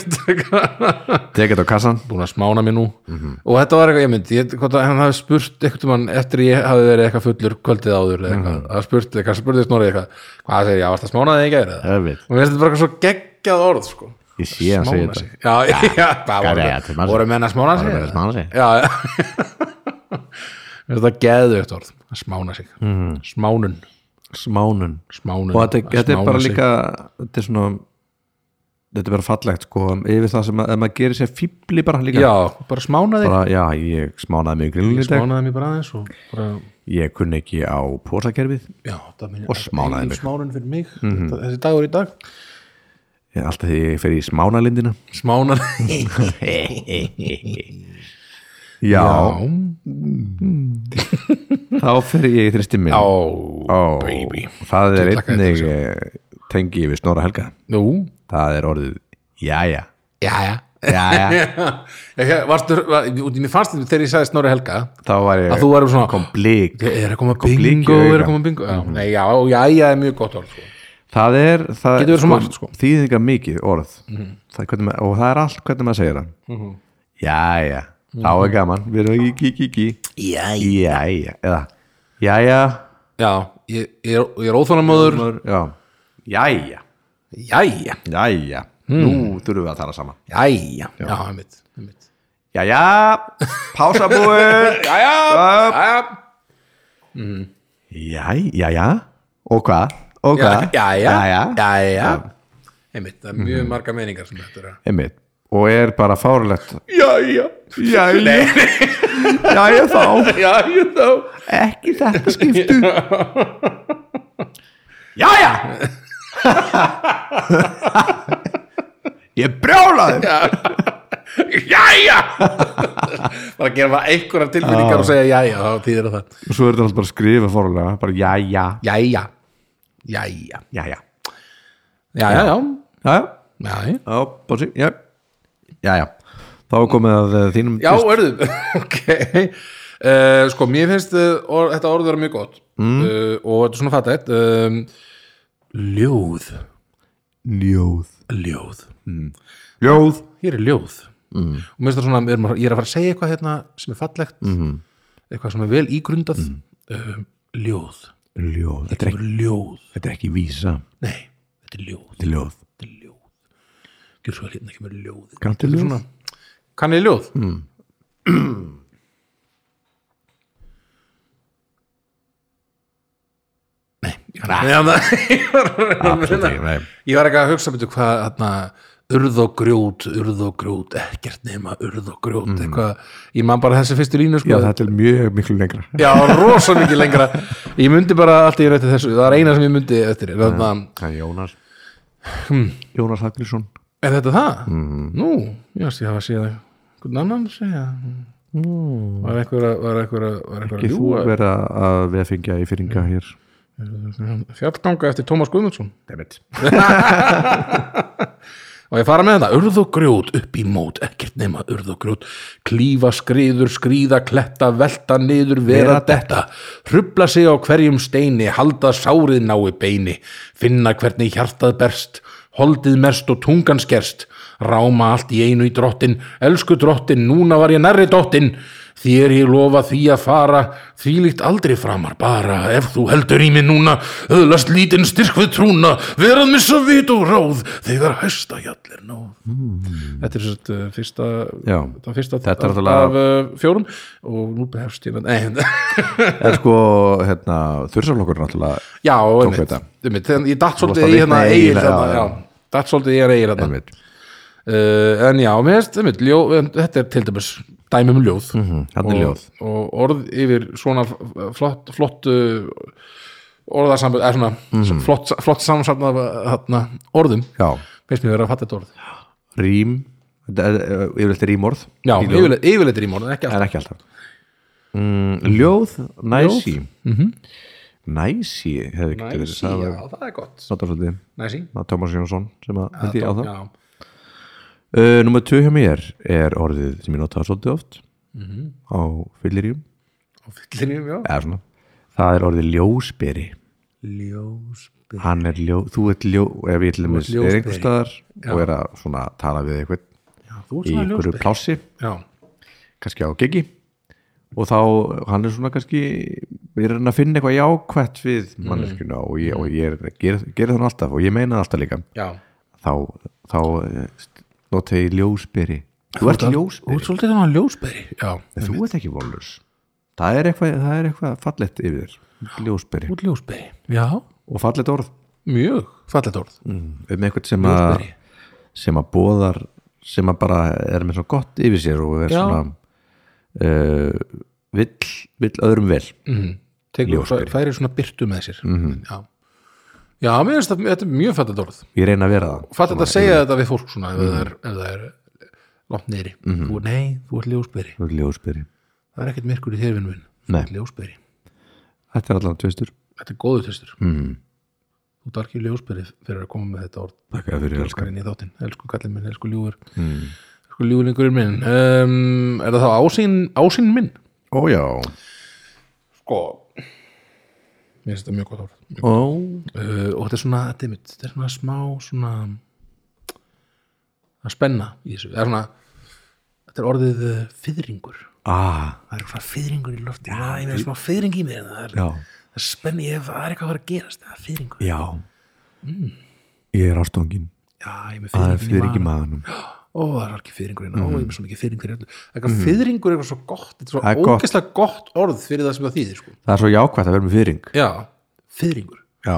Speaker 1: tek þetta á kassan
Speaker 2: búin að smána mér nú
Speaker 1: Mhm.
Speaker 2: og þetta var eitthvað, ég myndi, ég, hvort að hann hafi spurt eitthvað mann eftir ég hafi verið eitthvað fullur kvöldið áður eða eitthvað,
Speaker 1: Mhm.
Speaker 2: það spurt eitthvað, spurði snorri eitthvað, hvað segir ég, varst að smána þig ekki eða
Speaker 1: Ég veit.
Speaker 2: og mér finnst þetta bara eitthvað svo geggjað orð sko.
Speaker 1: ég sé að segja
Speaker 2: smána
Speaker 1: þetta
Speaker 2: sig, já, já, já hvað
Speaker 1: hvað
Speaker 2: voru,
Speaker 1: er þetta,
Speaker 2: menn-
Speaker 1: maður?
Speaker 2: voru menn að smána sig
Speaker 1: Voru menn að smána sig?
Speaker 2: já, já mér finnst þetta geðugt orð að smána sig, smánun
Speaker 1: smánun
Speaker 2: smánun,
Speaker 1: Mhm. og þetta,
Speaker 2: að
Speaker 1: þetta er
Speaker 2: smána
Speaker 1: bara
Speaker 2: sig.
Speaker 1: líka þetta er svona þetta er bara fallegt sko yfir það sem að, ef maður gerir sér fíbli bara líka
Speaker 2: já, bara smána þig
Speaker 1: bara, já ég smánaði mig grillin í dag
Speaker 2: smánaði mér bara aðeins og bara
Speaker 1: ég kunni ekki á pósakerfið
Speaker 2: Já, það minn,
Speaker 1: Og smánaði mig.
Speaker 2: smánun fyrir mig þessi dagur í dag
Speaker 1: Ég- alltaf því ég fer í smánalindina
Speaker 2: smánar
Speaker 1: já,
Speaker 2: já, Mm.
Speaker 1: þá fer ég í þristin minn
Speaker 2: já.
Speaker 1: Ó,
Speaker 2: baby.
Speaker 1: það er
Speaker 2: Ég hlakka
Speaker 1: einnig
Speaker 2: sko.
Speaker 1: eh, tengi við Snorra Helga
Speaker 2: nú,
Speaker 1: það er orðið jæja
Speaker 2: já, já
Speaker 1: jæja,
Speaker 2: Varstu, var, út í mér fannst þetta þegar ég sagði Snorri Helga
Speaker 1: þá var ég
Speaker 2: að þú varum svona
Speaker 1: kom blík
Speaker 2: er að koma
Speaker 1: blink í
Speaker 2: bingo,
Speaker 1: augun.
Speaker 2: er að koma bingo já, nei, já, já, já, er mjög gott orð sko.
Speaker 1: það er það
Speaker 2: Getur verið svo margt, sko. Mhm.
Speaker 1: þýðingar mikið orð það, hvernig, maður- og það er allt hvernig maður segir það jæja, þá
Speaker 2: Mhm.
Speaker 1: er gaman við erum ekki ekki ekki
Speaker 3: Jæja
Speaker 1: jæja, eða jæja
Speaker 2: já, ég, ég er, ég er óþónamóður
Speaker 1: já, jæja,
Speaker 2: jæja,
Speaker 1: jæja
Speaker 2: Hmm.
Speaker 1: nú þurfum við að tala saman
Speaker 2: jæja já, einmitt, einmitt
Speaker 1: jæja, pásabúið
Speaker 2: jæja, jæja
Speaker 1: jæja, Mhm. jæja og hvað, og hvað
Speaker 2: jæja,
Speaker 1: jæja.
Speaker 2: jæja, jæja einmitt, það er mjög marga meiningar sem þetta er að
Speaker 1: Einmitt. og er bara fárlegt
Speaker 2: jæja,
Speaker 1: jæja, jæja þá
Speaker 2: jæja þá
Speaker 1: ekki þetta skiptu Jæja Ég brjálaði
Speaker 2: jæja bara gera bara einhverjar tilfinningar og segja jæja þá þýðir það
Speaker 1: Og svo er þetta alltaf bara að skrifa fórlega bara jæja,
Speaker 2: jæja jæja
Speaker 1: jæja
Speaker 2: jæja já
Speaker 1: Jæja,
Speaker 2: jæja
Speaker 1: já, bósi, já Jæja, þá er komið að eh, þínum
Speaker 2: já örðu ok uh, sko mér finnst uh, or, þetta orð vera mjög gott mm. uh, og þetta er svona fattætt um, ljóð
Speaker 1: Ljóð
Speaker 2: ljóð
Speaker 1: Ljóð
Speaker 2: hér er ljóð mm. og mér finnst það svona við erum að- ég er að fara að segja eitthvað hérna sem er fallegt mm. eitthvað sem er vel ígrundað mm. ljóð
Speaker 1: Ljóð Þetta er ekki,
Speaker 2: ljóð
Speaker 1: þetta er ekki vísa
Speaker 2: nei þetta er ljóð
Speaker 1: Þetta er ljóð
Speaker 2: þetta er ljóð gjör svo vel hérna kemur ljóðið
Speaker 1: Kanntu ljóð?
Speaker 2: kann ég ljóð? Mm. nei ég var- ég var- ég var-
Speaker 1: Absolutt, nei.
Speaker 2: ég var ekki að hugsa betur hvað hérna, urð og grjót, urð og grjót ekkert nema urð og grjót eitthvað, ég man bara þessi fyrstu línu sko,
Speaker 1: Já, þetta er mjög miklu lengra
Speaker 2: Já, rosa mikið lengra Ég myndi bara allt í rætti þessu Það er eina sem ég myndi eftir Þannig að
Speaker 1: Það er Jónas Hmm. Jónas Hallgrímsson
Speaker 2: Er þetta það? Mm. Nú, já, ég hafa séð einhvern annan segja mm. Var einhver að var einhver að var einhver
Speaker 1: Ekki
Speaker 2: að
Speaker 1: þú
Speaker 2: ljúga
Speaker 1: vera að veðfengja í
Speaker 2: Mm.
Speaker 1: fyrringa hér
Speaker 2: Fjallganga eftir Tómas Guðmundsson
Speaker 1: Dammit
Speaker 2: Og ég fara með þetta, urð og grjót upp í mót, ekkert nema urð og grjót, klífa, skriður, skríða, kletta, velta, niður, vera, detta, hrubla sig á hverjum steini, halda sárið nái beini, finna hvernig hjartað berst, holdið mest og tungan skerst, ráma allt í einu í drottin, elsku drottin, núna var ég nærri dottin, þér ég lofa því að fara, því líkt aldrei framar bara, ef þú heldur í mig núna, öðlast lítinn styrk við trúna, verað missa vit og ráð, þegar hæsta hjallir náð. Þetta er sérst uh, fyrsta,
Speaker 1: Hmm. Já.
Speaker 2: þetta var fyrsta
Speaker 1: Þetta er
Speaker 2: af,
Speaker 1: náttúrulega-
Speaker 2: af uh, fjórum og nú behefst ég, nei,
Speaker 1: En sko, hérna, þursaflokkur náttúrulega
Speaker 2: já, einmitt,
Speaker 1: þetta.
Speaker 2: einmitt, en ég datt
Speaker 1: að
Speaker 2: svolítið í
Speaker 1: vitna
Speaker 2: hérna
Speaker 1: í
Speaker 2: eigin,
Speaker 1: Egil,
Speaker 2: þarna,
Speaker 1: já,
Speaker 2: já,
Speaker 1: já.
Speaker 2: datt svolítið í hérna eigin þarna.
Speaker 1: Dammit
Speaker 2: uh, en já, mér finnst einmitt, ljó, en þetta er til dæmis dæmi um ljóð
Speaker 1: þarna er
Speaker 2: og,
Speaker 1: ljóð.
Speaker 2: og orð yfir svona f- flott, flott uh, orðarsambund, eða svona flott, flott samsafn af uh, þarna, orðum
Speaker 1: Mhm. Já,
Speaker 2: finnst mér vera að fatta þetta orð
Speaker 1: rím Þetta er, eh, Yfirleitt rímorð
Speaker 2: já,
Speaker 1: í ljóð,
Speaker 2: yfirleitt, yfirleitt er í morðin, ekki alltaf
Speaker 1: En ekki alltaf mm, Ljóð, Mhm. næsi Næsi hefði ekki verið
Speaker 2: næsi,
Speaker 1: sagði-
Speaker 2: já, það er gott
Speaker 1: Notar svolítið
Speaker 2: næsi,
Speaker 1: Það er Tómas Jónsson sem að held ég á það
Speaker 2: já,
Speaker 1: Uh, Númer 2 hjá mér er orðið sem ég notaði svolítið oft á fylliríum
Speaker 2: á fyllinum, já
Speaker 1: eða svona það er orðið ljósberi
Speaker 2: ljósbyrð
Speaker 1: hann er ljó, þú ert ljó ef ég til dæmis er
Speaker 2: ljósberi.
Speaker 1: einhvers staðar og er að svona tala við eitthvað
Speaker 2: þú
Speaker 1: í einhverju plássi,
Speaker 2: já,
Speaker 1: kannski á geggi og þá hann er svona kannski við erum að finna eitthvað jákvætt við manneskjuna og ég, og ég er, ger, gera þannig alltaf og ég meina það alltaf líka
Speaker 2: já
Speaker 1: þá, þá eh, nota ég ljósberi þú ert ljósberi
Speaker 2: þú ert svolítið þannig að ljósbyrði já,
Speaker 1: En þú ert ekki vonlaus það er eitthvað, það er eitthvað fallett yfir þér ljósberi
Speaker 2: þú ert ljósbyrði já,
Speaker 1: og fallett orð
Speaker 2: mjög fallet orð
Speaker 1: um eitthvað sem að
Speaker 2: Ljósberi.
Speaker 1: sem að bóðar sem að bara er með svo gott yfir sér og er
Speaker 2: Já.
Speaker 1: svona uh, vill, vill öðrum vel
Speaker 2: tegur,
Speaker 1: Ljósberi. Mhm.
Speaker 2: færir svona byrtu með sér já, já, mér finnst þetta þetta er mjög fallet orð
Speaker 1: ég reyna að vera það
Speaker 2: fallet að segja þetta við fólk svona ef það er, ef það er langt niðri þú, nei, þú ert ljósbyrði
Speaker 1: Þú ert ljósberi,
Speaker 2: það er ekkert myrkur í þér vinn minn
Speaker 1: Nei.
Speaker 2: ljósbyrði,
Speaker 1: þetta er allan tvistur
Speaker 2: þetta er góðu testur mm. þú ert ekki ljósbyrði fyrir að koma með þetta orð
Speaker 1: þakka fyrir elskan
Speaker 2: inn í þáttinn, elsku kallinn minn, elsku ljúfur mm. elsku ljúflingurinn minn um, er það þá ásýn, ásýn minn?
Speaker 1: ó já,
Speaker 2: sko mér finnst þetta mjög gott orð
Speaker 1: ó,
Speaker 2: uh, og þetta er svona, þetta er, mitt, þetta er svona smá svona að spenna í þessu, það er svona þetta er orðið uh, fyrringur
Speaker 1: ah,
Speaker 2: það er svona fyrringur í lofti já, ég meina smá fyrring í mér hérna, það er,
Speaker 1: já
Speaker 2: það er spenni, ég, það er eitthvað að fara að gerast það er fyrringur,
Speaker 1: já Mm. ég er ástóngin
Speaker 2: já, ég er með
Speaker 1: það er
Speaker 2: fyrringin í
Speaker 1: fyrir
Speaker 2: maganum.
Speaker 1: ekki maðanum
Speaker 2: ó, það er alveg fyrringur hérna, ó, ég er með svo mikið fyrring fyrir öllu eitthvað mm. fyrringur er eitthvað svo gott þetta
Speaker 1: Það
Speaker 2: er
Speaker 1: er
Speaker 2: svo
Speaker 1: gott.
Speaker 2: ógeðslega gott. orð fyrir það sem það þýðir sko.
Speaker 1: það er svo jákvætt að vera með fyrring
Speaker 2: já, fyrringur
Speaker 1: Já.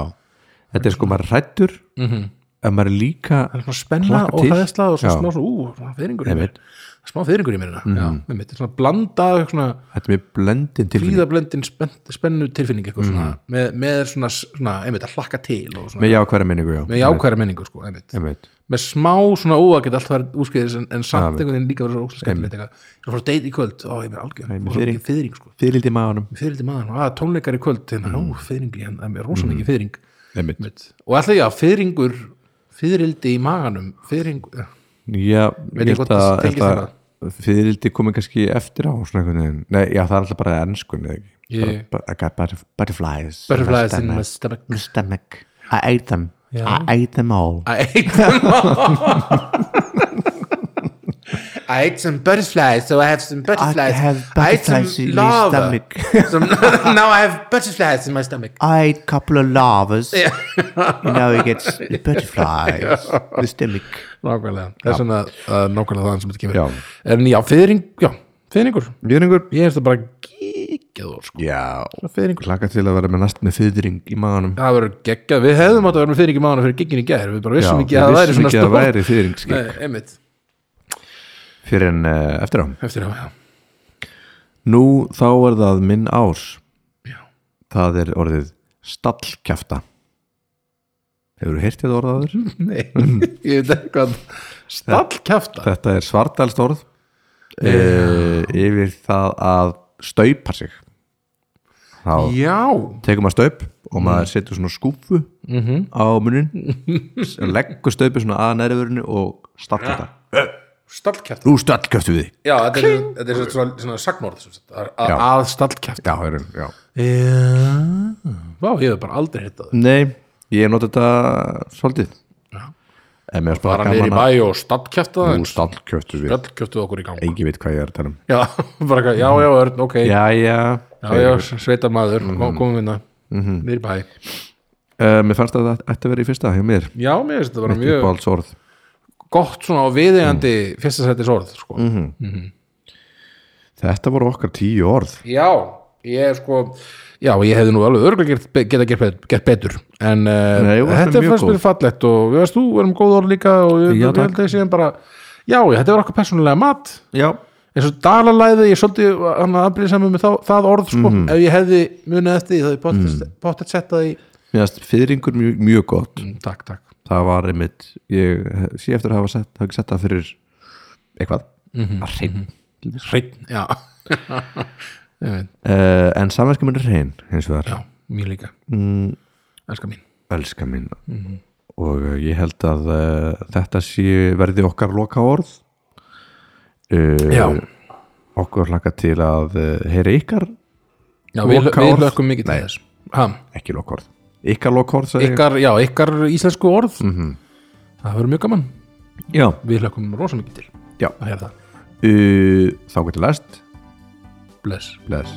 Speaker 1: þetta er sko maður rættur
Speaker 2: Mhm.
Speaker 1: en maður er líka
Speaker 2: það er svona spenna
Speaker 1: Hlakka
Speaker 2: og
Speaker 1: til.
Speaker 2: hræðsla og svona
Speaker 1: Já.
Speaker 2: smá svona, ú, svona fyrringur í
Speaker 1: Einmitt.
Speaker 2: mér Það er smá fyrringur í mér hérna já, einmitt, þetta er svona blanda svona
Speaker 1: þetta er með blendin tilfinning
Speaker 2: fríðablendin spenn, spennu tilfinning eitthvað svona, með, með svona, svona Mm. einmitt að hlakka til og svona,
Speaker 1: með jákværa minningu já.
Speaker 2: með jákværa menningu sko, einmitt
Speaker 1: Einmitt.
Speaker 2: með smá svona ó, að geta allt verið úrskeiðis en, en samt einhvern veginn líka verið svo óslega skemmtilegt eitthvað, ég er að fara að deyta í kvöld ó, ég er
Speaker 1: Nei,
Speaker 2: algjörn,
Speaker 1: með
Speaker 2: og
Speaker 1: fiðring.
Speaker 2: ekki fyrring sko
Speaker 1: fyrirlítið maðanum
Speaker 2: fyrrildi maður, að tónleikar í kvöld hérna, mm. ó, fyrringi, hann hann er rosa mikið mm. fyrring
Speaker 1: Einmitt.
Speaker 2: Einmitt. og alltaf já, fyrringur fyrrildi í maganum eh, fyrring, já,
Speaker 1: já, ég
Speaker 2: ekki
Speaker 1: held
Speaker 2: hvort
Speaker 1: að,
Speaker 2: það tengist
Speaker 1: held að fyrirlítið komið kannski eftir á svona einhvern veginn nei, já það er alltaf bara enskun eða ekki
Speaker 2: Ég-
Speaker 1: Bara- I got butterf- butterflies
Speaker 2: Butterflies in
Speaker 1: stomach.
Speaker 2: my stomach.
Speaker 1: my stomach I ate them I ate them all
Speaker 2: að eitt I ate some butterflies so I have some butterflies
Speaker 1: have butterflies in my stomach.
Speaker 2: some, Now I have butterflies in my stomach
Speaker 1: I ate couple of lavas and now he gets butterflies the stomach
Speaker 2: Nákvæmlega, þess vegna uh, nákvæmlega það sem þetta kemur
Speaker 1: Já.
Speaker 2: En já, fyrring, já, fyrringur
Speaker 1: Jöringur
Speaker 2: Ég hefst það bara geggjað orð, sko.
Speaker 1: Já, klaka til að vera með næst með fyrring í maðanum
Speaker 2: Það verður geggjað, við hefðum átt að vera með fyrring í maður fyrir giggin í gær, við bara vissum
Speaker 1: Já,
Speaker 2: ekki
Speaker 1: við
Speaker 2: að það
Speaker 1: vissum
Speaker 2: væri svona
Speaker 1: ekki að það
Speaker 2: stórt.
Speaker 1: væri fyrringskikk.
Speaker 2: Nei, einmitt,
Speaker 1: fyrir en uh, eftir á
Speaker 2: eftir á, já
Speaker 1: Nú þá er það minn ás
Speaker 2: Já.
Speaker 1: Það er orðið stallkjafta Hefur þú heyrt þetta orðað þér?
Speaker 2: Nei, ég veit ekki hvað Stallkjafta
Speaker 1: Þetta er svartalst orð uh, yfir það að staupa sig þá
Speaker 2: Já, Mm.
Speaker 1: tekur maður staup og maður setur svona skúfu
Speaker 2: Mhm.
Speaker 1: á munin leggur staupið svona að neðrivörinu og stallar það
Speaker 2: stallkjafta
Speaker 1: Nú stallkjöftu við þig.
Speaker 2: Já, þetta er, þetta er svona, svona sagnorð sem sagt, að- að- Að stallkjafta
Speaker 1: Já, herum, já
Speaker 2: Já Vá, ég hef bara aldrei hitt það
Speaker 1: Nei, ég hef notið þetta svolítið En mér er
Speaker 2: Bara
Speaker 1: bara
Speaker 2: niður í
Speaker 1: gaman að
Speaker 2: bæ og stallkjafta
Speaker 1: Nú stallkjöftu við
Speaker 2: Stallkjaftuð okkur í gang
Speaker 1: Engi veit hvað ég er að tala um
Speaker 2: Já, bara eitthvað, já, já, Örn, ok Já,
Speaker 1: Jæja
Speaker 2: já, sveitar maður,
Speaker 1: Mhm.
Speaker 2: kom- komum við það Niður í bæ
Speaker 1: uh, Mér fannst að þetta ætti að vera í fyrsta hjá mér
Speaker 2: Já, mér finnst þetta bara
Speaker 1: Mjög
Speaker 2: mjög
Speaker 1: orð
Speaker 2: gott svona á viðeigandi
Speaker 1: Mhm.
Speaker 2: fyrsta sættis orð, sko
Speaker 1: Þetta voru okkar tíu orð
Speaker 2: Já, ég sko Já, ég hefði nú alveg örgulega gert, geta gert, bet- gert betur en uh,
Speaker 1: Nei, þú varst
Speaker 2: þetta
Speaker 1: mjög
Speaker 2: fannst
Speaker 1: góð.
Speaker 2: mér fallegt og við veist þú erum góð orð líka og ég,
Speaker 1: Já,
Speaker 2: ég
Speaker 1: takk.
Speaker 2: held að ég séum bara Já, já, þetta var okkar persónulega mat
Speaker 1: Já
Speaker 2: eins og dalalæði, ég er svolítið hann að afbrýða saman með þá, það orð sko
Speaker 1: Mhm.
Speaker 2: ef ég hefði munið eftir því þá hefði ég bótt að setja því
Speaker 1: Mér finnst fyrringur mjög, mjög gott
Speaker 2: Mm, Takk, takk
Speaker 1: Það var einmitt Ég sé eftir að hafa sett, hafa sett það fyrir eitthvað
Speaker 2: Mhm,
Speaker 1: að hrein
Speaker 2: Hreinn, já Ég veit,
Speaker 1: uh, En samvænska minn er hrein hins vegar
Speaker 2: já, mér líka
Speaker 1: Mm.
Speaker 2: Elskar mín
Speaker 1: elska mín
Speaker 2: Mhm.
Speaker 1: og uh, ég held að uh, þetta sé verði okkar loka orð uh,
Speaker 2: Já,
Speaker 1: okkur laka til að uh, heyra ykkar
Speaker 2: já við,
Speaker 1: loka
Speaker 2: við
Speaker 1: orð?
Speaker 2: lökum mikið til
Speaker 1: Nei.
Speaker 2: þess ha,
Speaker 1: ekki loka orð, ykkar loka orð sagði ég.
Speaker 2: ykkar, Já, ykkar íslensku orð
Speaker 1: Mhm.
Speaker 2: Það verður mjög gaman
Speaker 1: já,
Speaker 2: Við lökum rosa mikið til
Speaker 1: já
Speaker 2: að heyra það
Speaker 1: uh, þá getur læst
Speaker 2: Bless
Speaker 1: bless